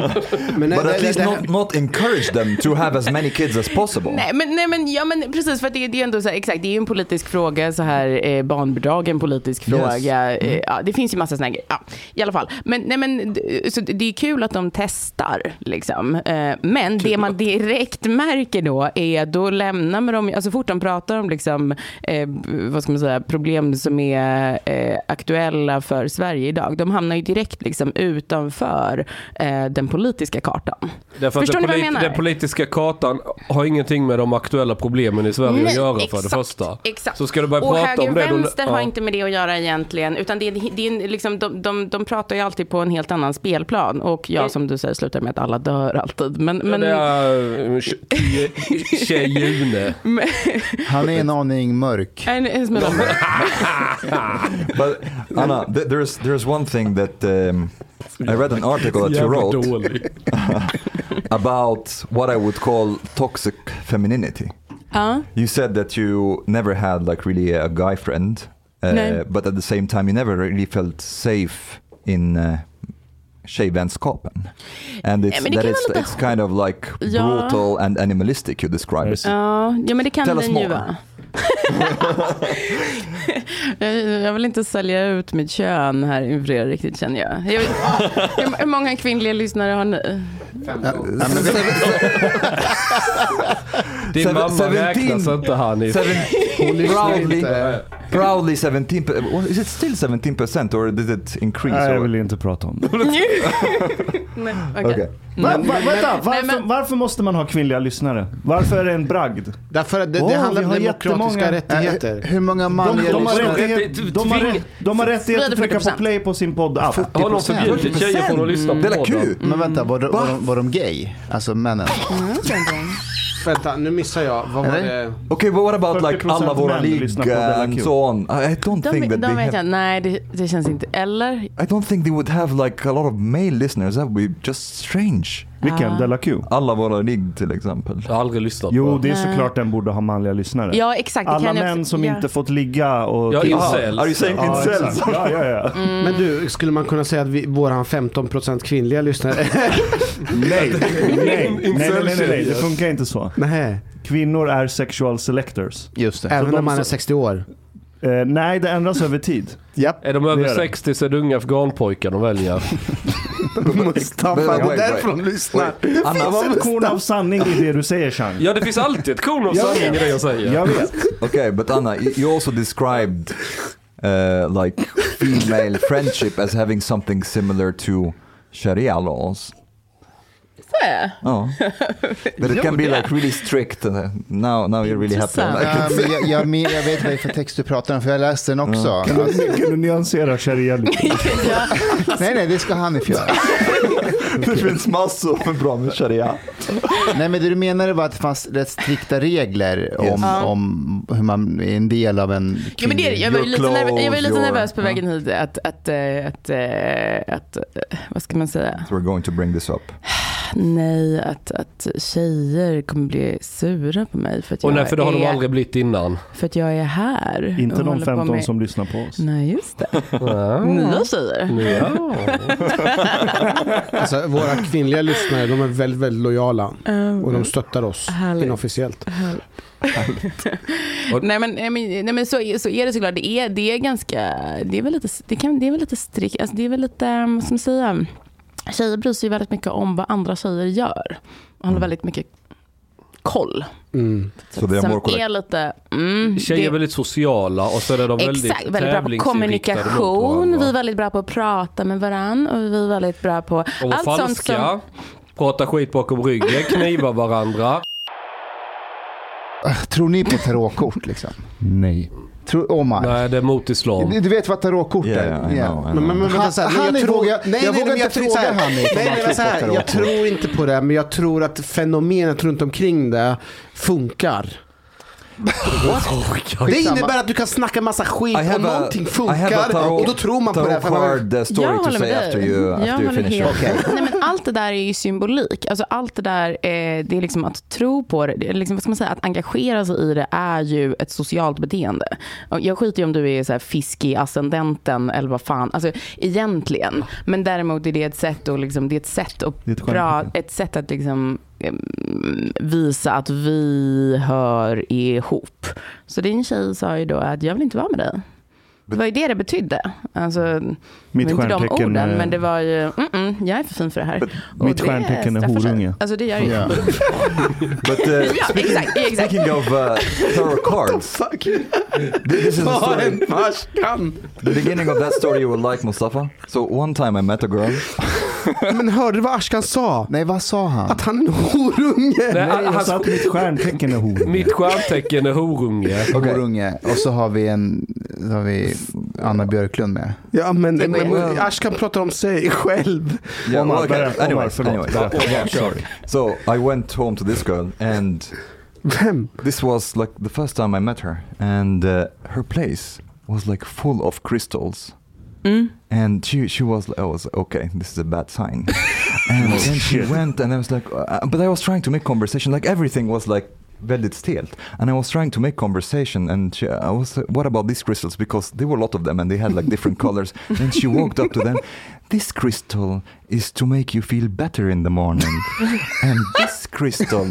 Speaker 5: Men nej,
Speaker 1: but
Speaker 5: det-
Speaker 1: at
Speaker 5: det-
Speaker 1: least
Speaker 5: det-
Speaker 1: not not encourage them to have as many kids as possible.
Speaker 2: Nej men, nej men, ja men precis för att det, det är ändå så här, exakt, det är ju en politisk fråga så här, eh, barnbidrag är en politisk fråga. Eh,
Speaker 7: Mm.
Speaker 2: ja, det finns ju massa sådana grejer. Ja, I alla fall. Men, nej, men d- så det är kul att de testar liksom. Eh, men det man direkt märker då är då lämnar man dem, alltså fort de pratar om liksom, eh, vad ska man säga, problem som är eh, aktuella för Sverige idag. De hamnar ju direkt liksom utanför eh, den politiska kartan.
Speaker 7: Därför att
Speaker 2: Förstår
Speaker 7: den,
Speaker 2: ni vad jag
Speaker 7: polit-
Speaker 2: menar?
Speaker 7: den politiska kartan har ingenting med de aktuella problemen i Sverige att
Speaker 2: Nej,
Speaker 7: göra för det
Speaker 2: exakt,
Speaker 7: första.
Speaker 2: Exakt.
Speaker 7: Så ska du börja
Speaker 2: och
Speaker 7: prata
Speaker 2: höger
Speaker 7: om det. då-
Speaker 2: vänster har
Speaker 7: ja.
Speaker 2: inte med det att göra egentligen. Utan det är, det är en- liksom, de, de, de pratar ju alltid på en helt annan spelplan. Och ja, som du säger, slutar med att alla dör alltid. Men, men,
Speaker 7: Det är eh, tje-
Speaker 2: [laughs]
Speaker 7: Tjejune.
Speaker 4: Han är en aning mörk.
Speaker 2: En- en
Speaker 7: [laughs]
Speaker 2: smula-
Speaker 1: But Anna, th- there's there's one thing that um, I read an article that you wrote
Speaker 7: dålig.
Speaker 1: about what I would call toxic femininity.
Speaker 2: Ja.
Speaker 1: You said that you never had like really a guy friend, uh,
Speaker 2: Nej.
Speaker 1: but at the same time you never really felt safe in uh, tjejvänskapen. And it's,
Speaker 2: men det
Speaker 1: that
Speaker 2: kan
Speaker 1: it's,
Speaker 2: vara lite
Speaker 1: it's kind of like [laughs]
Speaker 2: Ja.
Speaker 1: brutal and animalistic you describe it.
Speaker 2: Ja, ja men det kan
Speaker 1: Tell us
Speaker 2: den ju
Speaker 1: more.
Speaker 2: vara. jag, [laughs] jag vill inte sälja ut mitt kön här inför er riktigt känner jag. jag vill, hur, hur många kvinnliga lyssnare har ni?
Speaker 7: Din
Speaker 1: Seven-
Speaker 7: mamma räknas
Speaker 1: seventeen.
Speaker 7: inte Hanif.
Speaker 1: Seven, proudly, proudly 17 per- well, Is it still 17 percent or did it increase?
Speaker 3: Nej, jag
Speaker 1: or-
Speaker 3: vill inte prata om det.
Speaker 2: Nej,
Speaker 1: Okay.
Speaker 2: okej.
Speaker 3: Va, va, vänta, varför,
Speaker 2: Mm. men-
Speaker 3: varför måste man ha kvinnliga lyssnare? Varför är det en bragd?
Speaker 5: Därför att det,
Speaker 3: Åh,
Speaker 5: det handlar
Speaker 3: vi
Speaker 5: om
Speaker 3: har
Speaker 5: demokratiska
Speaker 3: jättemånga-
Speaker 4: Eh, Hur,
Speaker 5: rättigheter.
Speaker 4: hur många
Speaker 3: De,
Speaker 4: manliga
Speaker 3: de, har
Speaker 4: lyssnare?
Speaker 3: rättighet, de, har rätt, de har rättighet att trycka på play på sin podd app.
Speaker 7: Har någon förbjudit tjejer från att lyssna på
Speaker 1: Det är
Speaker 7: podden?
Speaker 1: kul!
Speaker 4: Men vänta, var, de- var, de, var de gay? Alltså männen?
Speaker 5: Vänta, nu missar jag. Vad var
Speaker 4: Eller?
Speaker 5: det?
Speaker 1: Okay, but what about like
Speaker 3: 40%
Speaker 1: alla våra
Speaker 3: män lyssnar på Della
Speaker 1: ligga and
Speaker 3: Q.
Speaker 1: so on? I I don't
Speaker 2: De,
Speaker 1: think that
Speaker 2: de
Speaker 1: they
Speaker 2: vet
Speaker 1: have,
Speaker 2: jag, nej det, det känns inte. Eller?
Speaker 1: I don't think they would have like a lot of male listeners. That would be just strange.
Speaker 2: Ah.
Speaker 3: Vilken? Della Q?
Speaker 1: Alla våra ligg till exempel.
Speaker 7: Jag har aldrig lyssnat
Speaker 3: Jo,
Speaker 7: på
Speaker 3: det är
Speaker 2: Nej.
Speaker 3: såklart den borde ha manliga lyssnare.
Speaker 2: Ja exakt. det
Speaker 3: Alla
Speaker 2: kan jag
Speaker 3: män
Speaker 2: också-
Speaker 3: som
Speaker 2: ja.
Speaker 3: inte fått ligga och...
Speaker 7: Ja,
Speaker 3: Ja,
Speaker 7: incels.
Speaker 1: Ah, Are you saying
Speaker 3: ja,
Speaker 1: incels?
Speaker 3: exakt.
Speaker 1: [laughs]
Speaker 3: ja, ja, ja.
Speaker 2: Mm.
Speaker 5: Men du, skulle man kunna säga att vi, våran 15% kvinnliga lyssnare... [laughs]
Speaker 3: Nej. Nej. Nej, nej, nej, nej, det funkar inte så.
Speaker 5: Nej,
Speaker 3: Kvinnor är sexual selectors.
Speaker 4: Just det.
Speaker 5: även
Speaker 3: de
Speaker 5: om man är
Speaker 3: som-
Speaker 5: 60 år.
Speaker 3: Eh, nej, det ändras över tid.
Speaker 4: [laughs] Japp.
Speaker 7: Är de
Speaker 3: Det
Speaker 7: över
Speaker 3: gör det.
Speaker 7: 60 så är det unga afghanpojkar de väljer.
Speaker 1: But-
Speaker 5: Mustafa,
Speaker 1: wait, wait.
Speaker 5: lyssnar.
Speaker 3: Det var väl korn av sanning i det du säger, Chang.
Speaker 7: Ja, det finns alltid ett korn av sanning i det jag säger.
Speaker 3: Jag vet.
Speaker 1: Okay, but Anna, y- you also described uh, like [laughs] female friendship as having something similar to Sharia laws. Oh, but it can be like really strict. Uh, now, now you really have to.
Speaker 2: Intressant.
Speaker 1: like, [laughs]
Speaker 4: Ja, men jag, jag, men jag vet vad det är för text du pratar om, för jag läste den också. Alltså,
Speaker 3: Kan du nyansera sharia lite?
Speaker 4: nej, nej, det ska Hanif göra.
Speaker 1: det finns massor med bra med Sharia.
Speaker 4: Nej, men det du menade var att det fanns rätt strikta regler om,
Speaker 1: Yes.
Speaker 2: Ja.
Speaker 4: om hur man är en del av en
Speaker 2: Ja, men det, är det. jag, var ju
Speaker 1: Your
Speaker 2: lite nervös, jag var ju lite
Speaker 1: clothes, your-
Speaker 2: nervös på
Speaker 1: Ja.
Speaker 2: vägen hit att, att, eh, att, eh, att, eh, vad ska man säga?
Speaker 1: We're going to bring this up.
Speaker 2: Nej, att, att tjejer kommer bli sura på mig för att,
Speaker 7: Och
Speaker 2: jag,
Speaker 7: nej, för det har de
Speaker 2: är,
Speaker 7: aldrig blivit innan.
Speaker 2: för att jag är här. och
Speaker 3: Inte de
Speaker 2: håller på
Speaker 3: 15
Speaker 2: med-
Speaker 3: som lyssnar på oss.
Speaker 2: Nej, just det. Nya tjejer.
Speaker 5: Alltså, våra kvinnliga lyssnare, de är väldigt, väldigt lojala.
Speaker 2: Um, [laughs]
Speaker 5: Och de stöttar oss
Speaker 2: Härligt.
Speaker 5: inofficiellt.
Speaker 2: Nej men, nej, men, nej, men så, så är det såklart. Det är, det är ganska, det är väl lite, det kan, det är väl lite strikt, alltså, det är väl lite, um, vad ska man säga, tjejer bryr sig ju väldigt mycket om vad andra tjejer gör. Och
Speaker 7: Mm.
Speaker 2: håller väldigt mycket koll.
Speaker 5: Mm.
Speaker 1: So they are
Speaker 2: Som
Speaker 1: more correct.
Speaker 2: är lite, mm,
Speaker 7: Tjejer
Speaker 2: det-
Speaker 7: är väldigt sociala och så är de väldigt
Speaker 2: Exakt, väldigt bra på
Speaker 7: tävlingsinriktade mot
Speaker 2: kommunikation.
Speaker 7: varandra.
Speaker 2: Vi är väldigt bra på att prata med varandra. Och vi är väldigt bra på
Speaker 7: De var
Speaker 2: allt sånt
Speaker 7: falska,
Speaker 2: som...
Speaker 7: pratar skit bakom ryggen, knivar varandra.
Speaker 4: Ah, Tror ni på tarotkort liksom? Nej. Tror, Omar.
Speaker 7: Nej, det är mot islam.
Speaker 4: Du, du vet vad tarotkort är?
Speaker 1: Yeah, I know, I
Speaker 5: Men,
Speaker 1: know.
Speaker 5: men, men, vänta, så här,
Speaker 4: Han-
Speaker 5: nej, jag
Speaker 4: Hanif
Speaker 5: tror-
Speaker 4: vågar-
Speaker 5: nej,
Speaker 4: jag
Speaker 5: nej,
Speaker 4: vågar
Speaker 5: nej,
Speaker 4: inte
Speaker 5: tror
Speaker 4: fråga
Speaker 5: så här-
Speaker 4: Hanif om
Speaker 5: Nej,
Speaker 4: han
Speaker 5: men
Speaker 4: tror
Speaker 5: så
Speaker 4: på
Speaker 5: här, jag
Speaker 4: tarotkort.
Speaker 5: tror inte på det, men jag tror att fenomenet runt omkring det funkar. Det
Speaker 4: Skitsamma.
Speaker 5: innebär att du kan snacka massa skit
Speaker 1: I
Speaker 5: och
Speaker 1: have a,
Speaker 5: någonting
Speaker 1: I have a
Speaker 5: funkar
Speaker 1: tarot,
Speaker 5: och då tror man på det.
Speaker 1: tarot
Speaker 5: här, För man,
Speaker 1: card uh, story to say after you,
Speaker 2: jag
Speaker 1: after you
Speaker 2: håller
Speaker 1: finish
Speaker 2: helt
Speaker 1: your
Speaker 2: med. Nej, men allt det där är ju symbolik. Alltså, allt det där, eh, det är liksom att tro på det. det är liksom, vad ska man säga, att engagera sig i det är ju ett socialt beteende. Och jag skiter ju om du är så här fisk i ascendenten eller vad fan. Alltså, egentligen. Men däremot är det ett sätt att, liksom, det är ett sätt att,
Speaker 3: Det är ett skämt.
Speaker 2: bra, ett sätt att liksom, eh, visa att vi hör ihop. Så din tjej sa ju då att jag vill inte vara med dig. Det var ju det det betydde. Alltså,
Speaker 3: Mitt
Speaker 2: det var inte de
Speaker 3: stjärntecken,
Speaker 2: orden,
Speaker 3: eh,
Speaker 2: men det var ju, mm -mm, jag är för fin för det här. Och
Speaker 3: mitt
Speaker 2: det
Speaker 3: stjärntecken är
Speaker 2: straffar sig.
Speaker 3: horunge.
Speaker 2: Alltså det gör ju.
Speaker 4: Ja.
Speaker 1: But uh,
Speaker 2: [laughs] Ja, exakt, exakt.
Speaker 1: speaking of uh,
Speaker 5: [laughs]
Speaker 1: tarot cards, this is a
Speaker 5: Ta
Speaker 1: story.
Speaker 5: en marskan.
Speaker 1: The beginning of that story you will like, Mustafa. So one time I met a girl.
Speaker 5: Men hörde du vad Ashkan sa?
Speaker 4: Nej, vad sa han?
Speaker 5: Att han är en horunge.
Speaker 7: Nej,
Speaker 3: Nej, jag
Speaker 7: hans,
Speaker 3: sa att mitt stjärntecken är horunge.
Speaker 7: mitt stjärntecken är horunge.
Speaker 1: Okej.
Speaker 4: Horunge. Och så har vi, en, så har vi Anna Björklund med.
Speaker 5: Ja, men, men,
Speaker 1: men-
Speaker 5: Ashkan pratar om sig själv.
Speaker 1: Yeah,
Speaker 3: Omar,
Speaker 1: well, okay.
Speaker 3: berätta, Omar,
Speaker 1: Anyways,
Speaker 3: förlåt,
Speaker 1: anyways.
Speaker 3: berätta.
Speaker 1: Yeah, sorry. So I went home to this girl, and
Speaker 5: Vem?
Speaker 1: this was like the first time I met her, and uh, her place was like full of crystals. And she she was I was okay. This is a bad sign. and then she
Speaker 3: shit.
Speaker 1: uh, went, and I was like, uh, but I was trying to make conversation. Like everything was like väldigt stelt. And I was trying to make conversation and she, I was uh, what about these crystals because there were a lot of them and they had like different colors and she walked up to them this crystal is to make you feel better in the morning and this crystal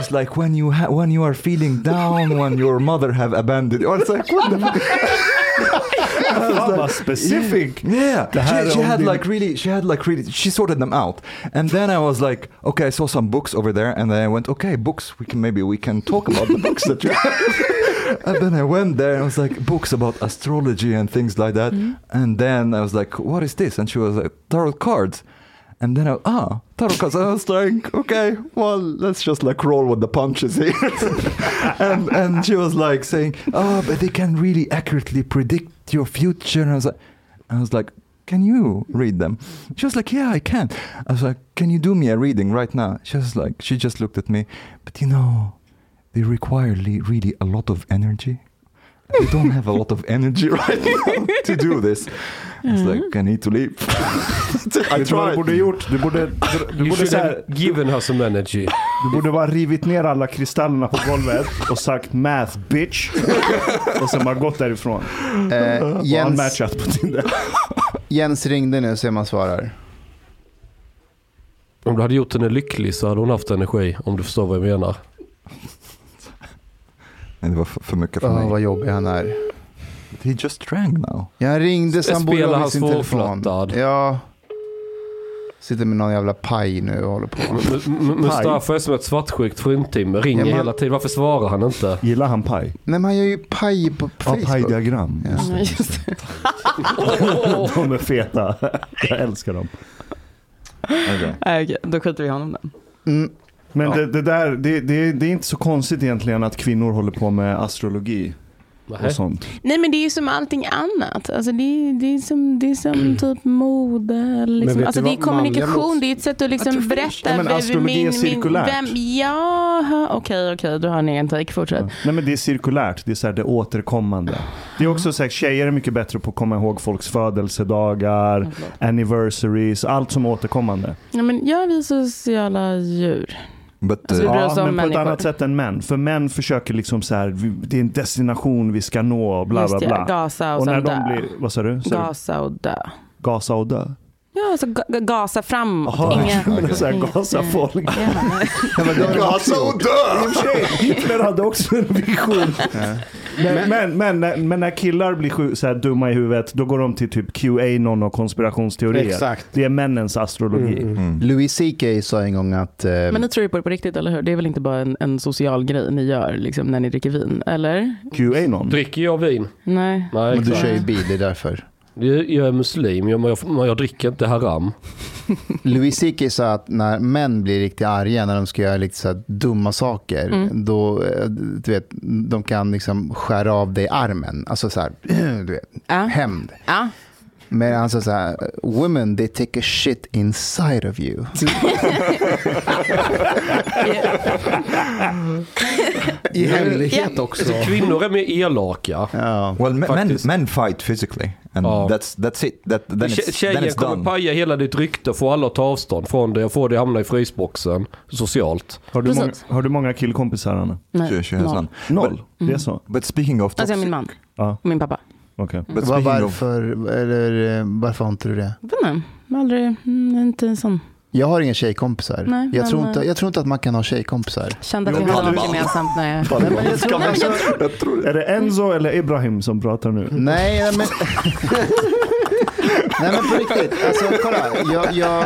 Speaker 1: is like when you ha- when you are feeling down when your mother have abandoned you. I was like what the
Speaker 3: Fan vad specific.
Speaker 1: Yeah,
Speaker 3: Det här
Speaker 1: she, she
Speaker 3: är om
Speaker 1: had
Speaker 3: din-
Speaker 1: like really, she had like really, she sorted them out, and then I was like, okay, I saw some books over there, and then I went, okay, books, we can maybe we can talk about the books that you. have. [laughs] and then I went there and I was like, books about astrology and things like that, and then I was like, what is this? And she was like, tarot cards. And then I, ah, tarot cards. And I was like, okay, well, let's just like roll with the punches here. [laughs] and, and she was like saying, oh, but they can really accurately predict your future. And I was like, I was like, can you read them? She was like, yeah, I can. I was like, can you do me a reading right now? She was like, she just looked at me, but you know, they require le- really a lot of energy. I don't have a lot of energy [laughs] right now to do this. I was like, I need to leave. [laughs] I
Speaker 3: Vet du vad du
Speaker 1: tried.
Speaker 3: borde gjort? Du borde, du,
Speaker 7: You
Speaker 3: borde så
Speaker 7: should
Speaker 3: här,
Speaker 7: have given her some energy.
Speaker 3: du borde bara rivit ner alla kristallerna på golvet och sagt math bitch. Och sen bara gått därifrån.
Speaker 1: Mm.
Speaker 4: Eh,
Speaker 3: Och
Speaker 4: Jens,
Speaker 3: unmatchat på Tinder.
Speaker 4: Jens ringde nu så man svarar.
Speaker 7: Om du hade gjort henne lycklig så hade hon haft energi, om du förstår vad jag menar.
Speaker 1: Nej, det var för, för mycket för
Speaker 4: Oh,
Speaker 1: mig.
Speaker 4: vad jobbig han är.
Speaker 1: He just drank now.
Speaker 4: Jag ringde
Speaker 7: Spelar
Speaker 4: sambo
Speaker 7: han
Speaker 4: med sin telefon.
Speaker 7: svårflörtad?
Speaker 4: Ja. Sitter med någon jävla paj nu och håller på.
Speaker 7: M- M- Mustafa är som ett svartsjukt fruntimmer. Ringer
Speaker 4: Ja, men-
Speaker 7: hela tiden. Varför svarar han inte?
Speaker 3: Gillar han paj?
Speaker 4: Nej men han gör ju paj på
Speaker 3: Ja,
Speaker 4: Facebook.
Speaker 3: pajdiagram.
Speaker 4: Ja.
Speaker 2: Just det.
Speaker 3: De är feta. Jag älskar dem.
Speaker 1: Okay.
Speaker 2: Nej, Okej, då skiter vi i honom då.
Speaker 4: Mm.
Speaker 3: Men det, det där, det, det, det är inte så konstigt egentligen att kvinnor håller på med astrologi och
Speaker 7: Nej.
Speaker 3: sånt.
Speaker 2: Nej men det är ju som allting annat. Alltså, det, är, det, är som, det är
Speaker 3: Mm.
Speaker 2: som typ mode.
Speaker 5: vet
Speaker 2: Liksom.
Speaker 5: du
Speaker 2: Alltså, det är
Speaker 5: vad manliga
Speaker 2: kommunikation,
Speaker 5: låts-
Speaker 2: det är ett sätt att liksom berätta.
Speaker 3: Ja, men
Speaker 2: vem-
Speaker 3: astrologi är cirkulärt.
Speaker 2: vem, ja, okej, okej, då har ni en take. Fortsätt.
Speaker 3: Nej men det är cirkulärt, det är så här, det återkommande. Det är också så här, tjejer är mycket bättre på att komma ihåg folks födelsedagar, anniversaries, allt som är återkommande.
Speaker 2: Ja, men, ja, vi är sociala djur.
Speaker 1: But
Speaker 2: Alltså,
Speaker 1: uh,
Speaker 2: det bryr oss om
Speaker 3: men på ett
Speaker 2: människor.
Speaker 3: annat sätt än män. För män försöker liksom så här, vi- det är en destination vi ska nå, och bla
Speaker 2: Just
Speaker 3: bla
Speaker 2: det,
Speaker 3: bla.
Speaker 2: Gasa och,
Speaker 3: Och när
Speaker 2: sen dö.
Speaker 3: de blir, vad sa du? Sa du?
Speaker 2: Gasa och dö.
Speaker 3: Gasa och dö?
Speaker 2: Ja, alltså ga- ga- gasa framåt.
Speaker 3: Jaha,
Speaker 2: Inga...
Speaker 3: [laughs] jag menar så här,
Speaker 2: inga-
Speaker 3: gasa
Speaker 2: nej. [laughs]
Speaker 3: folk.
Speaker 2: Ja.
Speaker 1: Oh [laughs]
Speaker 4: Gasa och
Speaker 3: I och för sig, Hitler hade också en
Speaker 2: [laughs]
Speaker 3: vision. Men, men, men, när- men när killar blir sju, så här dumma i huvudet, då går de till typ QAnon och konspirationsteorier.
Speaker 5: Exakt.
Speaker 3: Det är männens astrologi.
Speaker 1: Mm, Hmm.
Speaker 4: Louis CK sa en gång att... Eh,
Speaker 2: Men ni tror ju på det på riktigt, eller hur? Det är väl inte bara en, en social grej ni gör liksom, när ni dricker vin, eller?
Speaker 3: QAnon.
Speaker 7: Dricker jag vin?
Speaker 2: Nej.
Speaker 7: Nej,
Speaker 4: men du
Speaker 7: exakt.
Speaker 4: kör ju bil, det är därför.
Speaker 7: Jag, jag är muslim, jag, men jag, men jag dricker inte haram.
Speaker 4: Louis CK sa att när män blir riktigt arga när de ska göra lite så här dumma saker,
Speaker 2: Mm.
Speaker 4: då eh, du vet, de kan liksom skära av dig armen. Alltså så här, [clears throat] du vet,
Speaker 2: Ja.
Speaker 4: hämnd.
Speaker 2: Ja.
Speaker 4: Men han sa så här, women they take a shit inside
Speaker 2: [laughs]
Speaker 4: of you.
Speaker 5: I hemlighet också.
Speaker 7: Kvinnor är mer elaka.
Speaker 4: Ja.
Speaker 1: well, me- men,
Speaker 7: Faktiskt.
Speaker 1: men fight physically, and
Speaker 7: Ja.
Speaker 1: that's that's it. That then
Speaker 7: Tje-
Speaker 1: it's, then
Speaker 7: Tjejer
Speaker 1: it's
Speaker 7: kommer
Speaker 1: done.
Speaker 7: paja hela ditt rykte och få alla att ta avstånd från dig och få dig att hamna i frysboxen socialt.
Speaker 3: Har, du många,
Speaker 2: Precis. Mm.
Speaker 3: har du många killkompisar Anna?
Speaker 2: Nej.
Speaker 1: She, she has
Speaker 2: noll.
Speaker 1: none.
Speaker 3: Noll? Det är så?
Speaker 1: But speaking of
Speaker 2: Alltså jag
Speaker 1: toxic,
Speaker 2: är min man
Speaker 3: Ja,
Speaker 2: och min pappa.
Speaker 3: okej.
Speaker 1: but
Speaker 4: Var,
Speaker 1: speaking of
Speaker 4: varför, eller, eh, varför har inte du det?
Speaker 2: Jag vet inte, jag har aldrig, mm, inte en sån.
Speaker 4: Jag har inga tjejkompisar.
Speaker 2: Nej,
Speaker 4: jag,
Speaker 2: men,
Speaker 4: tror inte,
Speaker 2: eh,
Speaker 4: jag tror inte att man kan ha tjejkompisar.
Speaker 2: Kände att
Speaker 1: Jo,
Speaker 2: vi hade
Speaker 1: Taliban.
Speaker 2: något gemensamt när jag...
Speaker 1: Taliban.
Speaker 2: Nej, men jag tror- nej, men jag tror-
Speaker 3: Är det Enzo eller Ibrahim som pratar
Speaker 2: Mm.
Speaker 3: nu?
Speaker 4: Nej, nej men... [laughs] Nej men på riktigt, alltså, kolla. Jag, jag,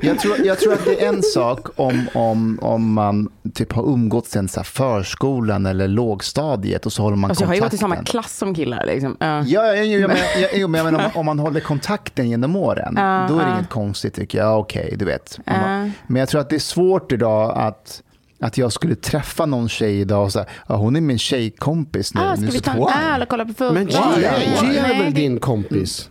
Speaker 4: jag, tror, jag tror att det är en sak om, om, om man typ har umgåtts sen så här förskolan eller lågstadiet och så håller man
Speaker 2: Alltså jag har ju
Speaker 4: kontakten.
Speaker 2: gått i samma klass som killar liksom. Ja.
Speaker 4: Ja, ja, jo, jag men, ja, jo, men jag menar, om, om man håller kontakten genom åren,
Speaker 2: Ja,
Speaker 4: då är det
Speaker 2: ja.
Speaker 4: inget konstigt tycker jag. Ja, Okej, du vet. Om man-
Speaker 2: Ja.
Speaker 4: Men jag tror att det är svårt idag att, att jag skulle träffa någon tjej idag och säga ja, hon är min tjejkompis nu.
Speaker 2: Ah,
Speaker 4: nu
Speaker 2: ska vi
Speaker 4: så-
Speaker 2: ta en
Speaker 1: wow.
Speaker 2: öl och kolla på fotboll?
Speaker 5: Men Gian,
Speaker 4: Nej.
Speaker 5: Gian är
Speaker 2: Nej,
Speaker 5: din kompis.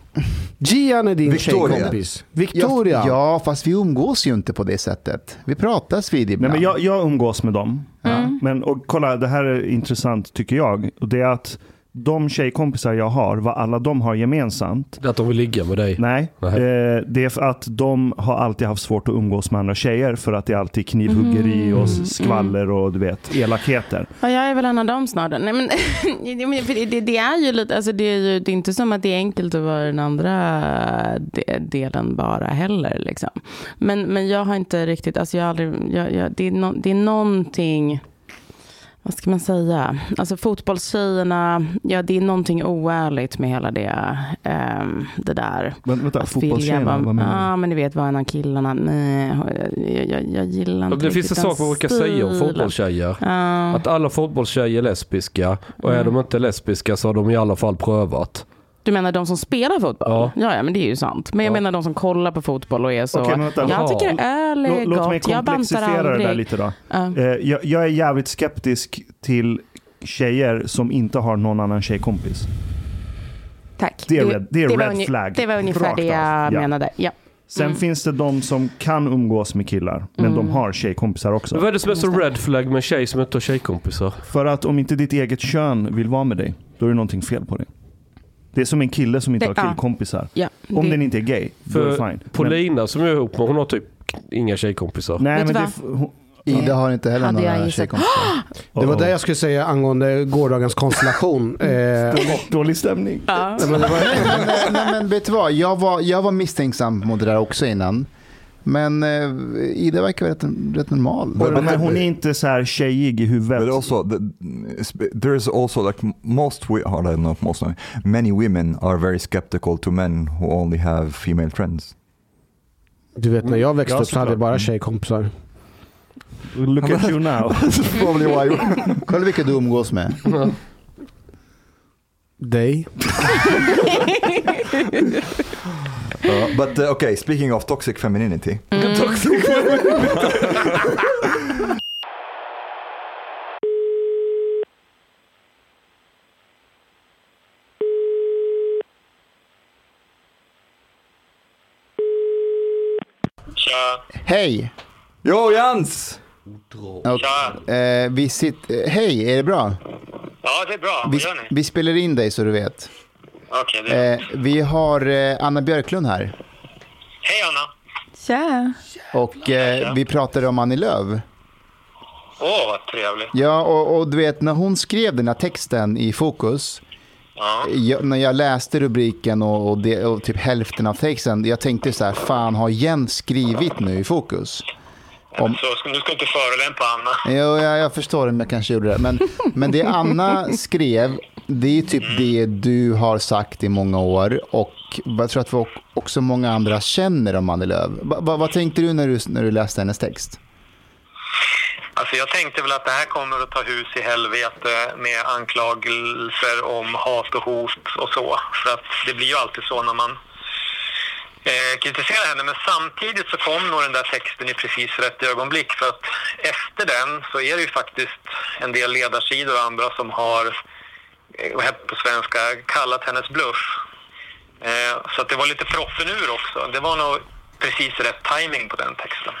Speaker 5: Gian är din
Speaker 1: Victoria.
Speaker 5: tjejkompis.
Speaker 4: Ja,
Speaker 5: Victoria.
Speaker 4: Ja, fast vi umgås ju inte på det sättet. Vi pratas vid
Speaker 3: Nej,
Speaker 4: ibland.
Speaker 3: men Mm. jag, jag umgås med dem. Men och kolla, det här är intressant tycker jag. Och det är att de tjejkompisar jag har, vad alla de har gemensamt.
Speaker 7: Att de vill ligga med dig.
Speaker 3: Nej,
Speaker 7: Nej.
Speaker 3: Eh, det är för att de har alltid haft svårt att umgås med andra tjejer för att det är alltid knivhuggeri och
Speaker 2: Mm.
Speaker 3: skvaller och du vet, elakheter.
Speaker 2: Ja, jag är väl en av dem snart. Nej, men, [laughs] ja, men för det, det är ju lite, alltså det är ju det är inte som att det är enkelt att vara den andra de- delen bara heller. Liksom. Men, men jag har inte riktigt, alltså jag har aldrig, jag, jag, det, är nå- det är någonting, vad ska man säga, alltså fotbollstjejerna, ja det är någonting oärligt med hela det, ehm, det där.
Speaker 3: Men, vänta,
Speaker 2: Att vilja
Speaker 3: fotbollstjejerna, vad menar
Speaker 2: Ja,
Speaker 3: du?
Speaker 2: men du vet vad en av killarna, nej, jag, jag, jag gillar inte
Speaker 7: Det finns en
Speaker 2: riktigt den
Speaker 7: sak man brukar säga om
Speaker 2: stilen.
Speaker 7: fotbollstjejer.
Speaker 2: Ja.
Speaker 7: Att alla fotbollstjejer är lesbiska och är
Speaker 4: Mm.
Speaker 7: de inte lesbiska så har de i alla fall prövat.
Speaker 2: Du menar de som spelar fotboll?
Speaker 7: Ja.
Speaker 2: Ja, ja, men det är ju sant. Men jag
Speaker 7: Ja.
Speaker 2: menar de som kollar på fotboll och är så.
Speaker 3: Okej, men vänta.
Speaker 2: jag
Speaker 7: Ja.
Speaker 2: tycker öl
Speaker 3: Lå-
Speaker 2: är
Speaker 3: Låt mig
Speaker 2: gott, jag bantar
Speaker 3: komplexifiera det
Speaker 2: aldrig. Mm.
Speaker 3: där lite då.
Speaker 2: Ja.
Speaker 3: Eh, jag, jag är jävligt skeptisk till tjejer som inte har någon annan tjejkompis.
Speaker 2: Tack.
Speaker 3: Det är red- det är
Speaker 2: var
Speaker 3: red
Speaker 2: unge-
Speaker 3: flag.
Speaker 2: Det var ungefär
Speaker 3: Rakt
Speaker 2: det
Speaker 3: av. Ja.
Speaker 2: jag menade. Ja.
Speaker 3: Sen
Speaker 2: Mm.
Speaker 3: finns det de som kan umgås med killar, men de har tjejkompisar också.
Speaker 7: Men vad är det som är så red flag med en tjej som inte har tjejkompisar?
Speaker 3: För att om inte ditt eget kön vill vara med dig, då är det någonting fel på dig. Det är som en kille som inte
Speaker 2: Det-
Speaker 3: har
Speaker 2: ja.
Speaker 3: killkompisar.
Speaker 2: Ja,
Speaker 3: Om
Speaker 2: det-
Speaker 3: den inte är gay, då är det
Speaker 7: För
Speaker 3: fine. Men,
Speaker 7: Paulina som jag är ihop med, hon har typ inga tjejkompisar.
Speaker 3: nej,
Speaker 2: Vet
Speaker 3: men
Speaker 2: du
Speaker 3: det,
Speaker 2: vad?
Speaker 3: är f- hon,
Speaker 4: Ida har inte heller
Speaker 2: Hade jag
Speaker 4: några
Speaker 2: gissat. [gasps]
Speaker 4: tjejkompisar.
Speaker 5: Det var
Speaker 3: Oh.
Speaker 5: det jag skulle säga angående gårdagens konstellation. Eh,
Speaker 3: dålig, dålig stämning. [laughs]
Speaker 4: nej, nej, men vet du vad? Jag var, jag var misstänksam mot det där också innan. Men eh, Ida verkar rätt, rätt normal.
Speaker 1: But-
Speaker 3: Men hon är inte så här tjejig i
Speaker 1: But
Speaker 3: huvudet.
Speaker 1: also, the, there is also like most, we, or I don't know if most, many women are very skeptical to men who only have female friends.
Speaker 5: du vet när jag växte
Speaker 3: Ja,
Speaker 5: upp så hade jag
Speaker 3: såklart.
Speaker 5: bara tjejkompisar.
Speaker 3: Look at you now.
Speaker 5: [laughs]
Speaker 1: That's probably why.
Speaker 4: [laughs] Kolla vilka du umgås med.
Speaker 5: Dig.
Speaker 1: Uh, but uh, okay, speaking of toxic femininity,
Speaker 2: Mm.
Speaker 4: Hej!
Speaker 1: yo Jans!
Speaker 4: Och, eh, vi sitter... eh, Hej, är det bra?
Speaker 8: Ja, det är bra.
Speaker 4: Vi,
Speaker 8: Vad gör ni?
Speaker 4: vi spelar in dig så du vet.
Speaker 8: Okej, det är...
Speaker 4: Eh, vi har eh, Anna Björklund här.
Speaker 8: Hej, Anna.
Speaker 2: Tja.
Speaker 4: Och eh, vi pratade om Annie Lööf.
Speaker 8: Åh, vad trevligt.
Speaker 4: Ja, och, och du vet när hon skrev den här texten i Fokus.
Speaker 8: Ja.
Speaker 4: Jag, när jag läste rubriken och, och, det, och typ hälften av texten. Jag tänkte så här, fan har Jens skrivit nu i Fokus? Om-
Speaker 8: Så ska- du ska inte förolämpa Anna.
Speaker 4: Jo, jag, jag förstår om jag kanske gjorde det. Men, [laughs] men det Anna skrev, det är typ det du har sagt i många år. Och jag tror att vi ock- också många andra känner om Annie Lööf. Va, va, vad tänkte du när, du när du läste hennes text?
Speaker 8: Alltså, jag tänkte väl att det här kommer att ta hus i helvete med anklagelser om hat och hot och så. För att det blir ju alltid så när man eh, kritiserar henne. Men samtidigt så kom nog den där texten i precis rätt ögonblick. För att efter den så är det ju faktiskt en del ledarsidor och andra som har, eh, vad heter det på svenska, kallat hennes bluff. Eh, så att det var lite proppen ur också. Det var nog precis rätt timing på den texten.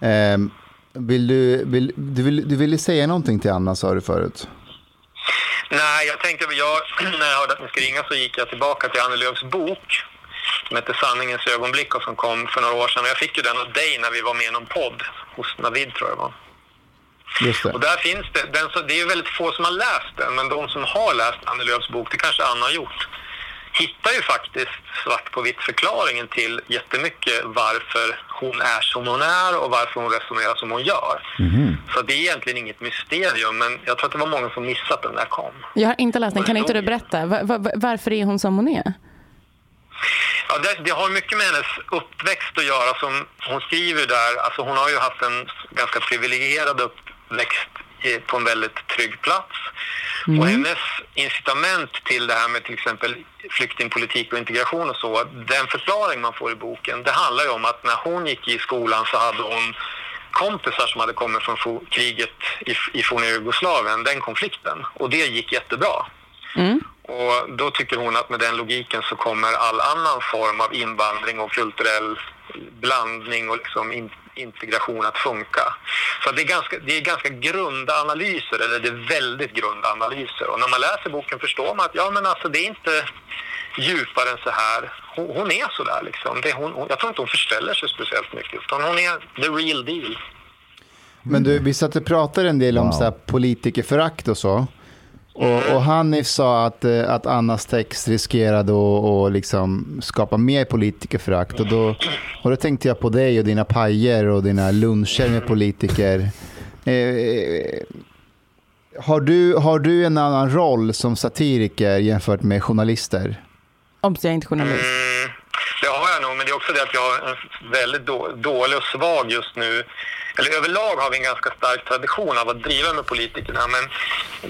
Speaker 4: Ehm, vill du, vill, du, vill, du ville säga någonting till Anna sa du förut.
Speaker 8: Nej, jag tänkte, jag, [clears throat] när jag hörde att ni skulle ringa så gick jag tillbaka till Annie Lööfs bok som heter Sanningens ögonblick och som kom för några år sedan. Och Jag fick ju den av dig när vi var med i någon podd hos Navid tror jag det var.
Speaker 4: Just det.
Speaker 8: Och där finns det, den som, det är ju väldigt få som har läst den, men de som har läst Annie Lööfs bok, det kanske Anna har gjort, hittar ju faktiskt svart på vitt förklaringen till jättemycket varför hon är som hon är och varför hon resonerar som hon gör. Så det är egentligen inget mysterium, men jag tror att det var många som missat den när den kom.
Speaker 2: [laughs] Jag har inte läst den. Kan inte du berätta? Va- va- va- varför är hon som hon är?
Speaker 8: Ja, det, det har mycket med hennes uppväxt att göra. Som hon skriver där, alltså hon har ju haft en ganska privilegierad uppväxt i- på en väldigt trygg plats. Och hennes incitament till det här med till exempel flyktingpolitik och integration och så, den förklaring man får i boken, det handlar ju om att när hon gick i skolan så hade hon kompisar som hade kommit från fo- kriget i, i forna Jugoslavien, den konflikten. Och det gick jättebra. Och då tycker hon att med den logiken så kommer all annan form av invandring och kulturell blandning och liksom in, integration att funka. Så att det, är ganska, det är ganska grunda analyser, eller det är väldigt grunda analyser. Och när man läser boken förstår man att ja, men alltså, det är inte djupare än så här. Hon, hon är så där liksom. Det, hon, hon, jag tror inte hon förställer sig speciellt mycket, utan hon är the real deal.
Speaker 4: Men du, vi satt och pratade en del om så här politikerförakt och så. Och, och Hanif sa att, eh, att Annas text riskerade att att liksom skapa mer politikerförakt. Och då, och då tänkte jag på dig och dina pajer och dina luncher med politiker. Eh, eh, har, du, har du en annan roll som satiriker jämfört med journalister?
Speaker 2: Om jag är inte journalist.
Speaker 8: Mm, det har jag nog, men det är också det att jag har en väldigt då, dålig och svag just nu. Eller överlag har vi en ganska stark tradition av att driva med politikerna, men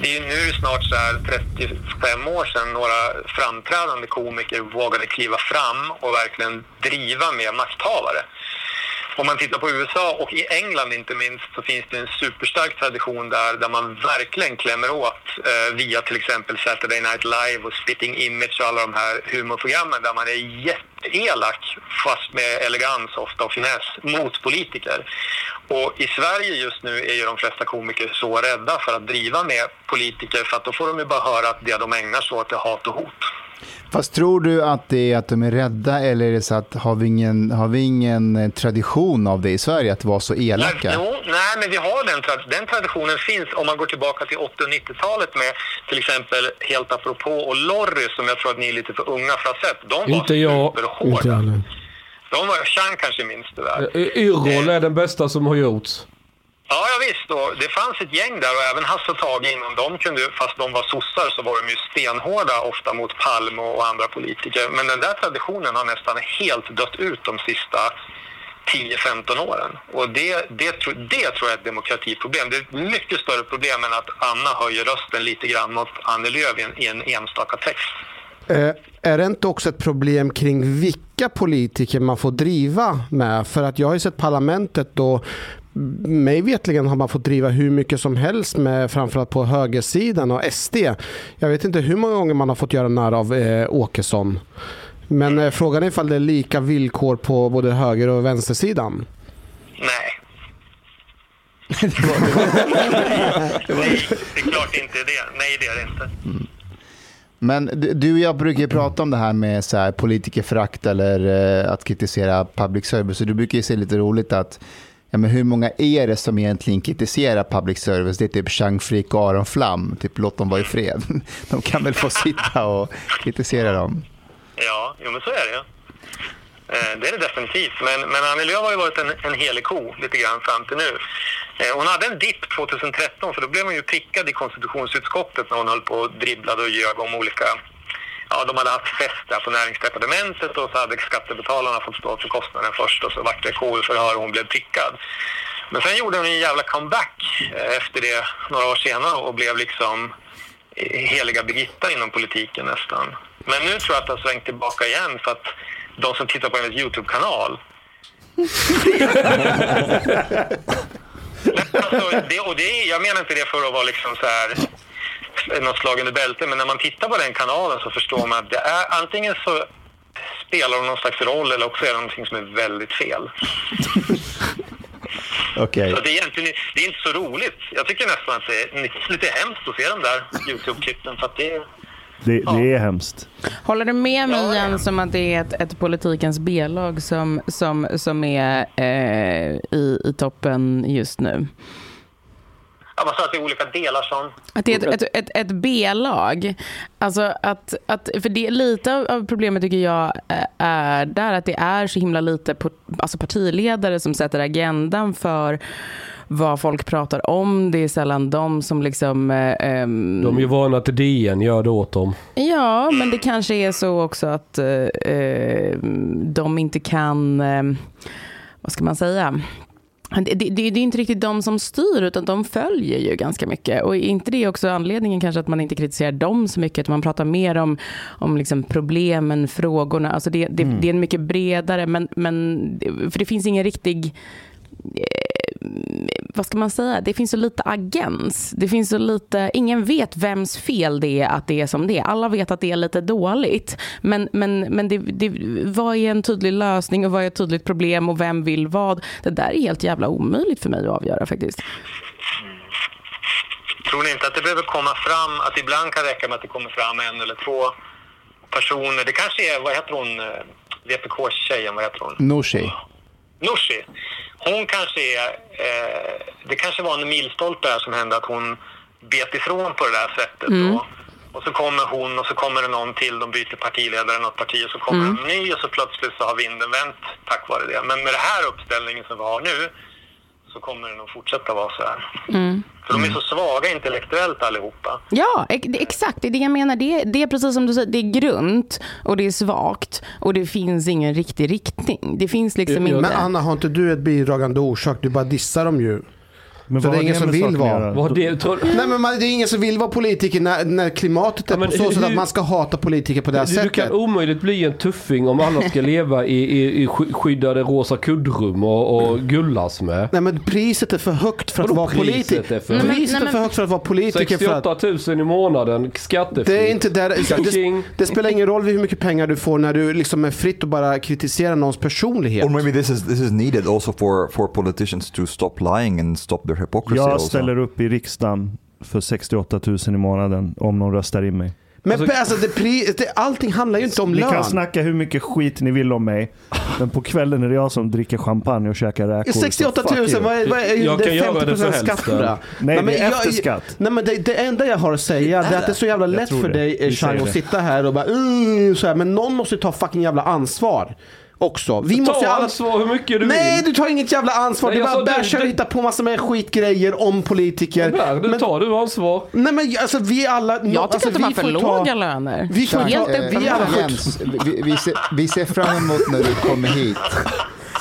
Speaker 8: det är ju nu snart så här 35 år sedan några framträdande komiker vågade kliva fram och verkligen driva med makthavare. Om man tittar på USA och i England inte minst så finns det en superstark tradition där, där man verkligen klämmer åt eh, via till exempel Saturday Night Live och Spitting Image och alla de här humorprogrammen där man är jätteelak fast med elegans ofta och finess mot politiker. Och i Sverige just nu är ju de flesta komiker så rädda för att driva med politiker för att då får de ju bara höra att det de ägnar sig åt är hat och hot.
Speaker 4: Fast tror du att det är att de är rädda eller är det så att har vi ingen, har vi ingen eh, tradition av det i Sverige att vara så elaka?
Speaker 8: Nej, jo, nej, men vi har den, tra- den traditionen finns om man går tillbaka till 80 och 90-talet med till exempel Helt apropå och Lorry som jag tror att ni är lite för unga för att ha sett. De var
Speaker 7: Inte jag. Eh,
Speaker 8: superhårda. De var, Chang kanske minns det där.
Speaker 7: Yrrol är den bästa som har gjorts.
Speaker 8: Ja, ja visst. Och det fanns ett gäng där och även Hasse och Tage innan de kunde, fast de var sossar så var de ju stenhårda ofta mot Palme och andra politiker. Men den där traditionen har nästan helt dött ut de sista 10-15 åren. Och det, det, tro- det tror jag är ett demokratiproblem. Det är ett mycket större problem än att Anna höjer rösten lite grann mot Annie Lööf i en, i en enstaka text.
Speaker 6: Eh, är det inte också ett problem kring vilka politiker man får driva med? För att jag har ju sett parlamentet då mig vetligen har man fått driva hur mycket som helst med framförallt på högersidan och SD. Jag vet inte hur många gånger man har fått göra narr av eh, Åkesson. Men eh, frågan är ifall det är lika villkor på både höger och vänstersidan.
Speaker 8: Nej. Nej, det är klart inte det. Nej, det är det inte.
Speaker 4: Men du- du och jag brukar ju prata om det här med så här politikerförakt eller eh, att kritisera public service. Så du brukar ju se lite roligt att ja, men hur många är det som egentligen kritiserar public service? Det är typ Chang Frick och Aron Flam. Typ låt dem vara i fred. [laughs] De kan väl få sitta och kritisera dem.
Speaker 8: Ja, jo, men så är det ju. Eh, Det är det definitivt. Men, men Annie Lööf har ju varit en, en helig ko lite grann fram till nu. Eh, Hon hade en dipp 2013 för då blev hon ju prickad i konstitutionsutskottet när hon höll på och dribblade och ljög om olika... Ja, de hade haft fest där på näringsdepartementet och så hade skattebetalarna fått stå för kostnaden först och så vart det KU-förhör och hon blev prickad. Men sen gjorde hon en jävla comeback eh, efter det några år senare och blev liksom heliga Birgitta inom politiken nästan. Men nu tror jag att det har svängt tillbaka igen för att de som tittar på hennes YouTube-kanal Nej, alltså, det, och det, är- jag menar inte det för att vara liksom så här eh, något slag under bältet, men när man tittar på den kanalen så förstår man att det är antingen så spelar de någon slags roll eller också är det någonting som är väldigt fel.
Speaker 4: Okej.
Speaker 8: Så att det är egentligen det är inte så roligt. Jag tycker nästan att det är lite hemskt att se de där YouTube-klippen för att det
Speaker 3: Det, det är hemskt.
Speaker 2: Håller du med mig
Speaker 8: Ja, ja.
Speaker 2: Jens om att det är ett, ett politikens B-lag som, som, som är eh, i, i toppen just nu?
Speaker 8: Ja, man sa att det är olika delar som...
Speaker 2: Att det är ett, ett, ett, ett B-lag. Alltså att, att, för det, lite av- av problemet tycker jag eh, är där att det är så himla lite på, alltså partiledare som sätter agendan för vad folk pratar om. Det är sällan de som liksom... eh, ehm,
Speaker 7: De är ju
Speaker 6: Mm.
Speaker 7: vana till DN, gör det åt dem.
Speaker 2: Ja, men det kanske är så också att eh, eh, de inte kan, eh, vad ska man säga? Det, det, det är inte riktigt de som styr utan de följer ju ganska mycket. Och är inte det också anledningen kanske att man inte kritiserar dem så mycket? Att man pratar mer om, om liksom problemen, frågorna. Alltså det, det, det är en mycket bredare, men, men, för det finns ingen riktig eh, vad ska man säga, det finns så lite agens. Det finns så lite, ingen vet vems fel det är att det är som det är. Alla vet att det är lite dåligt. Men, men, men det, det, vad är en tydlig lösning och vad är ett tydligt problem och vem vill vad? Det där är helt jävla omöjligt för mig att avgöra faktiskt.
Speaker 8: Tror ni inte att det behöver komma fram, att ibland kan räcka med att det kommer fram en eller två personer. Det kanske är, vad heter hon, eh, VPK-tjejen, vad heter hon?
Speaker 4: Nooshi.
Speaker 8: Nooshi. Hon kanske är... Eh, det kanske var en milstolpe där som hände att hon bet ifrån på det där sättet.
Speaker 4: Mm.
Speaker 8: Då. Och så kommer hon och så kommer det någon till. De byter partiledare i något parti och så kommer
Speaker 4: Mm.
Speaker 8: en ny och så plötsligt så har vinden vänt tack vare det. Men med den här uppställningen som vi har nu så kommer det nog fortsätta vara så här.
Speaker 4: Mm.
Speaker 8: För de är så svaga intellektuellt allihopa.
Speaker 2: Ja, ex- det- exakt. Det är det jag menar. Det är, det är precis som du säger, det är grunt och det är svagt och det finns ingen riktig riktning. Det finns liksom
Speaker 6: Men
Speaker 2: inte...
Speaker 6: Anna, har inte du ett bidragande orsak? Du bara dissar dem ju.
Speaker 3: Men
Speaker 6: Så
Speaker 3: vad
Speaker 6: det
Speaker 3: har
Speaker 6: är ingen som
Speaker 3: med
Speaker 6: vill
Speaker 3: saken att
Speaker 6: vara?
Speaker 3: göra?
Speaker 7: Vad det, tror,
Speaker 6: Nej, men man, det är ingen som vill vara politiker när, när klimatet är
Speaker 7: men
Speaker 6: på så
Speaker 7: hur-
Speaker 6: sätt att
Speaker 7: hur-
Speaker 6: man ska hata politiker på det här
Speaker 7: du, du
Speaker 6: sättet.
Speaker 7: kan omöjligt bli en tuffing om
Speaker 6: [laughs]
Speaker 7: alla ska leva i, i, i sky- skyddade rosa kuddrum och, och gullas med.
Speaker 6: Nej men priset är för högt för att
Speaker 7: Vadå
Speaker 6: vara
Speaker 7: priset
Speaker 6: politiker.
Speaker 7: är för
Speaker 6: Priset
Speaker 7: högt?
Speaker 2: Nej,
Speaker 6: är
Speaker 2: men-
Speaker 6: för högt för att vara politiker. För att,
Speaker 7: 68 000 i månaden skattefritt.
Speaker 6: det är inte där, det,
Speaker 7: King.
Speaker 6: det spelar ingen roll hur mycket pengar du får när du liksom är fritt och bara kritiserar någons personlighet.
Speaker 1: Or maybe this is this is needed also for for politicians to stop lying and stop their hypocrisy.
Speaker 3: Jag
Speaker 1: also.
Speaker 3: ställer upp i riksdagen för 68 000 i månaden om någon röstar in mig.
Speaker 6: Men alltså, det, pri, det, allting handlar ju inte om
Speaker 3: Ni
Speaker 6: lön.
Speaker 3: kan snacka hur mycket skit ni vill om mig, men på kvällen är det jag som dricker champagne och käkar räkor. så
Speaker 6: 68 000,
Speaker 3: fuck you.
Speaker 6: vad är, vad är
Speaker 7: Jag
Speaker 6: det
Speaker 7: kan
Speaker 6: är
Speaker 7: göra
Speaker 6: 50
Speaker 7: det för
Speaker 6: skatt
Speaker 7: hälften.
Speaker 6: på det?
Speaker 7: Nej,
Speaker 6: Nej,
Speaker 3: det är
Speaker 6: jag-
Speaker 3: efter skatt.
Speaker 6: Nej, men det, det enda jag har att säga det är att det är så jävla lätt
Speaker 3: tror
Speaker 6: för
Speaker 3: det.
Speaker 6: dig eh,
Speaker 3: Vi säger
Speaker 6: Chang att
Speaker 3: det.
Speaker 6: sitta här och bara mm, så här, men någon måste ju ta fucking jävla ansvar också. Vi
Speaker 7: Ta
Speaker 6: måste ju alla...
Speaker 7: ansvar hur mycket du
Speaker 6: Nej,
Speaker 7: vill.
Speaker 6: du tar inget jävla ansvar.
Speaker 7: Nej, alltså,
Speaker 6: du
Speaker 7: jag
Speaker 6: bara
Speaker 7: sa du-
Speaker 6: bärsar och
Speaker 7: du-
Speaker 6: hittar på massa med skitgrejer om politiker.
Speaker 7: Där, du
Speaker 6: men,
Speaker 7: tar du ansvar.
Speaker 6: nej men alltså vi alla...
Speaker 2: jag tycker
Speaker 6: alltså,
Speaker 2: att de har
Speaker 6: vi
Speaker 2: för
Speaker 6: får
Speaker 2: låga
Speaker 6: ta-
Speaker 2: löner.
Speaker 6: vi får
Speaker 2: Helt
Speaker 6: ta-
Speaker 2: öppet.
Speaker 6: vi alla
Speaker 4: eh,
Speaker 6: får-
Speaker 4: Jens, vi, vi, ser, vi ser fram emot när du kommer hit.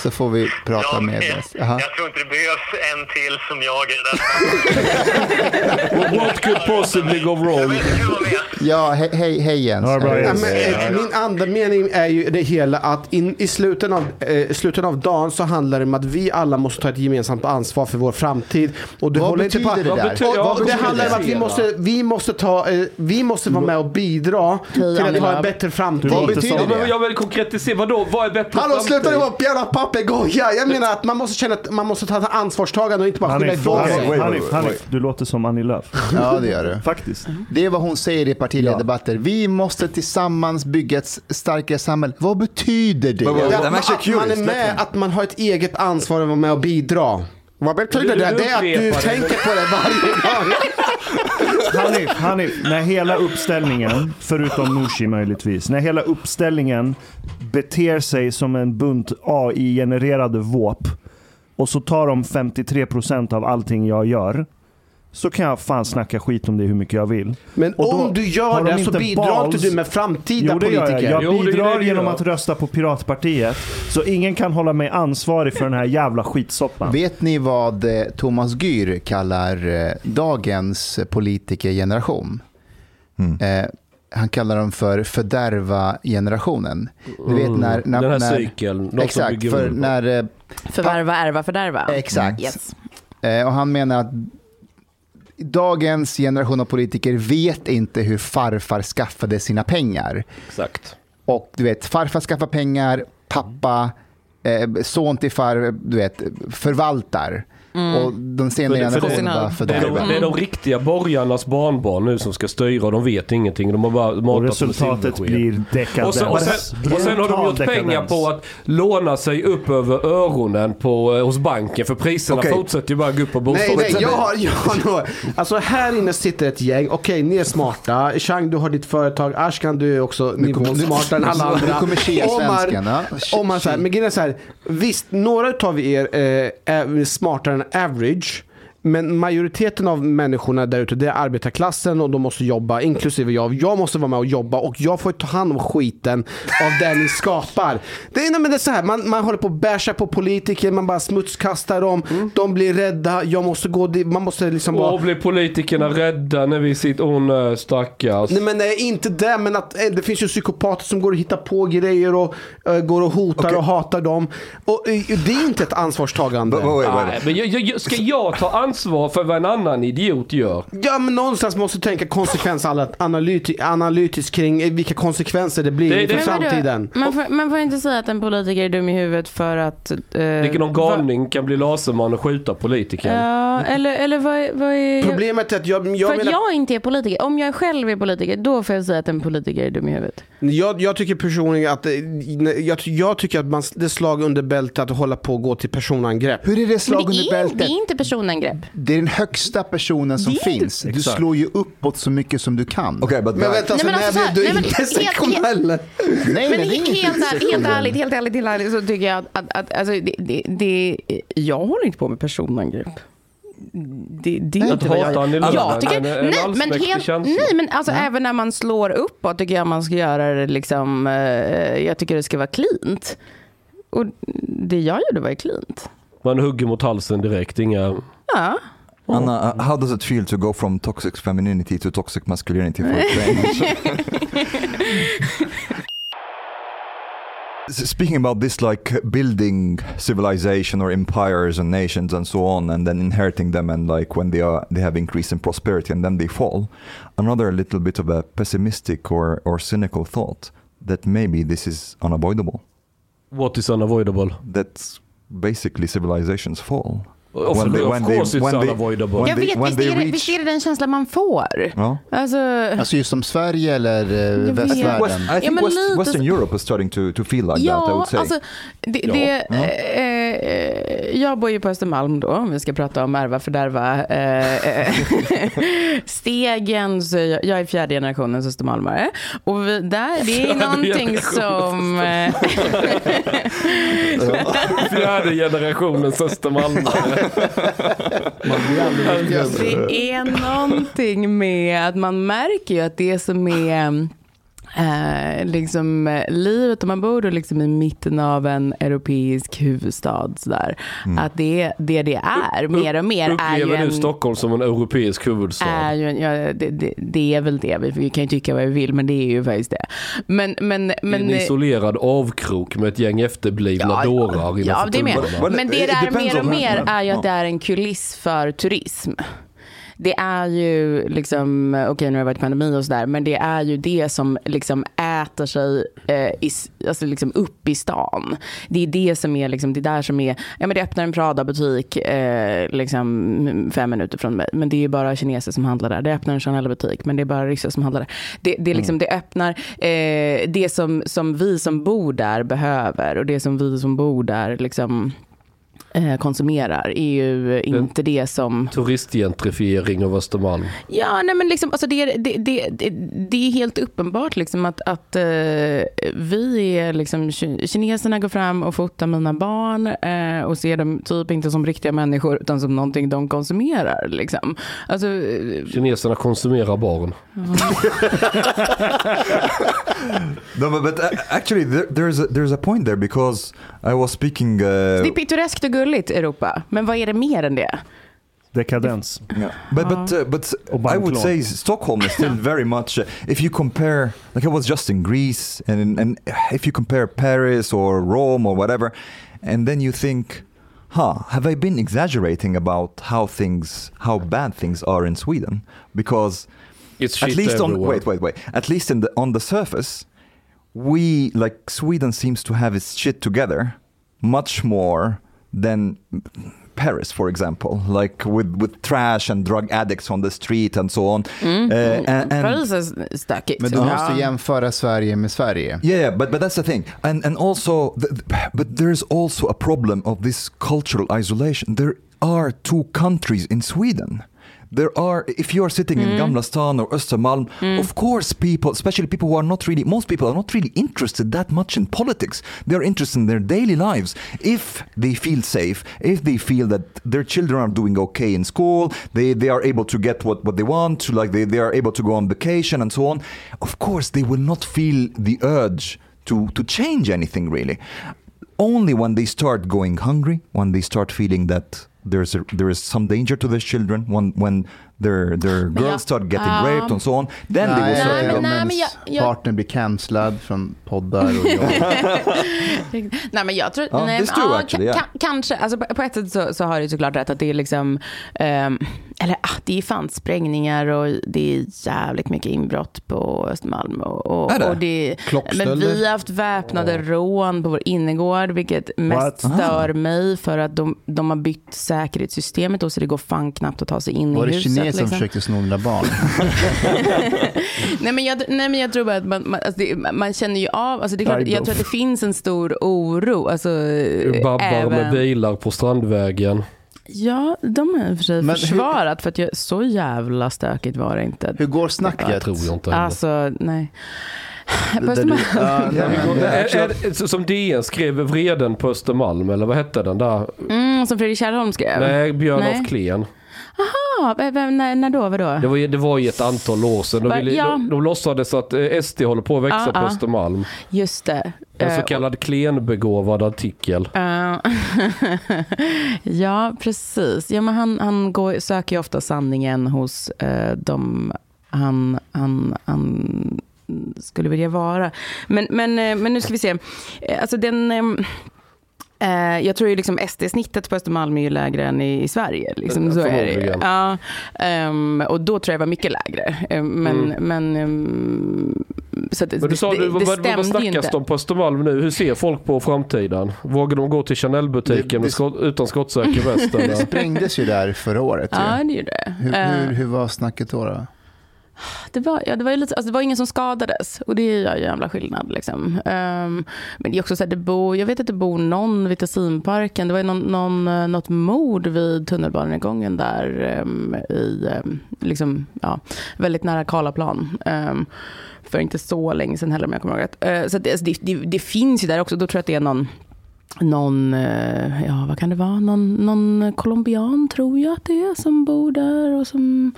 Speaker 4: Så får vi prata
Speaker 8: Jag,
Speaker 4: med dig. Jaha.
Speaker 8: [laughs] jag, jag tror inte det behövs en till som jag i det där
Speaker 7: What could possibly go wrong?
Speaker 3: Alltså,
Speaker 8: sammanhanget.
Speaker 4: Ja, he, hej, hej Jens.
Speaker 3: Ja, bra,
Speaker 4: Hej.
Speaker 6: Ja,
Speaker 3: Jens.
Speaker 6: men, eh, min andemening är ju det hela att in, i slutet av, eh, slutet av dagen så handlar det om att vi alla måste ta ett gemensamt ansvar för vår framtid. Och du
Speaker 4: Vad
Speaker 6: håller inte på,
Speaker 4: betyder det
Speaker 7: Vad
Speaker 4: där?
Speaker 7: betyder-
Speaker 6: Och,
Speaker 7: Ja,
Speaker 6: det
Speaker 7: betyder
Speaker 6: handlar om att vi
Speaker 7: det?
Speaker 6: måste, vi måste, ta, eh, vi måste vara med och bidra till att ha en bättre framtid.
Speaker 4: Vad betyder
Speaker 7: Ja, men
Speaker 4: det?
Speaker 7: jag vill konkretisera. Vadå? Vad är bättre
Speaker 6: Hallå
Speaker 7: framtid?
Speaker 6: sluta nu vara jävla papegoja! Jag menar att man måste känna att man måste ta ansvarstagande och inte bara skylla
Speaker 3: Hanif,
Speaker 6: ifrån
Speaker 3: Hanif,
Speaker 6: sig.
Speaker 1: wait,
Speaker 3: Hanif,
Speaker 1: wait,
Speaker 3: Hanif,
Speaker 1: wait.
Speaker 3: du låter som Annie Lööf.
Speaker 4: Ja, det gör du.
Speaker 3: Faktiskt.
Speaker 4: Det är vad hon säger i partiledardebatter. Vi måste tillsammans bygga ett s- starkare samhälle. Vad betyder det?
Speaker 1: Men vad-
Speaker 6: Ja,
Speaker 1: I'm
Speaker 6: men
Speaker 1: actually
Speaker 6: Att man är
Speaker 1: curious,
Speaker 6: med,
Speaker 1: definitely.
Speaker 6: att man har ett eget ansvar att vara med och bidra. Vad betyder
Speaker 7: Du-
Speaker 6: det?
Speaker 7: du
Speaker 6: Det är att du
Speaker 7: upprepar det.
Speaker 6: tänker på det varje [laughs] dag.
Speaker 3: Hanif, Hanif, när hela uppställningen, förutom Nooshi möjligtvis, när hela uppställningen beter sig som en bunt AI-genererade våp och så tar de 53% av allting jag gör så kan jag fan snacka skit om det hur mycket jag vill.
Speaker 6: Men
Speaker 3: Och då
Speaker 6: om du
Speaker 3: har
Speaker 6: gör
Speaker 3: de
Speaker 6: det så
Speaker 3: inte
Speaker 6: bidrar
Speaker 3: balls-
Speaker 6: inte du med framtida
Speaker 3: Jo, det gör
Speaker 6: politiker.
Speaker 3: jag.
Speaker 7: Jo, det
Speaker 3: Jag
Speaker 7: är det
Speaker 3: bidrar
Speaker 7: du
Speaker 3: genom
Speaker 7: gör.
Speaker 3: att rösta på Piratpartiet. Så ingen kan hålla mig ansvarig för den här jävla skitsoppan.
Speaker 4: Vet ni vad eh, Thomas Gyr kallar eh, dagens politikergeneration?
Speaker 7: Mm.
Speaker 4: Eh, han kallar dem för fördärva-generationen. Du vet när... när
Speaker 7: Mm. Den här
Speaker 4: när,
Speaker 7: cykeln, de som
Speaker 4: Exakt,
Speaker 7: bygger
Speaker 4: för
Speaker 7: upp.
Speaker 4: när... eh,
Speaker 2: Förvärva, ärva, fördärva.
Speaker 4: Exakt.
Speaker 2: Yes.
Speaker 4: Eh, Och han menar att dagens generation av politiker vet inte hur farfar skaffade sina pengar.
Speaker 7: Exakt.
Speaker 4: Och du vet, farfar skaffar pengar, pappa, eh, son till far, du vet, förvaltar.
Speaker 2: Mm.
Speaker 4: Och den senare
Speaker 7: För det- för
Speaker 4: generationen
Speaker 2: det-
Speaker 4: bara
Speaker 7: Det är, de,
Speaker 4: fördärvar.
Speaker 7: det är de riktiga borgarnas barnbarn nu som ska styra och de vet ingenting. De har bara matat
Speaker 3: Och
Speaker 7: med
Speaker 3: resultatet
Speaker 7: silversked.
Speaker 3: blir dekadens.
Speaker 7: Och sen, och, sen, och sen har de
Speaker 3: Brutal
Speaker 7: gjort pengar
Speaker 3: dekadens.
Speaker 7: på att låna sig upp över öronen på, eh, hos banken för priserna
Speaker 6: Okej.
Speaker 7: fortsätter ju bara gå upp på
Speaker 6: Nej, nej,
Speaker 7: bostadsrätter.
Speaker 6: jag har, jag har nog, alltså här inne sitter ett gäng, okej ni är smarta, Chang du har ditt företag, Ashkan du är också nivån smartare än alla andra.
Speaker 4: nu kommer Shea-svensken,
Speaker 6: Omar-
Speaker 4: ja. Sh-
Speaker 6: Omar så här,
Speaker 4: Shea.
Speaker 6: men grejen är så här, visst några utav er eh, är smartare än average. Men majoriteten av människorna där ute, det är arbetarklassen och de måste jobba, inklusive jag. Jag måste vara med och jobba och jag får ta hand om skiten av det ni skapar. Det är, nej, men det är så här, man, man håller på och bashar på politiker, man bara smutskastar dem,
Speaker 1: Mm.
Speaker 6: de blir rädda, jag måste gå dit, man måste liksom bara...
Speaker 7: Och blir politikerna rädda när vi sitter... Åh nej, stackars.
Speaker 6: Nej men nej, inte det, men att eh, det finns ju psykopater som går och hittar på grejer och eh, går och hotar och hatar dem. Och eh, det är inte ett ansvarstagande.
Speaker 1: Vad- vad är- vad är det?
Speaker 7: Nej, men jag, jag- jag, ska jag ta ansvar för vad en annan idiot gör?
Speaker 6: Ja men någonstans måste du tänka konsekvensanalytiskt analytiskt kring eh, vilka konsekvenser det blir
Speaker 7: Det-
Speaker 6: för
Speaker 7: det-
Speaker 2: Men vadå?
Speaker 6: framtiden.
Speaker 2: Man får, man får inte säga att en politiker är dum i huvudet för att... Eh,
Speaker 7: Vilken någon
Speaker 2: va-
Speaker 7: galning kan bli laserman och skjuta politiker?
Speaker 6: Eh.
Speaker 2: Ja, eller, eller vad, är- vad är...
Speaker 6: Problemet är att jag,
Speaker 2: för
Speaker 6: jag,
Speaker 2: att
Speaker 6: menar,
Speaker 2: jag inte är politiker. Om jag själv är politiker, då får jag säga att en politiker är dum i huvudet.
Speaker 6: jag, jag tycker personligen att eh, jag, jag tycker att man, det är slag under bältet att hålla på och gå till personangrepp.
Speaker 4: Hur är det
Speaker 2: Men
Speaker 4: slag
Speaker 2: det
Speaker 4: under
Speaker 2: är, det
Speaker 4: bältet?
Speaker 2: är inte personangrepp.
Speaker 4: Det är den högsta personen som finns. Du
Speaker 3: Exakt.
Speaker 4: slår ju uppåt så mycket som du
Speaker 7: Ah,
Speaker 4: kan.
Speaker 1: Okej, but
Speaker 6: Men
Speaker 1: that-
Speaker 6: vänta,
Speaker 2: Nej,
Speaker 6: alltså,
Speaker 2: men alltså
Speaker 6: när
Speaker 2: så här,
Speaker 6: blev
Speaker 2: nej,
Speaker 6: du
Speaker 2: men
Speaker 6: inte
Speaker 2: helt-
Speaker 6: sektionell?
Speaker 4: Nej,
Speaker 2: Men
Speaker 4: men det
Speaker 2: helt,
Speaker 4: är
Speaker 2: helt,
Speaker 4: inte
Speaker 2: ärligt, helt ärligt, helt ärligt, helt ärligt så tycker jag att, att, att alltså, det, det, det, jag håller inte på med personangrepp. Det, det är
Speaker 7: Att
Speaker 2: inte vad jag
Speaker 7: hata en i
Speaker 2: jag
Speaker 7: löven,
Speaker 2: tycker,
Speaker 7: en- en
Speaker 2: nej, men
Speaker 7: allsmäktig
Speaker 2: helt,
Speaker 7: känsla.
Speaker 2: nej men alltså även när man slår uppåt tycker jag man ska göra det liksom, eh, jag tycker det ska vara cleant. Och det jag gjorde var ju cleant.
Speaker 7: Man hugger mot halsen direkt, inga...
Speaker 2: Ja.
Speaker 1: Anna, uh, how does it feel to go from toxic femininity to toxic masculinity
Speaker 2: [laughs]
Speaker 1: for a change? S- Speaking about this, like building civilization or empires and nations and so on, and then inheriting them, and like when they are they have increase in prosperity and then they fall. Another little bit of a pessimistic or or cynical thought that maybe this is unavoidable.
Speaker 7: What is unavoidable?
Speaker 1: That's basically civilizations fall.
Speaker 7: Of,
Speaker 1: When they- when
Speaker 7: of
Speaker 1: they-
Speaker 7: course
Speaker 1: when
Speaker 7: it's
Speaker 1: they-
Speaker 7: unavoidable.
Speaker 1: when-
Speaker 2: Jag
Speaker 1: they-
Speaker 2: vet, visst,
Speaker 1: they
Speaker 2: är det,
Speaker 1: reach-
Speaker 2: visst är det den känslan man får?
Speaker 1: Ja.
Speaker 2: Alltså,
Speaker 4: Alltså just som Sverige eller eh,
Speaker 2: vet.
Speaker 4: västvärlden.
Speaker 1: I think
Speaker 2: men
Speaker 1: West,
Speaker 2: lite
Speaker 1: Western
Speaker 2: så-
Speaker 1: Europe is starting to, to feel like that, I would say.
Speaker 2: Alltså, det,
Speaker 1: Ja.
Speaker 2: Det,
Speaker 1: Ja.
Speaker 2: eh, eh, jag bor ju på Östermalm då, om vi ska prata om ärva fördärva. Eh, [laughs] eh, stegen, så jag, jag är fjärde generationens östermalmare. Och vi, där, det är någonting som... eh,
Speaker 7: Fjärde
Speaker 2: [laughs]
Speaker 7: generationens Östermalmare.
Speaker 2: Det är någonting med att man märker ju att det som är eh, liksom eh, livet, om man bor då liksom i mitten av en europeisk huvudstad sådär, att det det, det är mer och mer är ju
Speaker 7: Upplever
Speaker 2: en...
Speaker 7: du Stockholm som en europeisk huvudstad?
Speaker 2: Är ju en, ja, det, det, det är väl det, vi, vi kan ju tycka vad vi vill men det är ju faktiskt det. Men, men, men,
Speaker 7: en isolerad avkrok med ett gäng efterblivna dårar
Speaker 2: ja, det är med.
Speaker 7: förtullarna.
Speaker 1: Well,
Speaker 2: Men det
Speaker 1: it
Speaker 2: där
Speaker 1: depends
Speaker 2: mer och
Speaker 1: on-
Speaker 2: mer är ju
Speaker 1: Ja.
Speaker 2: att det är en kuliss för turism. Det är ju liksom, okej nu har det varit pandemi och sådär, men det är ju det som liksom äter sig eh, i, s- alltså liksom upp i stan. Det är det som är liksom, det där som är, ja men det öppnar en Prada-butik eh, liksom fem minuter från mig, men det är ju bara kineser som handlar där. Det öppnar en Chanel-butik, men det är bara ryssar som handlar där. Det, det, är liksom, det öppnar eh, det som, som vi som bor där behöver och det som vi som bor där liksom eh, konsumerar är ju inte det som
Speaker 7: Turistgentrifiering av Östermalm.
Speaker 2: Ja, nej men liksom, alltså det, är- det, det, det, det är helt uppenbart liksom att, att eh, vi är liksom, ki- kineserna går fram och fotar mina barn eh, och ser dem typ inte som riktiga människor utan som någonting de konsumerar. Liksom. Alltså, eh,
Speaker 7: Kineserna konsumerar barn.
Speaker 1: no, but, but uh, actually, there, there's, a, there's a point there because I was speaking. Uh,
Speaker 2: det är pittoreskt och gulligt Europa, men vad är det mer än det?
Speaker 3: Dekadens.
Speaker 1: Yeah. But but uh, but
Speaker 3: Och
Speaker 1: I would
Speaker 3: banklån.
Speaker 1: say Stockholm is still very much. Uh, if you compare, like I was just in Greece, and and if you compare Paris or Rome or whatever, and then you think, huh, have I been exaggerating about how things, how bad things are in Sweden? Because
Speaker 7: It's shit
Speaker 1: at least on
Speaker 7: everywhere.
Speaker 1: wait wait wait at least in the on the surface we like sweden seems to have its shit together much more than paris for example like with with trash and drug addicts on the street and so on Uh, and, and-
Speaker 2: Paris är stökigt.
Speaker 4: Men du måste jämföra Sverige med Sverige.
Speaker 1: yeah, yeah, but but that's the thing, and and also, th- th- but there's also a problem of this cultural isolation. There are two countries in Sweden. there are, if you are sitting in Gamla stan or Östermalm, of course people, especially people who are not really, most people are not really interested that much in politics. They are interested in their daily lives. If they feel safe, if they feel that their children are doing okay in school, they, they are able to get what, what they want, to like they, they are able to go on vacation and so on, of course they will not feel the urge to, to change anything really only when they start going hungry, when they start feeling that there's a, there is some danger to their children, when when their their girls
Speaker 2: jag-
Speaker 1: start getting
Speaker 2: Ja.
Speaker 1: raped and so on, then they will
Speaker 2: Nej,
Speaker 1: start.
Speaker 2: men-
Speaker 4: om
Speaker 2: nej,
Speaker 4: ens
Speaker 2: men jag- jag-
Speaker 4: partner blir cancellad från poddar
Speaker 2: [laughs]
Speaker 4: och jobb.
Speaker 2: Nej men jag tror,
Speaker 1: Ja,
Speaker 2: nej,
Speaker 1: this
Speaker 2: men,
Speaker 1: too,
Speaker 2: ja,
Speaker 1: actually,
Speaker 2: ka-
Speaker 1: yeah.
Speaker 2: ka- kanske, alltså på, på ett sätt så, så har du såklart rätt att det är liksom, ehm, eller ah, det är fan sprängningar och det är jävligt mycket inbrott på Östermalm. Och, och,
Speaker 1: Är det?
Speaker 2: Och det
Speaker 6: Klockstölder?
Speaker 2: men vi har haft väpnade rån på vår innergård, vilket mest
Speaker 3: What?
Speaker 2: stör mig för att de, de har bytt säkerhetssystemet och så det går fan knappt att ta sig in
Speaker 4: Var
Speaker 2: i
Speaker 4: det
Speaker 2: huset. liksom.
Speaker 4: kineser som försökte sno mina barn?
Speaker 2: Nej men, jag, nej men jag tror bara att man, man, alltså det, man känner ju av, alltså det är klart,
Speaker 3: Kind
Speaker 2: jag
Speaker 3: of.
Speaker 2: tror att det finns en stor oro. Alltså,
Speaker 7: Babbar med
Speaker 2: även,
Speaker 7: bilar på Strandvägen.
Speaker 2: Ja, de har i och för sig
Speaker 4: Men hur-
Speaker 2: försvarat för att jag, så jävla stökigt var det inte.
Speaker 4: Hur går
Speaker 7: Det
Speaker 4: snacket?
Speaker 7: tror jag inte heller.
Speaker 2: Alltså, nej. På
Speaker 4: Där du-
Speaker 2: Östermalm.
Speaker 4: Ja, nej, men-
Speaker 7: Är, är, är, som DN skrev, vreden på Östermalm, eller vad hette den där?
Speaker 2: Mm, som Fredrik Kärrholm skrev.
Speaker 7: Nej, Björn
Speaker 2: Nej.
Speaker 7: af Klen.
Speaker 2: Ja, vem- vem- när, när då? Vadå?
Speaker 7: Det var, ju- det var ju ett antal år sedan. De,
Speaker 2: Va-
Speaker 7: ville,
Speaker 2: ja.
Speaker 7: de, de låtsades att eh, SD håller på att växa
Speaker 2: Ja,
Speaker 7: på
Speaker 2: ja.
Speaker 7: Östermalm.
Speaker 2: Just det.
Speaker 7: En
Speaker 2: Eh,
Speaker 7: så kallad klenbegåvad artikel.
Speaker 2: Eh, [laughs] ja, precis. Ja, men han han går, söker ju ofta sanningen hos eh, de han, han, han skulle vilja vara. Men, men, eh, men nu ska vi se. Eh, Alltså den... ehm, eh, jag tror ju liksom SD-snittet på Östermalm är ju lägre än i, i Sverige. Liksom,
Speaker 7: Eh,
Speaker 2: så är det. ju.
Speaker 7: förmodligen.
Speaker 2: Ja, ehm, och då tror jag det var mycket lägre. Eh, men, men, ehm, så att
Speaker 7: Mm. Men du sa,
Speaker 2: det,
Speaker 7: du,
Speaker 2: det
Speaker 7: vad, vad, vad
Speaker 2: stämde ju
Speaker 7: snackas
Speaker 2: inte.
Speaker 7: de om på Östermalm nu? Hur ser folk på framtiden? Vågar de gå till
Speaker 4: Det- det-
Speaker 7: Chanel-butiken med skott, utan skottsäker väst?
Speaker 4: Det
Speaker 7: eller?
Speaker 4: sprängdes ju där förra året. ju.
Speaker 2: Ja, det är ju det.
Speaker 4: Hur,
Speaker 2: Eh,
Speaker 4: hur, hur var snacket då? då?
Speaker 2: Det var, ja, det var, ju lite, alltså, det var ingen som skadades och det gör ju en jävla skillnad. Liksom. Ehm, men det är också så här, det bor, jag vet att det bor någon vid Tessinparken. Det var ju någon, någon, eh, något mord vid tunnelbanegången där. ehm, i, ehm, liksom, ja, väldigt nära Karlaplan. Um, för inte så länge sedan heller om jag kommer ihåg rätt. Eh, så att det, alltså, det, det, det finns ju där också. Då tror jag att det är någon någon, eh, ja vad kan det vara, någon, någon colombian tror jag att det är som bor där och som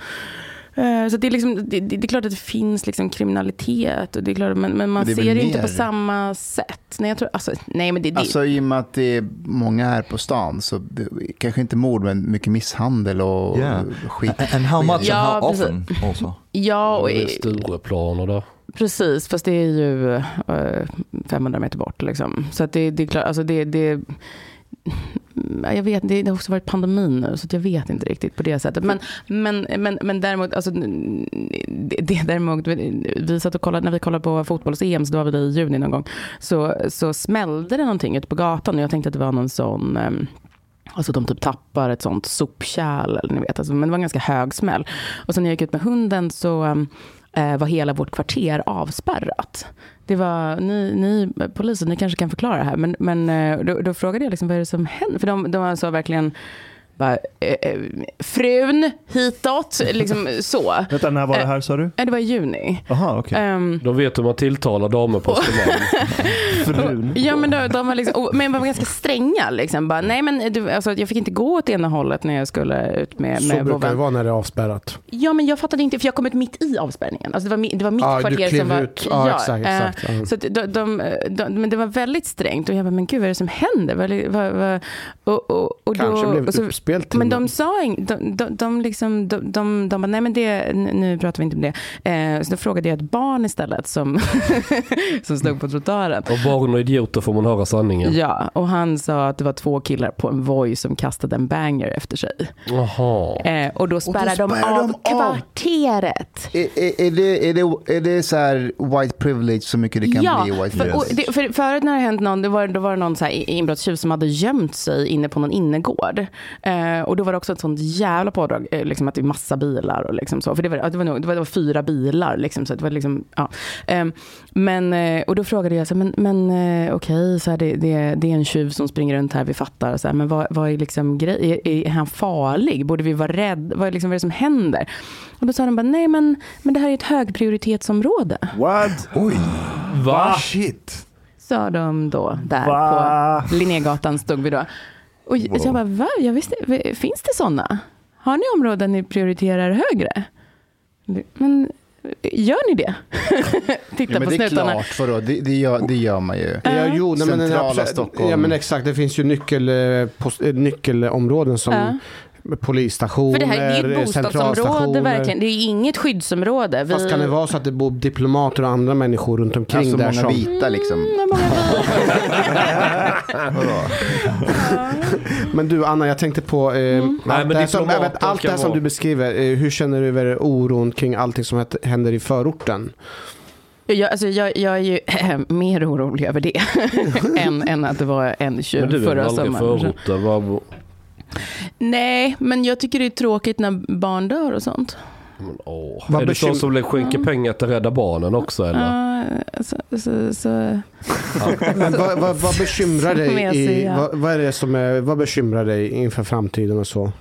Speaker 2: eh, så det är, liksom, det, det, det är klart att det finns liksom kriminalitet, och det är klart, men, men man
Speaker 4: Men det är
Speaker 2: ser
Speaker 4: väl
Speaker 2: det ju inte
Speaker 4: mer-
Speaker 2: på samma sätt. Nej, jag tror, alltså, nej men det, det,
Speaker 4: Alltså i och med att det är många här på stan, så det, kanske inte mord, men mycket misshandel och
Speaker 1: Yeah.
Speaker 4: skit.
Speaker 1: A- And how much
Speaker 2: Ja,
Speaker 1: and how
Speaker 2: precis.
Speaker 1: often also.
Speaker 2: [laughs] ja, och,
Speaker 7: Det är Stureplan och där.
Speaker 2: Precis, fast det är ju eh, 500 meter bort. Liksom. Så att det, det är klart, alltså det, det, Ja, jag vet, det har också varit pandemin nu, så att jag vet inte riktigt på det sättet. Men, men, men, men däremot, alltså, det, det däremot, vi satt och kollade, när vi kollade på fotbolls-EM, så då var vi där i juni någon gång, så, så smällde det någonting ute på gatan och jag tänkte att det var någon sån ehm, Alltså de typ tappar ett sånt sopkärl, eller ni vet, alltså, men det var en ganska hög smäll. Och sen när jag gick ut med hunden så ehm, eh, var hela vårt kvarter avspärrat. Det var, ni, ni polisen, ni kanske kan förklara det här, men, men eh, då, då frågade jag liksom, vad är det som händer? För de, de sa verkligen, bara, eh, eh, frun hitåt, liksom så.
Speaker 3: Vänta, när var det här sa du?
Speaker 2: Eh, Det var i juni.
Speaker 3: Jaha, okej.
Speaker 2: Ehm,
Speaker 7: De vet hur man tilltalar damer på Östermalm.
Speaker 3: Frun.
Speaker 2: Eh, Ja men de, de var liksom, och- men de var ganska stränga liksom. Bara, nej men du, alltså, jag fick inte gå åt ena hållet när jag skulle ut med,
Speaker 6: Så
Speaker 2: med
Speaker 6: brukar det
Speaker 2: vovven.
Speaker 6: vara när det är avspärrat.
Speaker 2: Ja men jag fattade inte, för jag kom ut mitt i avspärrningen. Alltså, det, var, mi- det var mitt
Speaker 6: Ja, du
Speaker 2: kvarter
Speaker 6: klev
Speaker 2: som var...
Speaker 6: ut. Ja, exakt,
Speaker 2: eh,
Speaker 6: exakt. Ja.
Speaker 2: Så att de, de, de, men det var väldigt strängt och jag bara, men gud vad är det som händer? Vad, vad, vad, och, och, och
Speaker 6: Kanske
Speaker 2: då,
Speaker 6: blev
Speaker 2: och så,
Speaker 6: uppspel till
Speaker 2: men
Speaker 6: något.
Speaker 2: de sa ing- de, de, de, liksom, de, de, de bara, nej men det, nu pratar vi inte om det. Eh, så då frågade jag ett barn istället som, [laughs] som slog på trottoaren.
Speaker 7: Och barn och idioter får man höra sanningen.
Speaker 2: Ja, och han sa att det var två killar på en Voi som kastade en banger efter sig.
Speaker 7: Jaha.
Speaker 2: Eh, och då spärrade de
Speaker 4: spärrade
Speaker 2: av
Speaker 4: de av.
Speaker 2: kvarteret.
Speaker 4: Är, är, är, det, är, det, är det så här white privilege så mycket det kan
Speaker 2: ja,
Speaker 4: bli white
Speaker 2: för, och
Speaker 4: privilege?
Speaker 2: det, för förut när det hänt någon, då var, då var det någon så här inbrottstjuv som hade gömt sig inne på någon innergård. Eh, Eh, och då var det också ett sånt jävla pådrag, eh, liksom att det är massa bilar och liksom så. För det var, ja, det var, nog, det var, det var fyra bilar, liksom, så att det var liksom, ja. Eh, men, eh, och då frågade jag, så här, men, men eh, okej, så här, det, det, det är en tjuv som springer runt här, vi fattar. Så här, men vad, vad är liksom grejen? Är, är han farlig? Borde vi vara rädda? Vad, är liksom, vad är det som händer? Och då sa de bara, nej men, men det här är ett högprioritetsområde.
Speaker 3: What?
Speaker 1: Oj,
Speaker 7: Va?
Speaker 1: shit.
Speaker 2: Sa de då, där
Speaker 3: Va?
Speaker 2: på Linnégatan stod vi då. Och j-
Speaker 1: Wow.
Speaker 2: jag bara, va? Jag visste, v- finns det sådana? Har ni områden ni prioriterar högre? Men gör ni det? [laughs] Titta
Speaker 4: Ja,
Speaker 2: på
Speaker 4: men det är
Speaker 2: snutarna.
Speaker 4: klart, vadå? Det, det, gör, det gör man ju.
Speaker 6: Ja, jo, nej, men den
Speaker 4: Centrala
Speaker 6: absolut-
Speaker 4: Stockholm.
Speaker 6: Ja, men exakt. Det finns ju nyckel, eh, post, eh, nyckelområden som
Speaker 2: Ja.
Speaker 6: polisstationer,
Speaker 2: För det här det är ju ett
Speaker 6: eh,
Speaker 2: bostadsområde
Speaker 6: centralstationer.
Speaker 2: verkligen. Det är ju inget skyddsområde. Vi...
Speaker 6: Fast kan det vara så att det bor diplomater och andra människor runt omkring
Speaker 4: alltså
Speaker 6: där
Speaker 4: många
Speaker 6: som... Mm.
Speaker 4: vita liksom.
Speaker 2: Hur många vi-
Speaker 6: Men du Anna, jag tänkte på eh, allt,
Speaker 7: Nej, men
Speaker 6: det här som,
Speaker 7: diplomater
Speaker 6: även allt det här
Speaker 7: kan
Speaker 6: som
Speaker 7: vara-
Speaker 6: du beskriver. Eh, hur känner du över oron kring allting som het- händer i förorten?
Speaker 2: jag, alltså, jag, jag är ju eh, mer orolig över det än, än att det var en
Speaker 7: Men
Speaker 2: tjuv
Speaker 7: du är väl
Speaker 2: förra
Speaker 7: aldrig i
Speaker 2: sommaren.
Speaker 7: förorten? Vad-
Speaker 2: Nej, men jag tycker det är tråkigt när barn dör och sånt.
Speaker 7: men, åh.
Speaker 6: Vad
Speaker 7: Är du
Speaker 6: bekym-
Speaker 7: sån som skänker pengar till Rädda Barnen också eller?
Speaker 2: Ja, så, så, så.
Speaker 6: Men vad, vad, vad bekymrar dig?
Speaker 2: Som jag
Speaker 6: I,
Speaker 2: säger.
Speaker 6: vad, vad, är det som är, vad bekymrar dig inför framtiden och så?
Speaker 2: Nej,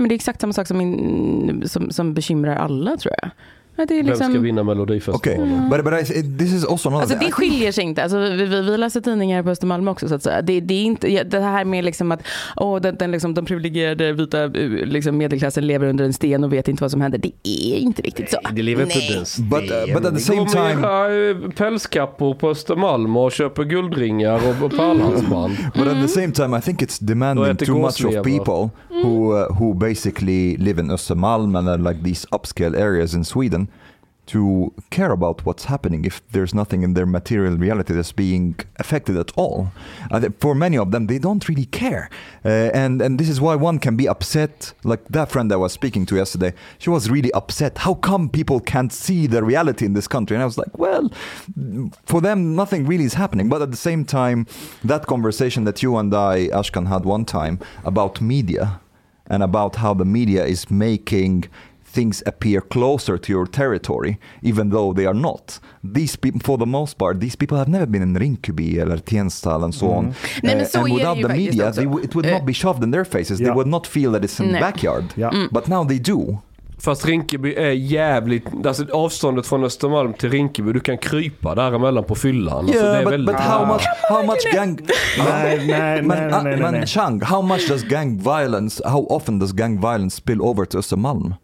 Speaker 2: men det är exakt samma sak som, min, som, som bekymrar alla tror jag. Att det, är
Speaker 7: Vem ska
Speaker 2: liksom,
Speaker 7: vinna
Speaker 1: Okej,
Speaker 7: Melodifestivalen?
Speaker 1: but, but I, this is also another
Speaker 2: alltså, det skiljer sig inte. Alltså, vi, vi, vi läser tidningar på Östermalm också. Så att säga. Det, det, är inte, ja, det här med liksom att åh, den, den, liksom, de privilegierade vita eh, liksom, medelklassen lever under en sten och vet inte vad som händer. Det är inte riktigt så.
Speaker 7: Det lever
Speaker 2: inte Nej.
Speaker 7: ens
Speaker 1: But, uh, but at the same
Speaker 7: Går med
Speaker 1: time,
Speaker 7: era, eh, pälskappor på Östermalm och köper guldringar och- och pärlhalsband.
Speaker 1: But at the same time, I think it's demanding
Speaker 7: äter
Speaker 1: too much of
Speaker 7: gåslever.
Speaker 1: people who uh, who basically live in Östermalm and are like these upscale areas in Sweden to care about what's happening if there's nothing in their material reality that's being affected at all. I thi- for many of them, they don't really care, uh, and and this is why one can be upset. Like that friend I was speaking to yesterday, she was really upset. How come people can't see the reality in this country? And I was like, well, for them, nothing really is happening. But at the same time, that conversation that you and I, Ashkan, had one time about media and about how the media is making things appear closer to your territory, even though they are not. These people, for the most part, these people have never been in Rinkeby eller Tensta and so on.
Speaker 2: Mm-hmm.
Speaker 1: Uh,
Speaker 2: Nej, men så är
Speaker 1: and
Speaker 2: det
Speaker 1: without
Speaker 2: ju
Speaker 1: the
Speaker 2: faktiskt
Speaker 1: media,
Speaker 2: också.
Speaker 1: they,
Speaker 2: Eh.
Speaker 1: w- it would not be shoved in their faces. They
Speaker 3: Ja.
Speaker 1: would not feel that it's in the
Speaker 2: Nej.
Speaker 1: backyard.
Speaker 3: Ja. Mm.
Speaker 1: But now they do.
Speaker 7: [laughs] Fast Rinkeby är jävligt, alltså avståndet från Östermalm till Rinkeby, du kan krypa däremellan på fyllan. alltså, det er är
Speaker 1: Yeah, but,
Speaker 7: väldigt
Speaker 1: but how much, how much gang...
Speaker 3: Nej, nej,
Speaker 1: Man,
Speaker 3: nej, nej, nej, nej.
Speaker 1: man Chang, how much does gang violence, how often does gang violence spill over to Östermalm?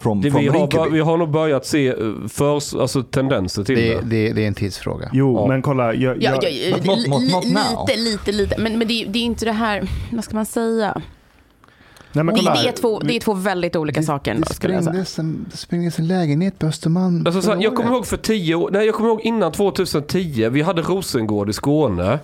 Speaker 1: From,
Speaker 7: det,
Speaker 1: from
Speaker 7: vi, har, bör-
Speaker 1: Rinkeby?
Speaker 7: vi har nog börjat se eh, förs, alltså, tendenser till
Speaker 4: Det,
Speaker 7: det.
Speaker 4: det, det är en tidsfråga.
Speaker 3: Jo, men kolla. Jag,
Speaker 2: Ja,
Speaker 3: jag,
Speaker 2: ja,
Speaker 1: But not-
Speaker 2: li-
Speaker 1: not-
Speaker 2: li-
Speaker 1: not now.
Speaker 2: lite, lite, lite. Men, men det, är- det är inte det här, vad ska man säga?
Speaker 3: nej, men
Speaker 2: Det,
Speaker 3: kolla.
Speaker 2: det, är, två, det är två väldigt olika saker. ändå,
Speaker 4: Det
Speaker 2: skulle jag säga.
Speaker 4: sprängdes, en, det sprängdes en lägenhet på
Speaker 2: Mm.
Speaker 4: Östermalm
Speaker 7: Alltså, så här,
Speaker 4: förra
Speaker 7: jag kommer
Speaker 4: året.
Speaker 7: ihåg för tio år, nej jag kommer ihåg innan 2010, vi hade Rosengård i Skåne.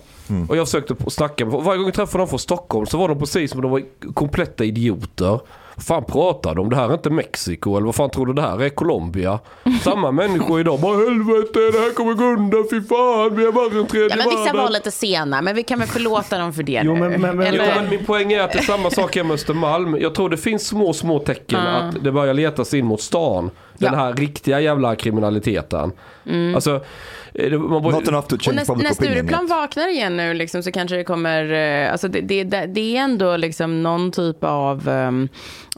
Speaker 7: Och jag försökte på- snacka med varje gång jag träffade dem från Stockholm så var de precis som de var kompletta idioter. Vad fan pratar de om? Det här är inte Mexiko eller vad fan tror du det här är? Colombia? Samma människor idag bara helvete det här kommer gå undan, fy fan vi är värre än tredje
Speaker 2: Ja, men vissa
Speaker 7: världen."
Speaker 2: var lite sena, men vi kan väl förlåta dem för det
Speaker 3: Jo,
Speaker 2: nu.
Speaker 3: men- men- men-
Speaker 7: Jo,
Speaker 2: Eller-
Speaker 7: men min poäng är att det är samma sak hemma i Östermalm. Jag tror det finns små, små tecken att det börjar letas in mot stan. Den
Speaker 2: Ja. Mm.
Speaker 7: här riktiga jävla kriminaliteten. Alltså, eh, det- man borde,
Speaker 1: Not enough to
Speaker 2: Och
Speaker 1: change
Speaker 2: när,
Speaker 1: public
Speaker 2: när
Speaker 1: opinion
Speaker 2: Stureplan
Speaker 1: yet.
Speaker 2: vaknar igen nu liksom, så kanske det kommer, eh, alltså det, det, det, det är ändå liksom någon typ av, ehm,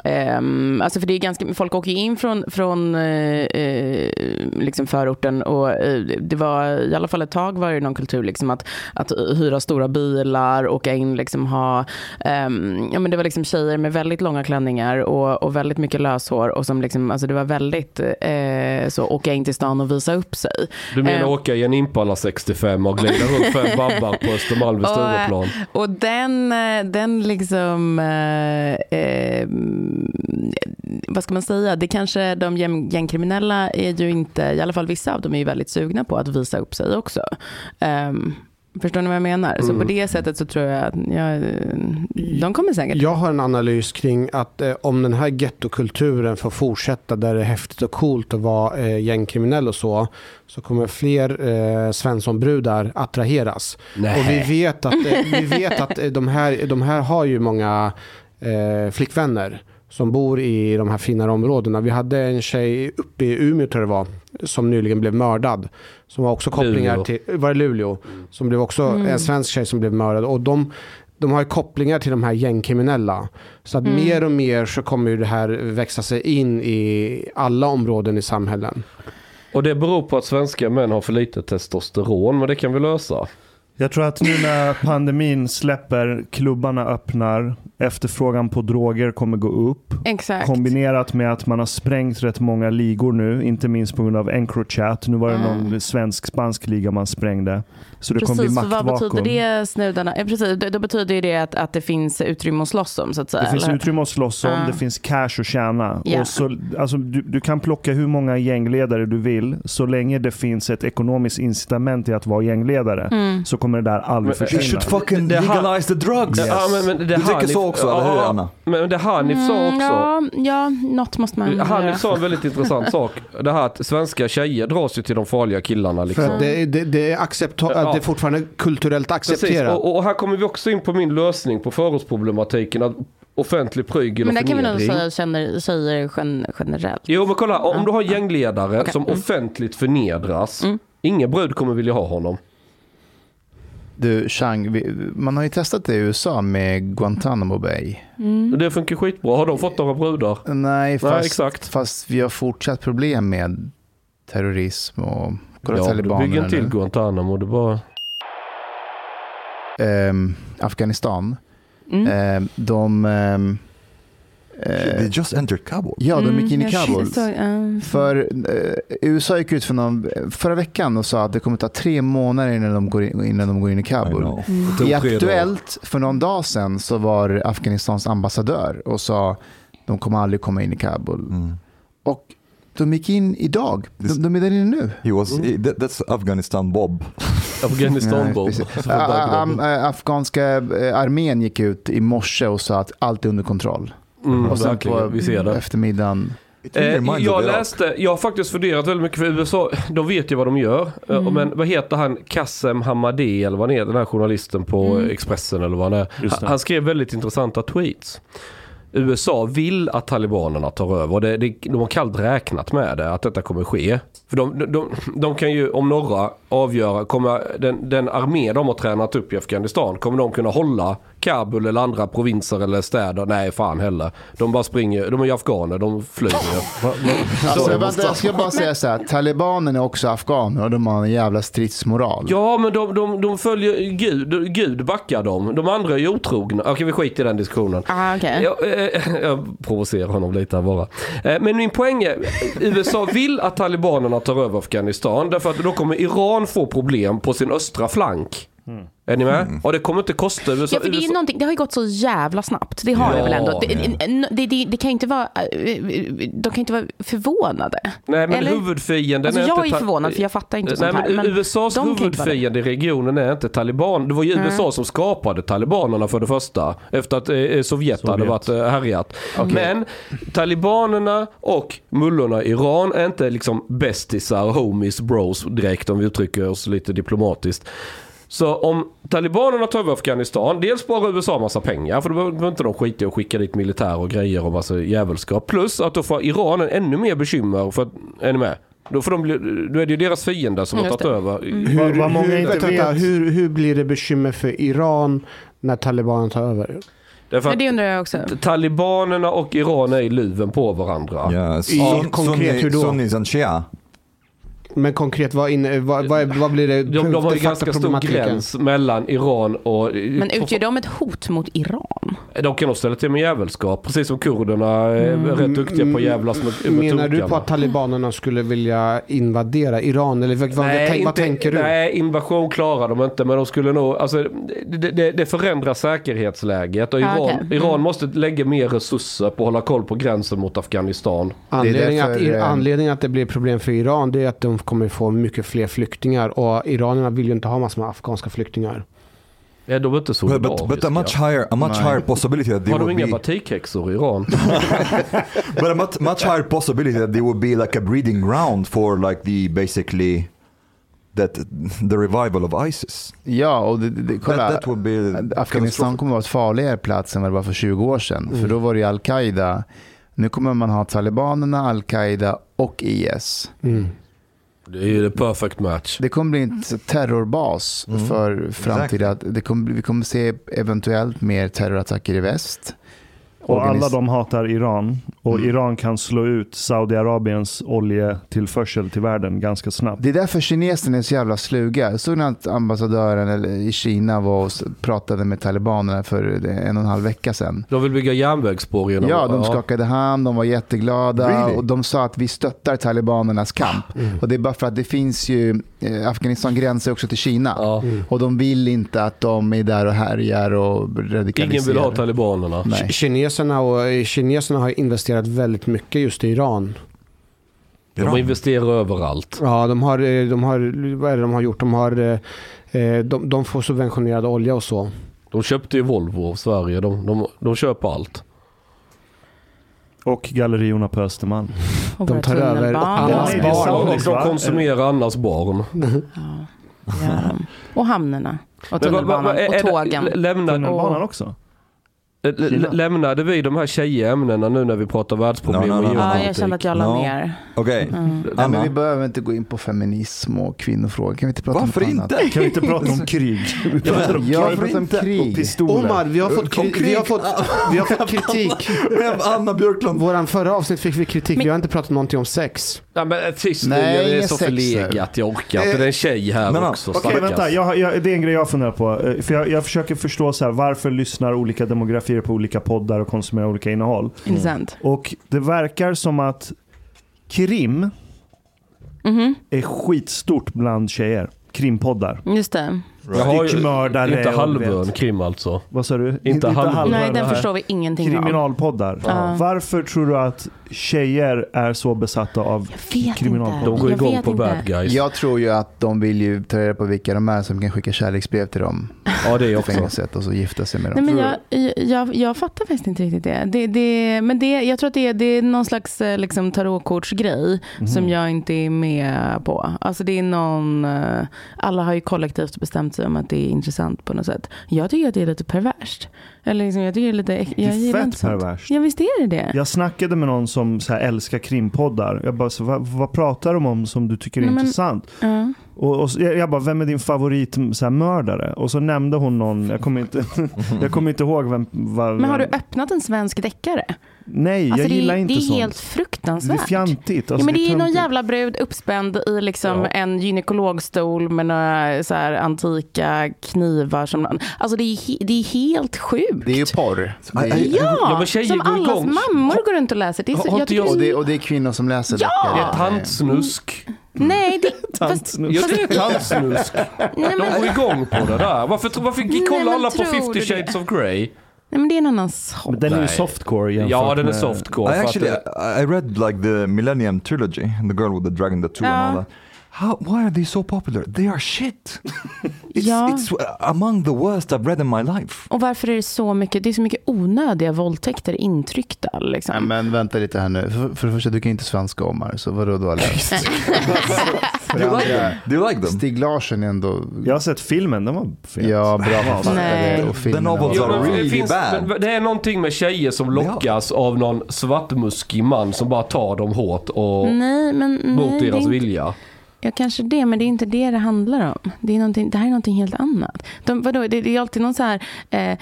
Speaker 2: ehm, alltså för det är ganska, folk åker ju in från, från eh, eh, liksom förorten och eh, det var i alla fall ett tag var det någon kultur liksom att, att hyra stora bilar, åka in, liksom ha, ehm, ja men det var liksom tjejer med väldigt långa klänningar och, och väldigt mycket löshår och som liksom, alltså det var väldigt eh, så åka in till stan och visa upp sig.
Speaker 7: Du menar
Speaker 2: Eh.
Speaker 7: åka i en Impala 65 och glida
Speaker 2: [laughs]
Speaker 7: runt fem babbar på Östermalm vid
Speaker 2: Och,
Speaker 7: Stureplan?
Speaker 2: eh, Och den, eh, den liksom, eh, eh, vad ska man säga, det kanske de gäng- gängkriminella är ju inte, i alla fall vissa av dem är ju väldigt sugna på att visa upp sig också. Ehm, förstår ni vad jag menar? Så
Speaker 3: Mm.
Speaker 2: på det sättet så tror jag att jag, de kommer säkert.
Speaker 6: Jag har en analys kring att eh, om den här gettokulturen får fortsätta där det är häftigt och coolt att vara eh, gängkriminell och så, så kommer fler eh, svenssonbrudar attraheras.
Speaker 7: Nej.
Speaker 6: Och vi vet att, eh, vi vet att eh, de, här, de här har ju många eh, flickvänner som bor i de här finare områdena. Vi hade en tjej uppe i Umeå tror jag det var, som nyligen blev mördad. Som har också kopplingar
Speaker 7: Luleå. Mm.
Speaker 6: till, var det Luleå? Som blev också en svensk tjej som blev mördad. Och de, de har ju kopplingar till de här gängkriminella. Så att mer och mer så kommer ju det här växa sig in i alla områden i samhällen.
Speaker 7: Och det beror på att svenska män har för lite testosteron, men det kan vi lösa.
Speaker 3: Jag tror att nu när pandemin släpper, klubbarna öppnar, efterfrågan på droger kommer gå upp.
Speaker 2: Exakt.
Speaker 3: Kombinerat med att man har sprängt rätt många ligor nu, inte minst på grund av Encrochat. Nu var
Speaker 2: Ah.
Speaker 3: det någon svensk-spansk liga man sprängde. Så det kommer bli
Speaker 2: Precis, för vad
Speaker 3: maktvakuum.
Speaker 2: betyder
Speaker 3: Det,
Speaker 2: det snudarna? Ja, precis, då, då betyder ju det att, att det finns utrymme att slåss om så att säga.
Speaker 3: finns
Speaker 2: eller?
Speaker 3: utrymme att slåss om,
Speaker 2: Ah.
Speaker 3: det finns cash att tjäna.
Speaker 2: Ja.
Speaker 3: Och så, alltså, du, du kan plocka hur många gängledare du vill, så länge det finns ett ekonomiskt incitament i att vara gängledare
Speaker 2: Mm.
Speaker 3: så kommer det där aldrig
Speaker 7: Men-
Speaker 1: You
Speaker 3: försvinna.
Speaker 1: should fucking
Speaker 7: Det här-
Speaker 1: legalize the drugs!
Speaker 7: Det- Ja, men, men det
Speaker 1: Du tycker
Speaker 7: Hanif-
Speaker 1: så också,
Speaker 7: ja,
Speaker 1: eller hur Anna?
Speaker 7: Men det Hanif sa också,
Speaker 2: Ja, Mm, ja, något måste man
Speaker 7: Han
Speaker 2: göra. [laughs]
Speaker 7: sa en väldigt intressant sak. Det här att svenska tjejer dras ju till de farliga killarna. Liksom.
Speaker 6: För att det, det, det, är accepta-
Speaker 7: Ja.
Speaker 6: att det är fortfarande kulturellt
Speaker 7: Precis.
Speaker 6: accepterat.
Speaker 7: Och, och här kommer vi också in på min lösning på förortsproblematiken. Att offentlig prygel
Speaker 2: Men
Speaker 7: och
Speaker 2: där kan vi nog
Speaker 7: förnedring.
Speaker 2: säga känner tjejer gen, generellt.
Speaker 7: Jo men kolla, om du har gängledare som
Speaker 2: Mm.
Speaker 7: offentligt förnedras. Ingen brud kommer vilja ha honom.
Speaker 4: Du, Chang, vi, man har ju testat det i USA med Guantanamo Bay.
Speaker 2: Mm.
Speaker 7: Det funkar skitbra. Har de fått några brudar?
Speaker 4: Nej, fast,
Speaker 7: exakt.
Speaker 4: fast vi har fortsatt problem med terrorism och kolla
Speaker 7: ja, du bygger
Speaker 4: talibanerna
Speaker 7: en till
Speaker 4: nu.
Speaker 7: Guantanamo. Det är bara...
Speaker 4: Ehm, Afghanistan.
Speaker 2: Mm.
Speaker 4: Ehm, de... ehm, eh,
Speaker 1: They just entered Kabul.
Speaker 4: ja, de gick in i
Speaker 2: Mm, jag Mm.
Speaker 4: Kabul.
Speaker 2: såg- ja.
Speaker 4: För eh, USA gick ut för någon, förra veckan och sa att det kommer ta tre månader innan de går in, innan de går in i
Speaker 1: I
Speaker 4: Kabul.
Speaker 1: know.
Speaker 2: Mm.
Speaker 4: I Aktuellt för någon dag sedan så var Afghanistans ambassadör och sa de kommer aldrig komma in i Kabul.
Speaker 1: Mm.
Speaker 4: Och de gick in idag. De, de är där inne nu.
Speaker 1: He was, he, that, that's Afghanistan Bob.
Speaker 7: Afghanistan Bob.
Speaker 4: Nej, precis. Ah, am- eh, Afghanska eh, armén gick ut i morse och sa att allt är under kontroll.
Speaker 7: Mm,
Speaker 4: och sen
Speaker 7: verkligen,
Speaker 4: på
Speaker 7: vi ser det.
Speaker 4: eftermiddagen.
Speaker 1: It really
Speaker 7: Eh,
Speaker 1: reminds of
Speaker 7: jag
Speaker 1: Iraq.
Speaker 7: läste, jag har faktiskt funderat väldigt mycket för USA, de vet ju vad de gör. Eh, Men vad heter han, Kassem Hamadi eller vad han är, den här journalisten på eh, Expressen eller vad han är.
Speaker 3: Just det.
Speaker 7: Han, han skrev väldigt intressanta tweets. USA vill att talibanerna tar över. Det, det, de har kallt räknat med det, att detta kommer ske. För de, de, de, de kan ju om några avgöra, kommer den, den armé de har tränat upp i Afghanistan, kommer de kunna hålla Kabul eller andra provinser eller städer? Nej, fan heller. De bara springer, de är ju afghaner, de flyr ju.
Speaker 4: Alltså,
Speaker 7: Så-
Speaker 4: vänta, jag ska bara säga så här. Talibanerna är också afghaner och de har en jävla stridsmoral.
Speaker 7: Ja, men de, de, de följer Gud. Gud backar dem. De andra är ju otrogna. Okej, vi skiter i den diskussionen.
Speaker 2: Ah, okej.
Speaker 7: Jag, eh, [laughs] jag provocerar honom lite här bara. Eh, men min poäng är, USA vill att talibanerna tar över Afghanistan därför att då kommer Iran få problem på sin östra flank. Är ni med? Och det kommer inte kosta USA.
Speaker 2: Ja, för det, är ju
Speaker 7: USA
Speaker 2: någonting, det har ju gått så jävla snabbt. Det har
Speaker 7: Ja,
Speaker 2: det väl ändå. Det,
Speaker 1: men-
Speaker 2: n- det, det, det kan ju inte vara, eh, de kan ju inte vara förvånade.
Speaker 7: Nej, men
Speaker 2: Eller?
Speaker 7: huvudfienden
Speaker 2: Alltså,
Speaker 7: är
Speaker 2: jag
Speaker 7: inte
Speaker 2: är
Speaker 7: ta-
Speaker 2: förvånad för jag fattar inte
Speaker 7: typ- Nej,
Speaker 2: sånt här.
Speaker 7: men
Speaker 2: Men
Speaker 7: USAs
Speaker 2: de kan inte vara det.
Speaker 7: huvudfiende i regionen är inte taliban. Det var ju USA som skapade talibanerna för det första. Efter att eh, Sovjet, hade
Speaker 3: Sovjet.
Speaker 7: varit eh, härjat. Men talibanerna och mullorna i Iran är inte liksom bästisar, homies, bros direkt om vi uttrycker oss lite diplomatiskt. Så om talibanerna tar över Afghanistan, dels sparar USA massa pengar för då behöver inte de skita i att skicka dit militär och grejer och massa jävelskap. Plus att då får Iran en ännu mer bekymmer för att, är ni med? Då, får de, bli- då är det ju deras fiender som har
Speaker 2: Just Mm.
Speaker 7: tagit över.
Speaker 6: Mm.
Speaker 3: Vad- vad många
Speaker 6: hur,
Speaker 3: inte
Speaker 6: vänta, vänta,
Speaker 3: vet-
Speaker 6: hur, hur blir det bekymmer för Iran när talibanerna tar över?
Speaker 7: Därför
Speaker 2: Men
Speaker 7: att
Speaker 2: det undrar jag också.
Speaker 7: talibanerna och Iran är i luven på varandra.
Speaker 1: Ja,
Speaker 6: I-
Speaker 1: sun-
Speaker 6: konkret,
Speaker 1: sunni-
Speaker 6: hur då?
Speaker 1: Sunnis and Shia.
Speaker 6: Men konkret, vad, inne, vad, vad, vad blir det?
Speaker 7: De, de har
Speaker 6: det
Speaker 7: ju ganska stor
Speaker 6: faktaproblematiken?
Speaker 7: gräns mellan Iran och...
Speaker 2: Men utgör de ett hot mot Iran?
Speaker 7: De kan nog ställa till med jävelskap, precis som kurderna är rätt duktiga på att jävlas med, med
Speaker 6: Mm. Menar du
Speaker 7: turkarna.
Speaker 6: på att talibanerna skulle vilja invadera Iran? Eller vad, vad, tänk, vad
Speaker 7: inte-
Speaker 6: tänker du?
Speaker 7: Nej, invasion klarar de inte, men de skulle nog... Alltså, det, det, det förändrar säkerhetsläget och
Speaker 2: Ja,
Speaker 7: Iran,
Speaker 2: okej. Mm.
Speaker 7: Iran måste lägga mer resurser på att hålla koll på gränsen mot Afghanistan.
Speaker 6: Anledningen,
Speaker 4: Det är
Speaker 6: att,
Speaker 4: därför, eh,
Speaker 6: anledningen att det blir problem för Iran det är att de kommer få mycket fler flyktingar och iranierna vill ju inte ha massor med afghanska flyktingar.
Speaker 7: Ja, de är inte
Speaker 1: But, but, but a
Speaker 7: solidariska.
Speaker 1: much higher, a much
Speaker 4: Nej.
Speaker 1: higher possibility that they
Speaker 7: Har de
Speaker 1: would
Speaker 7: inga
Speaker 1: be,
Speaker 7: batikhäxor
Speaker 6: [laughs]
Speaker 7: i Iran?
Speaker 1: but a much, much higher possibility that they would be like a breeding ground for like the basically that the revival of ISIS.
Speaker 4: Ja, och det, det, kolla.
Speaker 1: That, that would be
Speaker 4: uh, Afghanistan kommer att vara ett farligare plats än vad det var för 20 år sedan. För då var det ju al-Qaida. Nu kommer man ha talibanerna, al-Qaida och IS.
Speaker 7: Det är ju the perfect match.
Speaker 4: Det kommer bli en terrorbas för framtida... Det kommer, vi kommer se eventuellt mer terrorattacker i väst.
Speaker 3: Och
Speaker 4: Organis-
Speaker 3: alla de hatar Iran. Och Iran kan slå ut Saudiarabiens oljetillförsel till världen ganska snabbt.
Speaker 4: Det är därför kineserna är så jävla sluga. Jag såg när att ambassadören eller- i Kina var och s- pratade med talibanerna för eh, en och en halv vecka sedan.
Speaker 7: De vill bygga järnvägsspår genom...
Speaker 4: Ja, de skakade hand, de var jätteglada och de sa att vi stöttar talibanernas kamp. Och det är bara för att det finns ju, eh, Afghanistan gränsar också till Kina.
Speaker 7: Ja.
Speaker 6: Mm.
Speaker 4: Och de vill inte att de är där och härjar och radikaliserar.
Speaker 7: Ingen vill ha talibanerna.
Speaker 4: Nej.
Speaker 6: Kineserna, och, eh, kineserna har investerat väldigt mycket just i Iran.
Speaker 7: De investerar överallt.
Speaker 6: Ja, de har, eh, de har, vad är det de har gjort? De, har, eh, eh, de, de får subventionerad olja och så.
Speaker 7: De köpte ju Volvo av Sverige. De, de, de köper allt.
Speaker 3: Och galleriorna på Östermalm.
Speaker 2: Och
Speaker 6: De
Speaker 2: våra
Speaker 6: tar över
Speaker 2: tunnelbanor.
Speaker 6: allas
Speaker 3: Nej, det är
Speaker 6: barn.
Speaker 3: sant.
Speaker 7: Och
Speaker 3: Saudis, va?
Speaker 7: de konsumerar annars barn.
Speaker 2: Ja, det gör de. Och hamnarna. Och
Speaker 7: Men vad- vad-
Speaker 2: tunnelbanan.
Speaker 7: vad- är- är
Speaker 2: Och
Speaker 7: det-
Speaker 2: tågen.
Speaker 7: Lämnade,
Speaker 3: Tunnelbanan också.
Speaker 7: lä- lä- lämnade vi de här tjejiga ämnena nu när vi pratar världsproblem
Speaker 1: No, no,
Speaker 7: och
Speaker 1: no, no.
Speaker 2: Ja,
Speaker 7: geopolitik?
Speaker 2: jag kände att jag la
Speaker 1: No.
Speaker 2: ner.
Speaker 1: Okej,
Speaker 4: Nej, men
Speaker 1: Anna,
Speaker 4: vi behöver inte gå in på feminism och kvinnofrågor. Kan vi inte prata
Speaker 1: varför
Speaker 4: om något annat?
Speaker 1: inte?
Speaker 3: Kan vi inte prata om [laughs] krig? Vi pratar om
Speaker 4: Jag
Speaker 1: Varför
Speaker 4: pratar om
Speaker 1: inte?
Speaker 4: krig.
Speaker 3: pistoler.
Speaker 6: Omar, vi har fått, kri- vi har fått, vi har
Speaker 1: [laughs]
Speaker 6: fått kritik.
Speaker 1: Anna Björklund.
Speaker 6: [laughs] Våran förra avsnitt fick vi kritik. Vi har inte pratat någonting om sex.
Speaker 7: Nej men eh, tyst nu,
Speaker 4: Nej,
Speaker 7: jag är
Speaker 4: ingen
Speaker 7: så
Speaker 4: sex nu.
Speaker 7: förlegat. Jag orkar inte. Det är en tjej här
Speaker 1: men,
Speaker 7: också.
Speaker 1: okej,
Speaker 3: Okej,
Speaker 7: stackars.
Speaker 3: vänta. Jag, har- jag, det är en grej jag funderar på. Eh, För jag, jag försöker förstå så här, varför lyssnar olika demografier på olika poddar och konsumerar olika innehåll.
Speaker 2: Intressant.
Speaker 3: Och det verkar som att krim
Speaker 2: Mm-hmm.
Speaker 3: är skitstort bland tjejer. Krimpoddar.
Speaker 2: Just det.
Speaker 7: Jag har ju-
Speaker 3: Styckmördare
Speaker 7: Inte
Speaker 3: och du
Speaker 7: halvön
Speaker 3: vet.
Speaker 7: krim alltså.
Speaker 3: Vad sa du?
Speaker 7: halv-
Speaker 2: Nej,
Speaker 7: det
Speaker 2: den
Speaker 7: här.
Speaker 2: förstår vi ingenting av.
Speaker 3: Kriminalpoddar. Varför tror du att tjejer är så besatta av
Speaker 2: Vet inte.
Speaker 3: kriminalpoddar?
Speaker 7: De går
Speaker 2: Jag
Speaker 7: igång
Speaker 2: vet
Speaker 7: på
Speaker 2: inte.
Speaker 7: bad guys.
Speaker 4: Jag tror ju att de vill ju ta reda på vilka de är som kan skicka kärleksbrev till dem
Speaker 7: Ja det är
Speaker 4: i
Speaker 7: jag också.
Speaker 4: fängelset och så gifta sig med dem.
Speaker 2: Nej, men jag, jag, jag fattar faktiskt inte riktigt det. det, det men det, jag tror att det, är- det är någon slags eh, liksom, tarotkortsgrej
Speaker 3: Mm-hmm.
Speaker 2: som jag inte är med på. Alltså det är någon, eh, alla har ju kollektivt bestämt sig om att det är intressant på något sätt. Jag tycker att det är lite perverst. Eller liksom, jag tycker det är lite, äck- jag
Speaker 3: är
Speaker 2: gillar
Speaker 3: fett
Speaker 2: inte sånt.
Speaker 3: perverst.
Speaker 2: Ja visst är det det.
Speaker 3: Jag snackade med någon som så här älskar krimpoddar. Jag bara, så, vad, vad pratar de om som du tycker är
Speaker 2: Nej, men-
Speaker 3: intressant?
Speaker 2: Ja.
Speaker 3: Och, och så, jag jag bara, vem är din favorit så här, mördare? Och så nämnde hon någon, jag kommer inte, [laughs] jag kommer inte ihåg vem. Vad,
Speaker 2: Men har du
Speaker 3: vem-
Speaker 2: öppnat en svensk deckare?
Speaker 3: Nej,
Speaker 2: Alltså,
Speaker 3: jag
Speaker 2: det är-
Speaker 3: gillar inte
Speaker 2: Det är
Speaker 3: sånt.
Speaker 2: helt
Speaker 3: det är
Speaker 2: fruktansvärt.
Speaker 3: fjantigt. Alltså,
Speaker 2: ja, men det är ju någon
Speaker 3: töntigt.
Speaker 2: jävla brud uppspänd i liksom
Speaker 7: Ja.
Speaker 2: en gynekologstol med några så här antika knivar. Som, alltså det är, he- det är helt sjukt.
Speaker 4: Det är ju porr. Det är ju-
Speaker 2: ja,
Speaker 7: Ja, men tjejer
Speaker 2: som
Speaker 7: går
Speaker 2: allas
Speaker 7: igång.
Speaker 2: mammor går runt och läser. Det är
Speaker 7: Har-
Speaker 2: så,
Speaker 7: har
Speaker 2: jag
Speaker 7: inte
Speaker 2: tycker
Speaker 7: jag-
Speaker 4: Och
Speaker 2: det
Speaker 4: det,
Speaker 2: är,
Speaker 4: och det är kvinnor som läser
Speaker 2: Ja!
Speaker 7: Det
Speaker 4: böcker.
Speaker 7: är tantsnusk.
Speaker 2: Mm. nej, det, fast,
Speaker 3: Tantsnusk.
Speaker 2: fast-
Speaker 7: Tantsnusk.
Speaker 2: nej, men,
Speaker 7: De går igång på det där. Varför, tro- varför
Speaker 2: Nej,
Speaker 7: kollar
Speaker 2: men
Speaker 7: alla på
Speaker 2: tror
Speaker 7: 50
Speaker 2: du det?
Speaker 7: shades of Grey?
Speaker 2: nej, men det är en annan sak.
Speaker 3: Men Den är ju
Speaker 7: Nej.
Speaker 3: softcore jämfört
Speaker 7: Ja, den är
Speaker 3: med-
Speaker 7: softcore.
Speaker 1: I
Speaker 7: för att
Speaker 1: actually,
Speaker 7: det-
Speaker 1: I I read like the Millennium Trilogy, The Girl with the Dragon Tattoo and all that. How, why are they so popular? They are shit. [laughs] It's,
Speaker 2: Ja.
Speaker 1: it's among the worst I've read in my life.
Speaker 2: Och varför är det så mycket, det är så mycket onödiga våldtäkter intryckta. Liksom.
Speaker 4: Ja, Men vänta lite här nu. För, för det första, du kan ju inte svenska Omar, så vadå du har läst? [laughs] för det andra,
Speaker 1: Do you like them?
Speaker 4: Stig Larsen är ändå
Speaker 3: Jag har sett filmen, den var fet.
Speaker 4: ja, bra författare.
Speaker 2: Nej.
Speaker 4: Och filmen
Speaker 1: The novels
Speaker 7: Ja,
Speaker 1: are
Speaker 7: men
Speaker 4: var-
Speaker 1: real.
Speaker 7: det,
Speaker 1: really
Speaker 7: finns,
Speaker 1: bad.
Speaker 7: men det är någonting med tjejer som lockas av någon svartmuskig man som bara tar dem hårt och
Speaker 2: Nej, men
Speaker 7: mot
Speaker 2: Mm,
Speaker 7: alltså,
Speaker 2: nej, det är
Speaker 7: deras
Speaker 2: inte-
Speaker 7: vilja.
Speaker 2: Ja, kanske det, men det är inte det det handlar om. Det, är någonting- det här är någonting helt annat. De, vadå, det, det är alltid någon så här, eh, eh,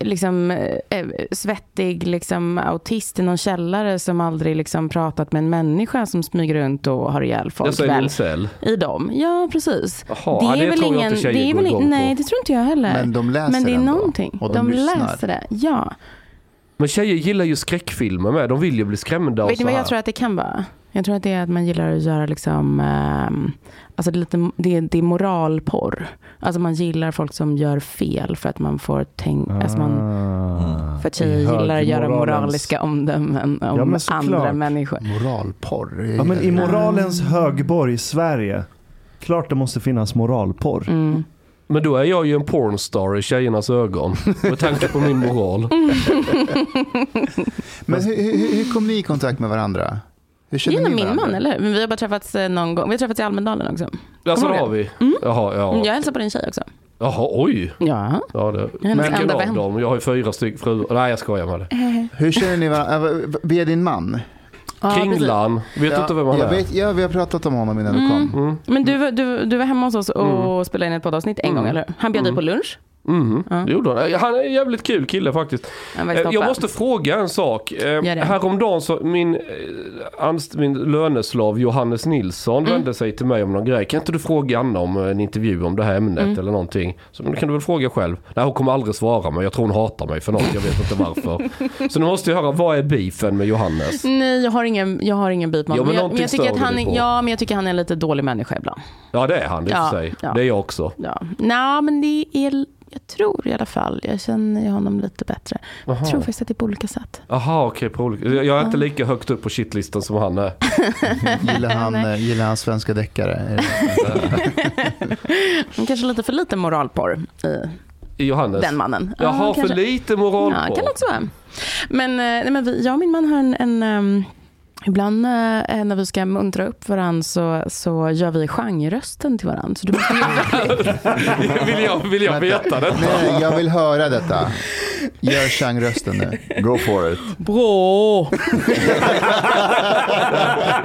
Speaker 2: liksom, eh, eh, svettig liksom, autist i någon källare som aldrig liksom, pratat med en människa som smyger runt och har ihjäl folk.
Speaker 7: Jag säger
Speaker 2: väl?
Speaker 7: incel.
Speaker 2: I dem, ja precis.
Speaker 7: Jaha, ja, det tror jag inte tjejer
Speaker 2: det är
Speaker 7: går
Speaker 2: väl
Speaker 7: igång
Speaker 2: in,
Speaker 7: på.
Speaker 2: Nej, det tror inte jag heller.
Speaker 4: Men de läser
Speaker 2: Men det är
Speaker 4: ändå.
Speaker 2: någonting.
Speaker 4: Och de
Speaker 2: de
Speaker 4: lyssnar.
Speaker 2: läser det, ja.
Speaker 7: Men tjejer gillar ju skräckfilmer med. De vill ju bli skrämda och
Speaker 2: Vet ni
Speaker 7: så
Speaker 2: vad
Speaker 7: här.
Speaker 2: jag tror att det kan vara? Jag tror att det är att man gillar att göra liksom, ehm, alltså det, är lite, det, är, det är moralporr. Alltså man gillar folk som gör fel för att man får tänka, alltså man,
Speaker 7: Ah,
Speaker 2: för att tjejer
Speaker 3: det är hög
Speaker 2: gillar att göra
Speaker 3: moralens-
Speaker 2: moraliska omdömen om
Speaker 3: Ja, men såklart.
Speaker 2: andra människor.
Speaker 4: Moralporr. Jag
Speaker 3: Ja, men
Speaker 4: gillar
Speaker 3: i
Speaker 4: det.
Speaker 3: moralens högborg i Sverige, klart det måste finnas moralporr.
Speaker 2: Mm.
Speaker 7: Men då är jag ju en pornstar i
Speaker 2: [laughs]
Speaker 7: tjejernas ögon. Med tanke på min
Speaker 2: Mm,
Speaker 7: moral.
Speaker 4: men hur, hur, hur kom ni i kontakt med varandra? Hur
Speaker 2: Det
Speaker 4: känner
Speaker 2: är nog
Speaker 4: ni
Speaker 2: min
Speaker 4: varandra?
Speaker 2: man, eller hur? Men vi har bara träffats eh, någon gång. Vi har träffats i Almedalen också.
Speaker 7: Alltså
Speaker 2: Kommer du
Speaker 7: det har
Speaker 2: ihåg
Speaker 7: vi. Jaha,
Speaker 2: Mm, Jag
Speaker 7: ja.
Speaker 2: hälsade på din tjej också.
Speaker 7: Jaha, oj.
Speaker 2: Ja.
Speaker 7: Ja, det.
Speaker 2: är hennes
Speaker 7: Vilken
Speaker 2: enda
Speaker 7: av
Speaker 2: vän.
Speaker 7: dem? Jag har ju fyra stycken fruar. Nej, jag skojar med det.
Speaker 4: Hur känner ni varandra? Eh, Via din man?
Speaker 2: Ja,
Speaker 7: Kringlan. Vet du
Speaker 4: Ja,
Speaker 7: inte vem han
Speaker 4: jag
Speaker 7: är?
Speaker 4: Vet, ja, vi har pratat om honom innan
Speaker 2: Mm.
Speaker 4: du kom.
Speaker 2: precis. Men du, var- du, du var hemma hos oss och
Speaker 7: Mm.
Speaker 2: spelade in ett poddavsnitt en gång, eller hur? Han bjöd dig på lunch.
Speaker 7: Mhm,
Speaker 2: Ja.
Speaker 7: det gjorde han. Han är en jävligt kul kille faktiskt.
Speaker 2: Han var
Speaker 7: Eh,
Speaker 2: toppen.
Speaker 7: Jag måste fråga en sak. Eh,
Speaker 2: det.
Speaker 7: Häromdagen så min, eh, anst- min löneslav Johannes Nilsson
Speaker 2: Mm.
Speaker 7: vände sig till mig om någon grej. Kan inte du fråga Anna om eh, en intervju om det här ämnet
Speaker 2: Mm.
Speaker 7: eller någonting? Så, men det kan du väl fråga själv? Nej, hon kommer aldrig svara mig. Jag tror hon hatar mig för något. Jag vet
Speaker 2: [laughs]
Speaker 7: inte varför. så nu måste jag höra, vad är beefen med Johannes?
Speaker 2: Nej, jag har ingen, jag har ingen beef med
Speaker 7: Ja, men
Speaker 2: honom. jag,
Speaker 7: någonting
Speaker 2: jag tycker
Speaker 7: stör
Speaker 2: att
Speaker 7: du
Speaker 2: han,
Speaker 7: dig på.
Speaker 2: är- ja, men jag tycker han är en lite dålig människa ibland.
Speaker 7: Ja, det är han i och
Speaker 2: Ja,
Speaker 7: för sig.
Speaker 2: ja.
Speaker 7: Det är jag också.
Speaker 2: Ja. Nej, men det är, jag tror i alla fall, jag känner ju honom lite bättre. Jag tror faktiskt att det är på olika sätt.
Speaker 7: Aha, okej. på olika- jag jag är inte lika högt upp på shitlistan som han är.
Speaker 2: [laughs]
Speaker 4: Gillar, han, eh, gillar han svenska deckare? Är [laughs] det-
Speaker 2: Men kanske lite för lite moralporr i
Speaker 7: Johannes.
Speaker 2: den mannen. Ja,
Speaker 7: Jaha, för
Speaker 2: kanske.
Speaker 7: lite moral
Speaker 2: Ja,
Speaker 7: på.
Speaker 2: kan också vara. Men, eh, nej, men vi, jag och min man har en... en ehm, Ibland eh, när vi ska muntra upp varandra så, så gör vi genrösten till varandra. Så du måste ju
Speaker 7: [laughs] vill jag, vill jag veta det?
Speaker 4: Nej, jag vill höra detta. Gör Chang-rösten nu.
Speaker 1: Go [laughs] for it.
Speaker 7: [laughs] Bra!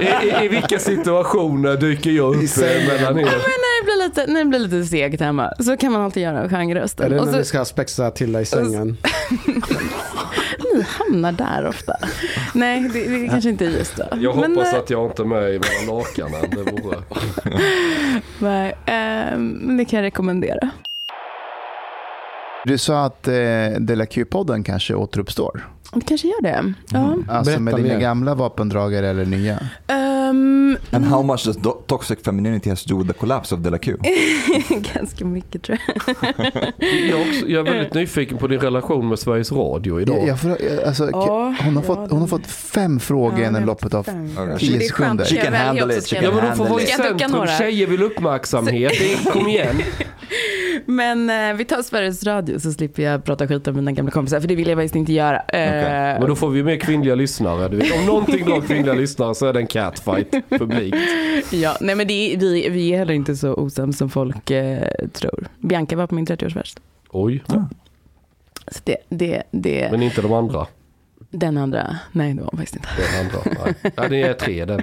Speaker 7: [laughs] I, i, I vilka situationer dyker jag upp eh, mellan er?
Speaker 2: Men när det blir lite, när det blir lite segt hemma så kan man alltid göra en genröst.
Speaker 6: Eller
Speaker 2: Och
Speaker 6: när
Speaker 2: så
Speaker 6: vi ska spexa till dig i sängen.
Speaker 2: ni hamnar där ofta. Nej, det, det är kanske inte är just då.
Speaker 7: Jag
Speaker 2: Men,
Speaker 7: hoppas
Speaker 2: eh,
Speaker 7: att jag inte är med i mellan lakanen. Det vore...
Speaker 2: nej, eh, men det kan jag rekommendera.
Speaker 4: Du sa att eh, Dela Q-podden kanske återuppstår.
Speaker 2: Det kanske gör det. Ja.
Speaker 4: Alltså
Speaker 6: Berätta
Speaker 4: med dina
Speaker 6: mer.
Speaker 4: gamla vapendragare eller nya.
Speaker 2: Ehm,
Speaker 1: And how much does do- toxic femininity has to do with the collapse of De La Q?
Speaker 2: Eh.
Speaker 1: [laughs]
Speaker 2: ganska mycket tror jag.
Speaker 7: jag, är också, jag är
Speaker 2: Eh.
Speaker 7: väldigt nyfiken på din relation med Sveriges Radio
Speaker 4: Jag,
Speaker 7: idag.
Speaker 4: jag får, jag, alltså,
Speaker 2: Ja,
Speaker 4: hon,
Speaker 2: ja,
Speaker 4: har fått, hon har fått fem frågor inom loppet av
Speaker 1: Okay.
Speaker 4: tio
Speaker 1: She,
Speaker 2: Det är skönt.
Speaker 4: sekunder.
Speaker 1: she
Speaker 2: Jag
Speaker 1: can
Speaker 2: väljer
Speaker 1: handle
Speaker 2: också
Speaker 1: it, she
Speaker 2: ska
Speaker 1: can
Speaker 7: Ja, men de får
Speaker 1: handle
Speaker 7: vara i
Speaker 1: it.
Speaker 2: Ska jag ducka
Speaker 7: centrum.
Speaker 2: några?
Speaker 7: Tjejer vill uppmärksamhet. Det är- Kom igen.
Speaker 2: Men eh, vi tar Sveriges Radio så slipper jag prata skit om mina gamla kompisar för det vill jag faktiskt inte göra. Eh,
Speaker 7: Men då får vi mer kvinnliga lyssnare. Du vet. Om någonting drar kvinnliga lyssnare så är det en catfight publikt.
Speaker 2: ja, nej men det är, vi, vi är heller inte så osams som folk eh, tror. Bianca var på min 30-årsfest.
Speaker 7: Oj,
Speaker 2: Så det, det, det,
Speaker 7: men inte de andra.
Speaker 2: den andra, nej det var hon faktiskt inte.
Speaker 7: Den andra. Nej. Ja, det är tre den.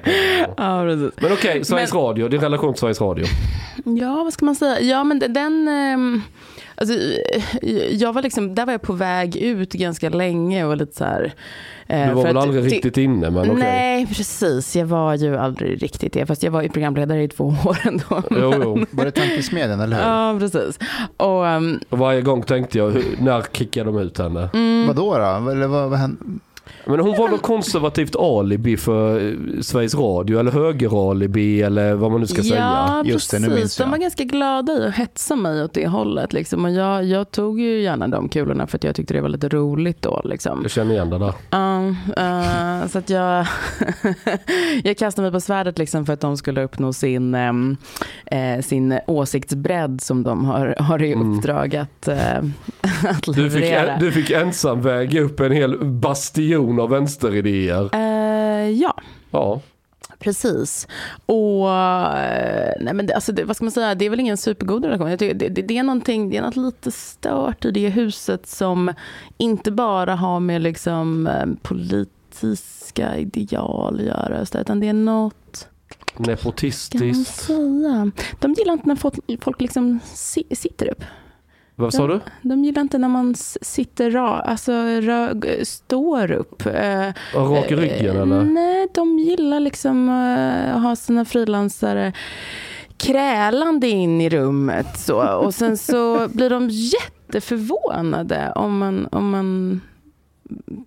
Speaker 2: Ja, precis.
Speaker 7: Men okej, Sveriges Radio. Din relation till Sveriges Radio.
Speaker 2: Ja, vad ska man säga? Ja, men de- den... ehm, Alltså, eh, jag var liksom, där var jag på väg ut ganska länge och lite så här... eh,
Speaker 7: Du var
Speaker 2: för
Speaker 7: väl
Speaker 2: att-
Speaker 7: aldrig
Speaker 2: det-
Speaker 7: riktigt inne, men okej.
Speaker 2: Nej, precis. Jag var ju aldrig riktigt det. Fast jag var ju programledare i två [laughs] år ändå.
Speaker 7: Jo,
Speaker 2: [laughs]
Speaker 7: jo.
Speaker 4: Var det tankesmedjan, eller hur?
Speaker 2: Ja, precis. Och, ehm,
Speaker 7: Och varje gång tänkte jag, hur, när kickar de ut henne?
Speaker 2: Mm. Um.
Speaker 4: Vadå då? Eller vad, vad hände?
Speaker 7: Men hon var något konservativt alibi för eh, Sveriges Radio, eller högeralibi, eller vad man nu ska säga.
Speaker 2: Ja,
Speaker 4: Just det, nu
Speaker 2: precis.
Speaker 4: minns jag.
Speaker 2: De var ganska glada i att hetsa mig åt det hållet. Liksom. Och jag, jag tog ju gärna de kulorna för att jag tyckte det var lite roligt då. Liksom.
Speaker 7: Jag känner igen det där.
Speaker 2: Ja, eh, så att jag, [laughs] jag kastade mig på svärdet liksom för att de skulle uppnå sin, ehm, eh, sin åsiktsbredd som de har, har i uppdrag att, eh, [laughs] att
Speaker 7: Du fick,
Speaker 2: leverera.
Speaker 7: du fick ensam väga upp en hel bastion av vänsteridéer.
Speaker 2: Eh, ja,
Speaker 7: Ja.
Speaker 2: precis. Och eh, nej men det, alltså det, vad ska man säga, det är väl ingen supergod relation. Jag tycker, det, det, det, är någonting, det är något lite stört i det huset som inte bara har med liksom, eh, politiska ideal att göra, just det, utan det är något Kan man
Speaker 7: Nepotistiskt.
Speaker 2: säga. De gillar inte när folk, folk liksom si, sitter upp.
Speaker 7: Vad sa du?
Speaker 2: De gillar inte när man s- sitter ra, alltså ra, g- står upp. Eh,
Speaker 7: Rak i ryggen
Speaker 2: eh,
Speaker 7: eller?
Speaker 2: Nej, de gillar liksom eh, att ha sina frilansare krälande in i rummet. Så. Och sen så blir de jätteförvånade om man, om man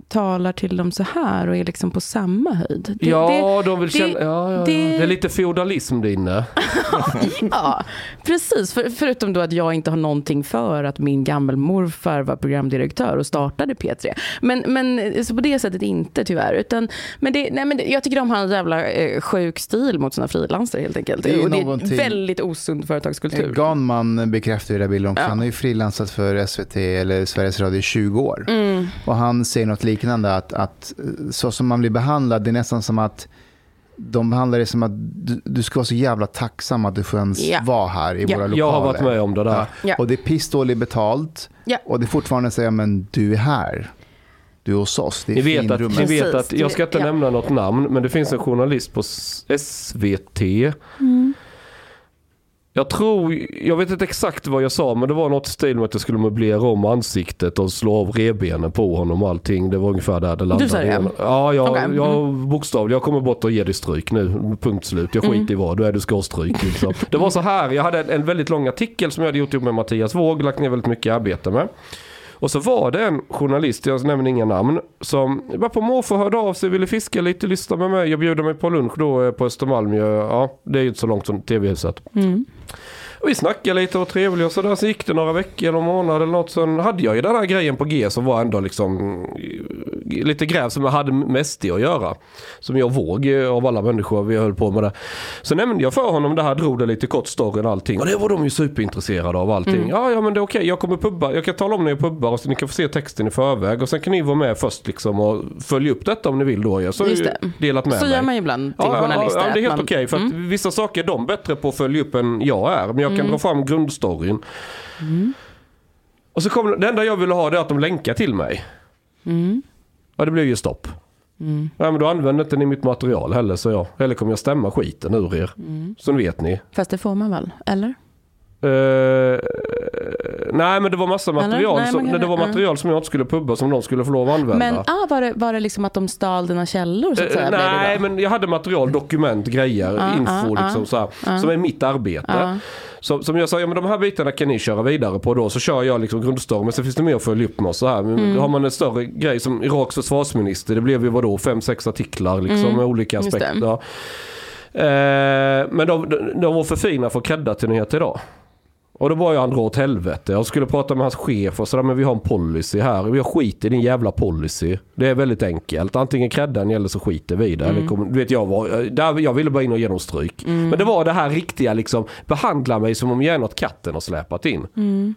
Speaker 2: talar till dem så här och är liksom på samma höjd. Det- det-
Speaker 7: Ja, de vill känna... Ja, ja, ja.
Speaker 2: det-
Speaker 7: Det är lite feodalism där inne.
Speaker 2: Ja, precis. För, förutom då att jag inte har någonting för att min gammelmorfar var programdirektör och startade P3. Men, men så på det sättet inte tyvärr. Utan, men det, nej, men det, jag tycker de har en jävla eh, sjuk stil mot sina frilansare helt enkelt.
Speaker 4: Det är ju
Speaker 2: och det
Speaker 4: någonting-
Speaker 2: är väldigt osund företagskultur.
Speaker 4: Ganman bekräftar ju det här bilden också.
Speaker 2: Ja.
Speaker 4: Han har ju frilansat för SVT eller Sveriges Radio i 20 år.
Speaker 2: Mm.
Speaker 4: Och han säger något liknande, att, att eh, så som man blir behandlad, det är nästan som att de behandlar det som att du, du ska vara så jävla tacksam att du får ens
Speaker 2: Ja.
Speaker 4: vara här i
Speaker 2: Ja.
Speaker 4: våra lokaler.
Speaker 7: Jag har varit med om det där.
Speaker 2: Ja.
Speaker 4: Och det är pissdåligt betalt.
Speaker 2: Ja.
Speaker 4: Och det är fortfarande så, ja men du är här. Du är hos oss. Det är
Speaker 7: Ni vet, att,
Speaker 4: finrummet.
Speaker 7: ni vet
Speaker 2: Precis,
Speaker 7: att, jag ska inte
Speaker 2: ja.
Speaker 7: nämna något namn, men det finns en journalist på S- SVT.
Speaker 2: Mm.
Speaker 7: Jag tror, jag vet inte exakt vad jag sa, men det var något i stil med att jag skulle möblera om ansiktet och slå av revbenen på honom och allting. Det var ungefär där det landade.
Speaker 2: sa det?
Speaker 7: Ja, jag,
Speaker 2: Okej, mm.
Speaker 7: jag, bokstavligt. Jag kommer bort och ger dig stryk nu. Punkt slut. Jag skiter i
Speaker 2: Mm.
Speaker 7: vad. Du är, du ska ha stryk. Liksom. Det var så här, jag hade en, en väldigt lång artikel som jag hade gjort ihop med Mattias Våg. Lagt ner väldigt mycket arbete med. Och så var det en journalist, jag nämner inga namn, som var på måfå hörde av sig, ville fiska lite, lyssna med mig. Jag bjuder mig på lunch då eh, på Östermalm. Jag- Ja, det är ju inte så långt som tv-huset. Och vi snackade lite och var trevliga och sådär. Sen gick det några veckor, någon månad eller något. Sen hade jag ju den här grejen på G som var ändå liksom eh, lite gräv som jag hade mest i att göra. Som jag våg eh, av alla människor vi höll på med det. Så nämnde jag för honom det här, drog det lite kort storyn och allting. Och det var de ju superintresserade av allting.
Speaker 2: Mm.
Speaker 7: Ja, ja men det är okej, jag kommer pubba. Jag kan tala om när jag pubbar och så ni kan få se texten i förväg. Och sen kan ni vara med först liksom och följa upp detta om ni vill då. Jag så har jag
Speaker 2: Just
Speaker 7: ju
Speaker 2: det.
Speaker 7: delat med
Speaker 2: Så
Speaker 7: mig.
Speaker 2: gör man ju ibland till
Speaker 7: Ja,
Speaker 2: journalister.
Speaker 7: Ja, ja, det är helt
Speaker 2: att man- Mm.
Speaker 7: okej. för att Vissa saker är de bättre på att följa upp än jag är. Men jag kan dra fram grundstoryn.
Speaker 2: Mm.
Speaker 7: Och så kom, det enda jag ville ha det är att de länkar till mig.
Speaker 2: Mm.
Speaker 7: Ja, det blev ju stopp. Nej, men då använde inte ni mitt material heller, så jag. Eller kommer jag stämma skiten ur er.
Speaker 2: Mm.
Speaker 7: Så nu vet ni.
Speaker 2: Fast det får man väl? Eller?
Speaker 7: Eh, nej men det var massa material,
Speaker 2: Eller? Nej,
Speaker 7: som,
Speaker 2: man kan-
Speaker 7: nej, det var
Speaker 2: ja.
Speaker 7: material som jag inte skulle pubba som de skulle få lov att använda.
Speaker 2: Men ah, var, det, var det liksom att de stal dina källor så att
Speaker 7: Eh,
Speaker 2: säga? blev det
Speaker 7: nej,
Speaker 2: då?
Speaker 7: men jag hade material, dokument, grejer, info
Speaker 2: ah,
Speaker 7: liksom så här, som är mitt arbete. Som, som jag sa, ja, men de här bitarna kan ni köra vidare på då, så kör jag liksom grundstormen, men sen finns det mer att följa upp med och så här. Men
Speaker 2: Mm.
Speaker 7: Har man en större grej som Iraks försvarsminister, det blev ju vadå, fem, sex artiklar liksom med olika
Speaker 2: Mm, just det.
Speaker 7: aspekter. Ja. Eh, men de, de, de var för fina för att credda till nyheter idag. Och då var jag andra åt helvete. Jag skulle prata med hans chef och sådär, men vi har en policy här. Jag skiter i din jävla policy. Det är väldigt enkelt. Antingen creddar ni eller så skiter vi i det.
Speaker 2: Mm.
Speaker 7: Eller kommer- Du vet, jag, var, där, jag ville bara in och ge dem stryk. Men det var det här riktiga liksom, behandla mig som om jag är något katten har släpat in.
Speaker 2: Mm.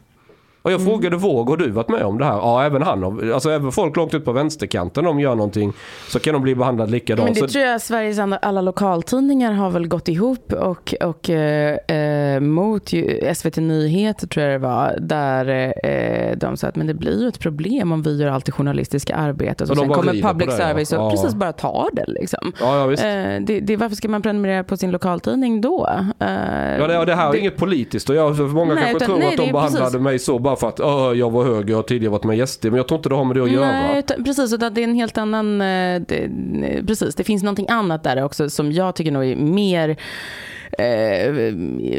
Speaker 7: Och jag frågade Våg, har du varit med om det här? Ja, även han. har- Alltså även folk långt ut på vänsterkanten, om de gör någonting så kan de bli behandlade likadant.
Speaker 2: Men det
Speaker 7: Så-
Speaker 2: tror jag Sveriges alla, alla lokaltidningar har väl gått ihop och, och eh, eh, mot ju, SVT Nyheter tror jag det var. Där eh, de sa att men det blir ju ett problem om vi gör allt det journalistiska arbetet.
Speaker 7: Och
Speaker 2: Och
Speaker 7: de
Speaker 2: sen
Speaker 7: bara
Speaker 2: kommer
Speaker 7: vrider på
Speaker 2: public
Speaker 7: det, ja.
Speaker 2: service och
Speaker 7: Ja.
Speaker 2: precis bara tar det liksom.
Speaker 7: Ja, ja, visst.
Speaker 2: Eh, det, det, varför ska man prenumerera på sin lokaltidning då? Eh,
Speaker 7: Ja, det, det här är inget politiskt och jag, för många
Speaker 2: Nej,
Speaker 7: kanske
Speaker 2: utan-
Speaker 7: tror
Speaker 2: nej,
Speaker 7: att de
Speaker 2: det är
Speaker 7: behandlade
Speaker 2: precis-
Speaker 7: mig så bara för att "Åh, jag var höger, jag har tidigare varit med i SD. Men jag tror inte det har med det att
Speaker 2: Nej,
Speaker 7: göra.
Speaker 2: utan, precis. Utan det är en helt annan... eh, Det, eh, precis, det finns någonting annat där också som jag tycker nog är mer... Eh,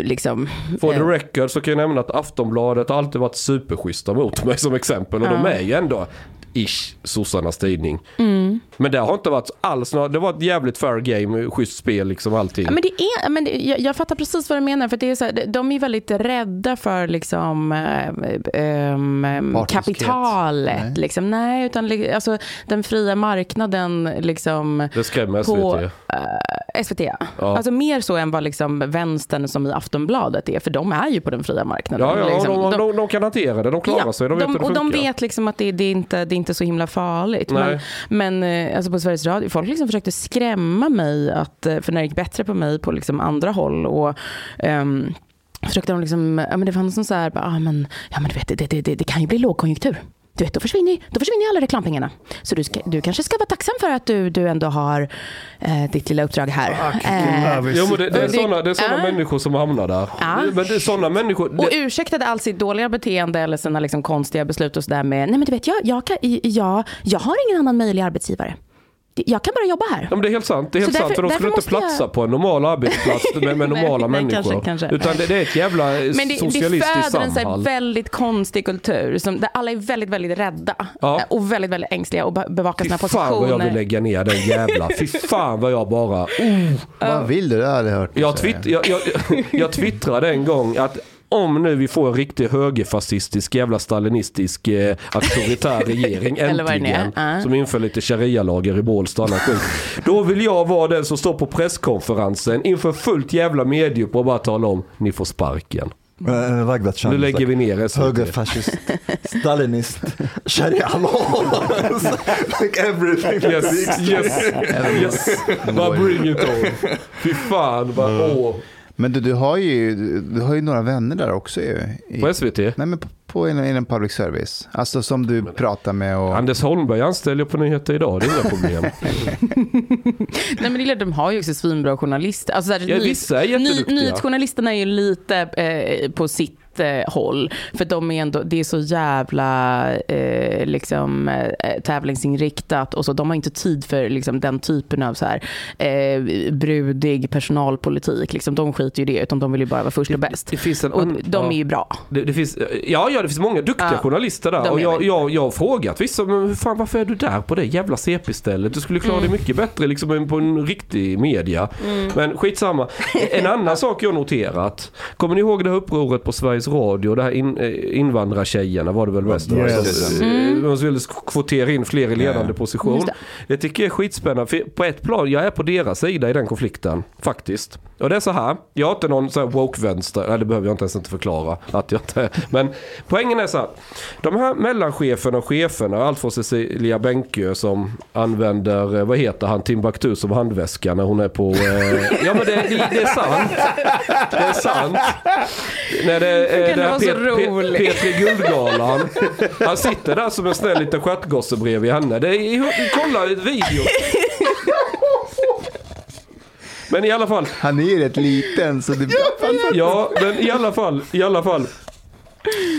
Speaker 2: liksom,
Speaker 7: For the
Speaker 2: eh,
Speaker 7: record så kan jag nämna att Aftonbladet har alltid varit superschyssta mot mig som exempel. Och de är ju ändå ish sossarnas tidning.
Speaker 2: Mm.
Speaker 7: Men det har inte varit alls några- det var ett jävligt fair game, schysst spel liksom allting.
Speaker 2: Ja, men det är, men det, jag, jag fattar precis vad du menar. För det är så här, de- de är väldigt rädda för liksom, eh, ehm, ehm,
Speaker 4: Partiskhet.
Speaker 2: kapitalet.
Speaker 4: Nej.
Speaker 2: Nej. Liksom. Nej, utan li- alltså, den fria marknaden. Liksom,
Speaker 7: Det skrämmer SVT.
Speaker 2: på eh, SVT. Alltså mer så än vad liksom vänstern som i Aftonbladet är, för de är ju på den fria marknaden.
Speaker 7: Ja, ja och
Speaker 2: liksom.
Speaker 7: de, de, de kan hantera det, de klarar sig, de vet hur det
Speaker 2: och de
Speaker 7: funkar.
Speaker 2: vet liksom att det, det, är inte, det är inte så himla farligt. Men,
Speaker 7: Nej.
Speaker 2: men eh, alltså på Sveriges Radio, folk liksom försökte skrämma mig, att, eh, för när det gick bättre på mig på liksom andra håll. Och, ehm, Försökte de liksom, ja men det fanns någon så här, bara, ah, men, ja men du vet, det, det, det, det kan ju bli lågkonjunktur. Du vet, då försvinner, ju- då försvinner ju alla reklampengarna. Så du, ska, du kanske ska vara tacksam för att du, du ändå har eh, ditt lilla uppdrag här. Eh,
Speaker 7: Jo, men det, det är
Speaker 2: Och det-
Speaker 7: sådana, det är såna
Speaker 2: Ja.
Speaker 7: människor som hamnar där.
Speaker 2: Ja.
Speaker 7: Men det är sådana människor.
Speaker 2: och
Speaker 7: det-
Speaker 2: ursäktade allt sitt dåliga beteende eller sina liksom konstiga beslut och sådär med, nej men du vet, jag, jag, kan, jag, jag har ingen annan möjlig arbetsgivare. Jag kan bara jobba här.
Speaker 7: Ja, men det är helt sant. Det är helt
Speaker 2: Så
Speaker 7: sant.
Speaker 2: därför-
Speaker 7: För de skulle
Speaker 2: därför
Speaker 7: inte
Speaker 2: måste
Speaker 7: platsa på en normal
Speaker 2: [laughs]
Speaker 7: arbetsplats med, med
Speaker 2: Nej,
Speaker 7: normala
Speaker 2: nej,
Speaker 7: människor.
Speaker 2: kanske, kanske.
Speaker 7: Utan det, det är ett jävla eh,
Speaker 2: Men det, det
Speaker 7: socialistiskt
Speaker 2: föder en så här
Speaker 7: Samhall.
Speaker 2: väldigt konstig kultur som, där alla är väldigt, väldigt rädda
Speaker 7: Ja.
Speaker 2: och väldigt, väldigt ängsliga och be- bevakar
Speaker 7: Fy
Speaker 2: sina
Speaker 7: fan vad jag vill
Speaker 2: positioner.
Speaker 7: lägga ner den jävla. Fy fan vad
Speaker 2: [laughs]
Speaker 7: jag bara...
Speaker 4: Vad vill du? Det har jag aldrig hört dig
Speaker 7: Jag,
Speaker 4: säga.
Speaker 7: twitt, jag, jag, jag twittrade en gång att om nu vi får en riktig högerfascistisk jävla stalinistisk eh,
Speaker 2: [laughs]
Speaker 7: auktoritär regering
Speaker 2: Eller vad det nu är.
Speaker 7: äntligen
Speaker 2: Ja.
Speaker 7: som inför lite sharia-lagar i Bålsta och annan skit. Då vill jag vara den som står på presskonferensen inför fullt jävla medium och bara tala om ni får sparken.
Speaker 1: Uh, like that
Speaker 7: Nu
Speaker 1: Chinese,
Speaker 7: lägger vi ner SVT.
Speaker 2: [laughs]
Speaker 1: Högerfascist, stalinist, sharia law. [laughs] like everything.
Speaker 7: Yes, yes, yes. Bara bring it on. Fy fan, bara åh.
Speaker 4: Men du, du, har ju, du har ju några vänner där också ju. I,
Speaker 7: På SVT?
Speaker 4: nej, men på, på inom, inom public service. Alltså som du pratar med och...
Speaker 7: Anders Holmberg anställer jag på Nyheter Idag, det är inga problem.
Speaker 2: Nej, men det är klart, de har ju också svinbra journalister. Alltså, så här,
Speaker 7: Ja,
Speaker 2: nyhets-
Speaker 7: vissa är jätteduktiga.
Speaker 2: nyhetsjournalisterna är ju lite eh, på sitt eh, håll. För de är ändå, det är så jävla eh, liksom, eh, tävlingsinriktat och så. De har inte tid för liksom, den typen av så här, eh, brudig personalpolitik. Liksom, de skiter ju i det, utan de vill ju bara vara först och bäst.
Speaker 7: det finns en
Speaker 2: och
Speaker 7: annan-
Speaker 2: de är
Speaker 7: ja.
Speaker 2: ju bra.
Speaker 7: Det, det finns, ja, ja, det finns många duktiga
Speaker 2: Ja,
Speaker 7: journalister
Speaker 2: de
Speaker 7: där. Och
Speaker 2: är
Speaker 7: jag,
Speaker 2: det.
Speaker 7: jag, jag har frågat vissa, men hur fan, varför är du där på det jävla CP-stället? Du skulle klara dig
Speaker 2: Mm.
Speaker 7: mycket bättre liksom, än på en riktig media. Men skitsamma.
Speaker 2: [laughs]
Speaker 7: En annan sak jag noterat. Kommer ni ihåg det här upproret på Sveriges Radio? Det här in, eh, invandrartjejerna var det väl mest? va?
Speaker 9: Yes.
Speaker 7: Som, eh,
Speaker 2: Mm.
Speaker 7: De skulle kvotera in fler i ledande position. Det tycker jag är skitspännande. För på ett plan, jag är på deras sida i den konflikten. Faktiskt. Och det är så här. Jag har inte någon så här woke-vänster. Nej, det behöver jag inte ens inte förklara. Att jag inte är. Men poängen är så här. De här mellancheferna och cheferna. Allt från Cecilia Benkö som använder, eh, vad heter han, Timbuktu som handväska när hon är på... Eh, ja men det, det, det är sant. Det är sant. När det, eh, det här
Speaker 2: vara så
Speaker 7: Pet- Pet-
Speaker 2: rolig?
Speaker 7: Petri Guldgalan. Han sitter där som en snäll liten stjärtgosse bredvid henne. Det är, kolla ett video. Men i alla fall.
Speaker 4: Han är ju rätt liten så det...
Speaker 7: Ja, men i alla fall. I alla fall.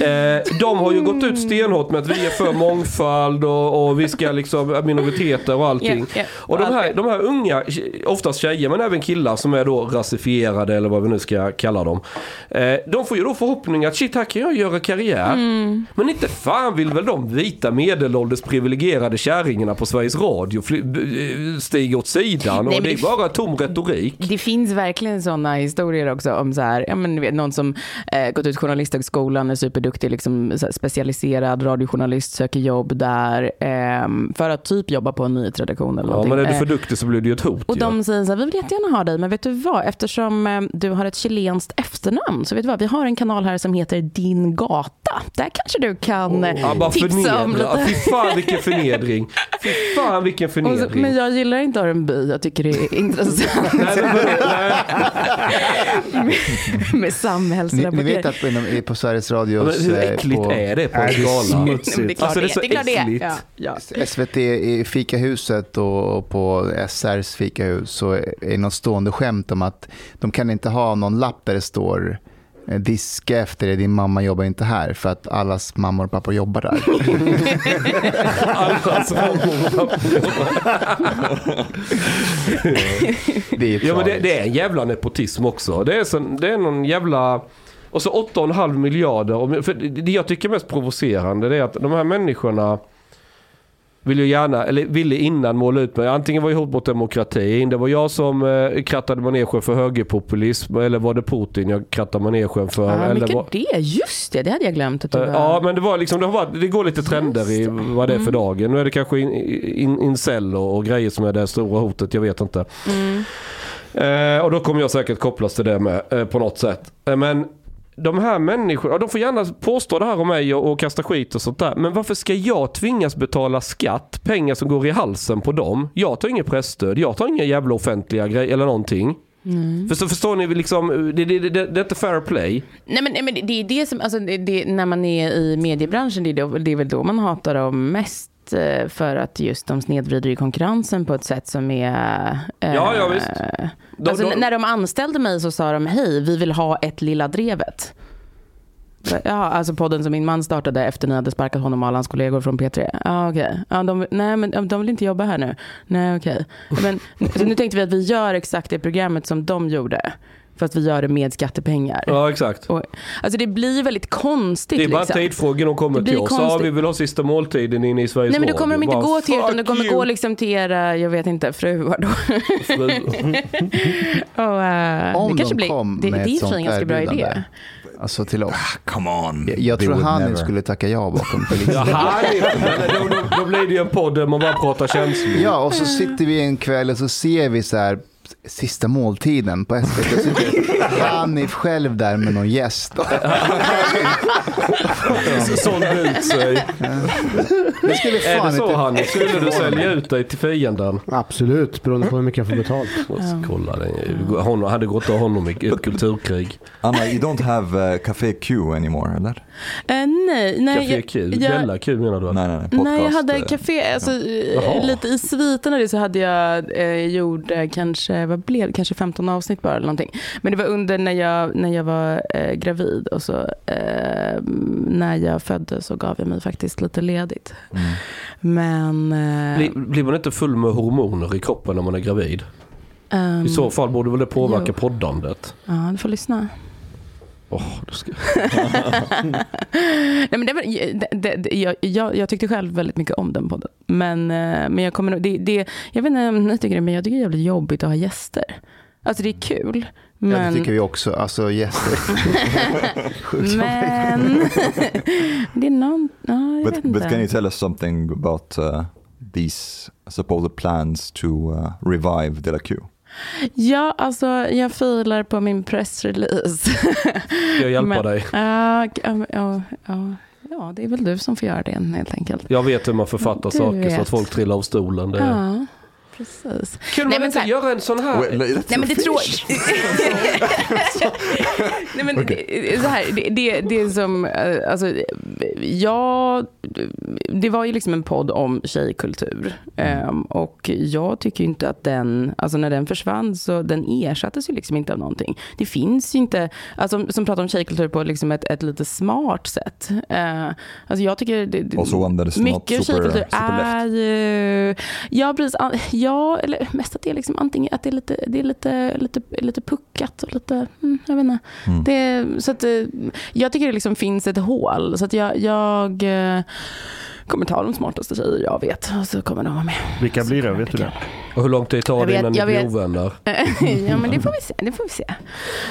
Speaker 7: Eh, de har ju gått ut stenhårt med att vi är för mångfald och, och vi ska liksom minoriteter och allting.
Speaker 2: Ja, ja.
Speaker 7: Och de här, de här unga, oftast tjejer men även killar som är då rasifierade eller vad vi nu ska kalla dem. Eh, de får ju då förhoppningar att shit här kan jag göra karriär.
Speaker 2: Mm.
Speaker 7: Men inte fan vill väl de vita medelålders privilegierade kärringarna på Sveriges Radio fly- b- eh, stiga åt sidan
Speaker 2: Nej,
Speaker 7: och
Speaker 2: men
Speaker 7: det är
Speaker 2: det-
Speaker 7: bara tom retorik.
Speaker 2: Det finns verkligen sådana historier också om så här, ja, men, du vet, någon som eh, gått ut journalisthögskolan, är superduktig, liksom, så här, specialiserad radiojournalist, söker jobb där ehm, för att typ jobba på en nyhetsredaktion eller
Speaker 7: Ja
Speaker 2: någonting.
Speaker 7: men är du
Speaker 2: Eh,
Speaker 7: för duktig så blir det ju ett hot
Speaker 2: och
Speaker 7: ju.
Speaker 2: de säger så här, vi vill jättegärna ha dig, men vet du vad, eftersom eh, du har ett chilenskt efternamn, så vet du vad, vi har en kanal här som heter Din Gata. Där kanske du kan eh,
Speaker 7: Ja, bara
Speaker 2: tipsa om
Speaker 7: förnedra. Ja,
Speaker 2: lite.
Speaker 7: Fy fan vilken förnedring. Fy fan vilken
Speaker 2: Och så,
Speaker 7: förnedring.
Speaker 2: men jag gillar inte Arenby, jag tycker det
Speaker 7: [laughs]
Speaker 2: är intressant
Speaker 7: Nej, men, nej.
Speaker 2: [laughs] med
Speaker 4: Ni,
Speaker 2: samhällsrapportering.
Speaker 4: ni vet att på, inom, på Sveriges
Speaker 7: Ja, men
Speaker 4: Radios...
Speaker 7: hur
Speaker 4: eh,
Speaker 7: äckligt
Speaker 4: på,
Speaker 7: är det på en
Speaker 9: Nej, det är
Speaker 7: skala?
Speaker 2: Nej, men det är
Speaker 7: Alltså,
Speaker 2: klart det
Speaker 7: det är så
Speaker 2: är. Det är klart det är.
Speaker 7: äckligt.
Speaker 2: Ja, ja.
Speaker 4: SVT i fikahuset och och på SRs fikahus så är det något stående skämt om att de kan inte ha någon lapp där det står eh, diska efter dig, din mamma jobbar inte här för att allas mammor och pappor jobbar där.
Speaker 7: Allas mammor.
Speaker 4: Det är ju
Speaker 7: [laughs] Ja men det,
Speaker 4: tragiskt.
Speaker 7: det är en jävla nepotism också. Det är, så, det är någon jävla... Och så 8,5 miljarder. Och- För det jag tycker är mest provocerande det är att de här människorna vill ju gärna, eller ville innan måla ut mig. Antingen var jag hot mot demokratin, det var jag som eh, krattade manegen för högerpopulism, eller var det Putin jag krattade manegen för?
Speaker 2: Ja,
Speaker 7: eller
Speaker 2: mycket
Speaker 7: var...
Speaker 2: det. Just det, det hade jag glömt att du var...
Speaker 7: Eh, Ja, men det var liksom, det, har varit, det går lite trender i vad det är för dagen. Nu är det kanske in, in, incel och, och grejer som är det stora hotet, jag vet inte. Eh, och då kommer jag säkert kopplas till det med eh, på något sätt. Eh, men de här människorna, ja, de får gärna påstå det här om mig och, och kasta skit och sånt där. Men varför ska jag tvingas betala skatt, pengar som går i halsen på dem? Jag tar inget pressstöd, jag tar inga jävla offentliga grejer eller någonting. För så förstår ni, liksom, det, det, det, det är inte fair play.
Speaker 2: Nej, men, nej, men det- det är det som, alltså, det, det, när man är i mediebranschen, det är, då, det är väl då man hatar dem mest eh, för att just de snedvrider ju konkurrensen på ett sätt som är... eh,
Speaker 7: Ja, ja, visst. De-
Speaker 2: alltså,
Speaker 7: de-
Speaker 2: n- När de anställde mig så sa de, hej, vi vill ha ett Lilla Drevet. Ja, alltså podden som min man startade efter ni hade sparkat honom och alla hans kollegor från P3. Ja, okej. Ja, de, nej, men de vill inte jobba här nu. Nej, okej. Men så nu tänkte vi att vi gör exakt det programmet som de gjorde. Fast vi gör det med skattepengar.
Speaker 7: Ja, exakt.
Speaker 2: Och, alltså det blir väldigt konstigt.
Speaker 7: Det är bara
Speaker 2: liksom.
Speaker 7: tidsfrågan de kommer
Speaker 2: Det blir
Speaker 7: till oss. Ja,
Speaker 2: konstigt.
Speaker 7: vi vill ha sista måltiden inne i Sveriges
Speaker 2: Nej men då kommer de
Speaker 7: Radio.
Speaker 2: inte
Speaker 7: Bara,
Speaker 2: gå till er utan de
Speaker 7: fuck
Speaker 2: kommer
Speaker 7: you,
Speaker 2: gå liksom till era, jag vet inte, fruar då. [laughs]
Speaker 7: fru.
Speaker 2: Och, eh,
Speaker 4: Om
Speaker 2: det kanske
Speaker 4: de kom
Speaker 2: blir, det, det
Speaker 4: med
Speaker 2: är i
Speaker 4: ett
Speaker 2: och för sig
Speaker 4: sånt
Speaker 2: en ganska bra idé.
Speaker 4: erbjudande. Alltså till
Speaker 7: Ah,
Speaker 4: oss.
Speaker 1: Come on.
Speaker 4: Jag, jag
Speaker 1: They
Speaker 4: tror
Speaker 1: would
Speaker 4: han
Speaker 1: never.
Speaker 4: skulle tacka ja
Speaker 7: [laughs]
Speaker 4: bakom
Speaker 7: Ja,
Speaker 4: polisen.
Speaker 7: härligt. Men då, då, då blir det ju en podd där man bara pratar känslor.
Speaker 4: Ja, och så sitter vi en kväll och så ser vi så här Sista måltiden på SVT. Sitter Hanif själv där med någon gäst.
Speaker 7: Sålde ut sig.
Speaker 4: Det skulle
Speaker 7: Är det
Speaker 4: fan
Speaker 7: så
Speaker 4: inte...
Speaker 7: han Skulle du sälja ut dig till fienden?
Speaker 6: Absolut, beroende på hur mycket jag får betalt.
Speaker 7: Kolla, den- hon hade gått av honom i ett kulturkrig.
Speaker 1: Anna, you don't have eh, Café Q anymore, eller?
Speaker 2: Eh, nej, nej.
Speaker 7: Café
Speaker 2: jag-
Speaker 7: Q,
Speaker 2: jag-
Speaker 7: Gälla Q menar du?
Speaker 1: Nej, nej, nej. Podcast,
Speaker 2: Nej, jag hade
Speaker 1: eh,
Speaker 2: café, alltså, eh,
Speaker 7: Jaha.
Speaker 2: lite i sviten av det så hade jag eh, gjort eh, kanske, vad blev det, kanske 15 avsnitt bara eller någonting. Men det var under när jag, när jag var eh, gravid och så eh, när jag föddes så gav jag mig faktiskt lite ledigt.
Speaker 1: Mm.
Speaker 2: Men... eh,
Speaker 7: Blir, blir man inte full med hormoner i kroppen när man är gravid?
Speaker 2: ehm,
Speaker 7: I så fall borde väl det påverka
Speaker 2: jo.
Speaker 7: poddandet?
Speaker 2: Ja, du får lyssna.
Speaker 7: Åh, du ska...
Speaker 2: Nej, men det var, det, det, det, jag, jag, jag tyckte själv väldigt mycket om den podden. Men, eh, men jag kommer nog- det, det, jag vet inte om ni tycker det, men jag tycker det är jävligt jobbigt att ha gäster. Alltså det är kul.
Speaker 4: Ja, det
Speaker 2: Men,
Speaker 4: tycker vi också. Alltså gäster. Sjukt
Speaker 2: men [laughs] det är någon, ja, jag vet
Speaker 1: But,
Speaker 2: inte.
Speaker 1: but can you tell us something about uh, these supposed plans to uh, revive De La Q?
Speaker 2: Ja, alltså jag filar på min pressrelease.
Speaker 7: Ska jag hjälpa
Speaker 2: Men-
Speaker 7: dig?
Speaker 2: Ja, ja, ja, ja, ja, det är väl du som får göra det helt enkelt.
Speaker 7: Jag vet hur man författar
Speaker 2: Du
Speaker 7: saker
Speaker 2: vet.
Speaker 7: så att folk trillar av stolen. Det...
Speaker 2: Ja, precis. Nej,
Speaker 7: Kunde man
Speaker 2: men
Speaker 7: inte
Speaker 2: så här-
Speaker 7: göra en sån här?
Speaker 2: Nej men det tror [laughs] Nej men det- så här, det, det, det är som, eh, alltså, jag, det var ju liksom en podd om tjejkultur. Ehm, och jag tycker ju inte att den, alltså när den försvann så den ersattes ju liksom inte av någonting. Det finns ju inte, alltså som- som pratar om tjejkultur på liksom ett, ett lite smart sätt. Eh, alltså jag tycker... Det, det-
Speaker 1: Also one that is not
Speaker 2: mycket
Speaker 1: super-
Speaker 2: tjejkultur
Speaker 1: super left.
Speaker 2: är ju... Ja, precis. An- Ja, eller mest att det är liksom antingen att det är lite, det är lite, lite, lite puckat och lite... Mm, jag vet inte. Det, är- så att, eh, jag tycker det liksom finns ett hål. Så att jag, jag eh, kommer ta de smartaste tjejer jag vet och så kommer de vara med.
Speaker 3: Vilka blir det? Vet du det?
Speaker 7: Och hur lång tid tar
Speaker 2: Jag
Speaker 7: det
Speaker 2: vet,
Speaker 7: innan ni
Speaker 2: jag
Speaker 7: blir
Speaker 2: vet.
Speaker 7: ovänner?
Speaker 2: [laughs] ja, men det får vi se. Det får vi se.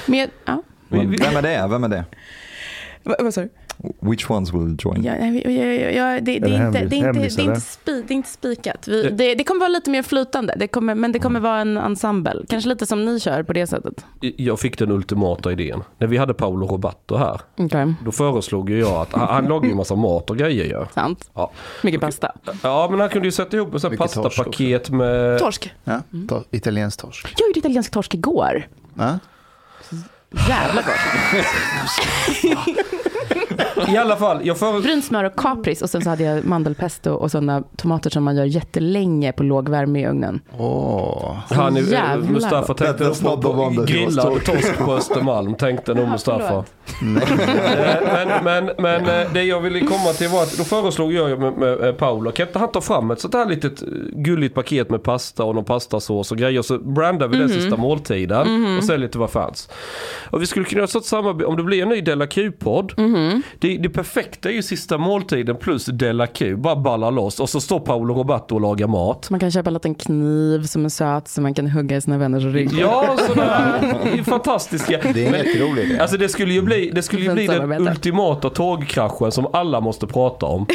Speaker 2: Men jag, ja.
Speaker 1: Men Vem är det? Vem är det?
Speaker 2: Va- Vad sa du?
Speaker 1: Which ones will join?
Speaker 2: Ja, nej, ja, ja, ja, det, det,
Speaker 3: Mm. Eller
Speaker 2: är inte,
Speaker 3: hemlis-
Speaker 2: det, är inte,
Speaker 3: hemlis,
Speaker 2: det, är
Speaker 3: eller?
Speaker 2: inte spi, det är inte spikat. Vi, det, det kommer vara lite mer flytande, det kommer, men det kommer vara en ensemble. Kanske lite som ni kör på det sättet.
Speaker 7: Jag fick den ultimata idén. När vi hade Paolo Roberto här,
Speaker 2: Okay.
Speaker 7: då föreslog ju jag att han, han lagar ju en massa mat och grejer ju.
Speaker 2: Sant.
Speaker 7: Ja.
Speaker 2: Mycket pasta.
Speaker 7: ja, men han kunde ju sätta ihop en sån här
Speaker 4: Mycket torsk
Speaker 7: pastapaket med...
Speaker 2: Torsk.
Speaker 4: Ja, to- italiensk torsk.
Speaker 2: Jag gjorde italiensk torsk igår.
Speaker 4: Ja.
Speaker 2: Jävla gott.
Speaker 7: I alla fall, jag föreslog...
Speaker 2: Brunt smör och kapris och sen så hade jag mandelpesto och sådana tomater som man gör jättelänge på låg värme i ugnen.
Speaker 4: Åh.
Speaker 7: Han, eh,
Speaker 2: Jävlar.
Speaker 7: Mustafa tänkte
Speaker 1: That's
Speaker 7: på,
Speaker 1: not the one
Speaker 7: på
Speaker 1: that
Speaker 7: grillad
Speaker 1: was
Speaker 7: torsk på Östermalm, tänkte nog
Speaker 2: Ja,
Speaker 7: Mustafa.
Speaker 2: förlåt.
Speaker 7: Eh, men men, men eh, det jag ville komma till var att då föreslog jag ju med, med eh, Paolo, kan inte han ta fram ett sånt här litet eh, gulligt paket med pasta och någon pastasås och grejer så brandar vi den sista måltiden och säljer till våra fans. Och vi skulle kunna göra ett sånt samarbete, om det blir en ny Della Q-podd, det, det perfekta är ju sista måltiden plus Della Q, bara balla loss och så står Paolo Roberto och lagar mat.
Speaker 2: Man kan köpa en liten kniv som är söt som man kan hugga i sina vänners rygg.
Speaker 7: Ja, sådär. Det är Fantastiska.
Speaker 4: Det är en jätterolig idé.
Speaker 7: Alltså det skulle ju bli, det skulle ju
Speaker 2: Fint
Speaker 7: bli den
Speaker 2: samarbete.
Speaker 7: ultimata tågkraschen som alla måste prata om.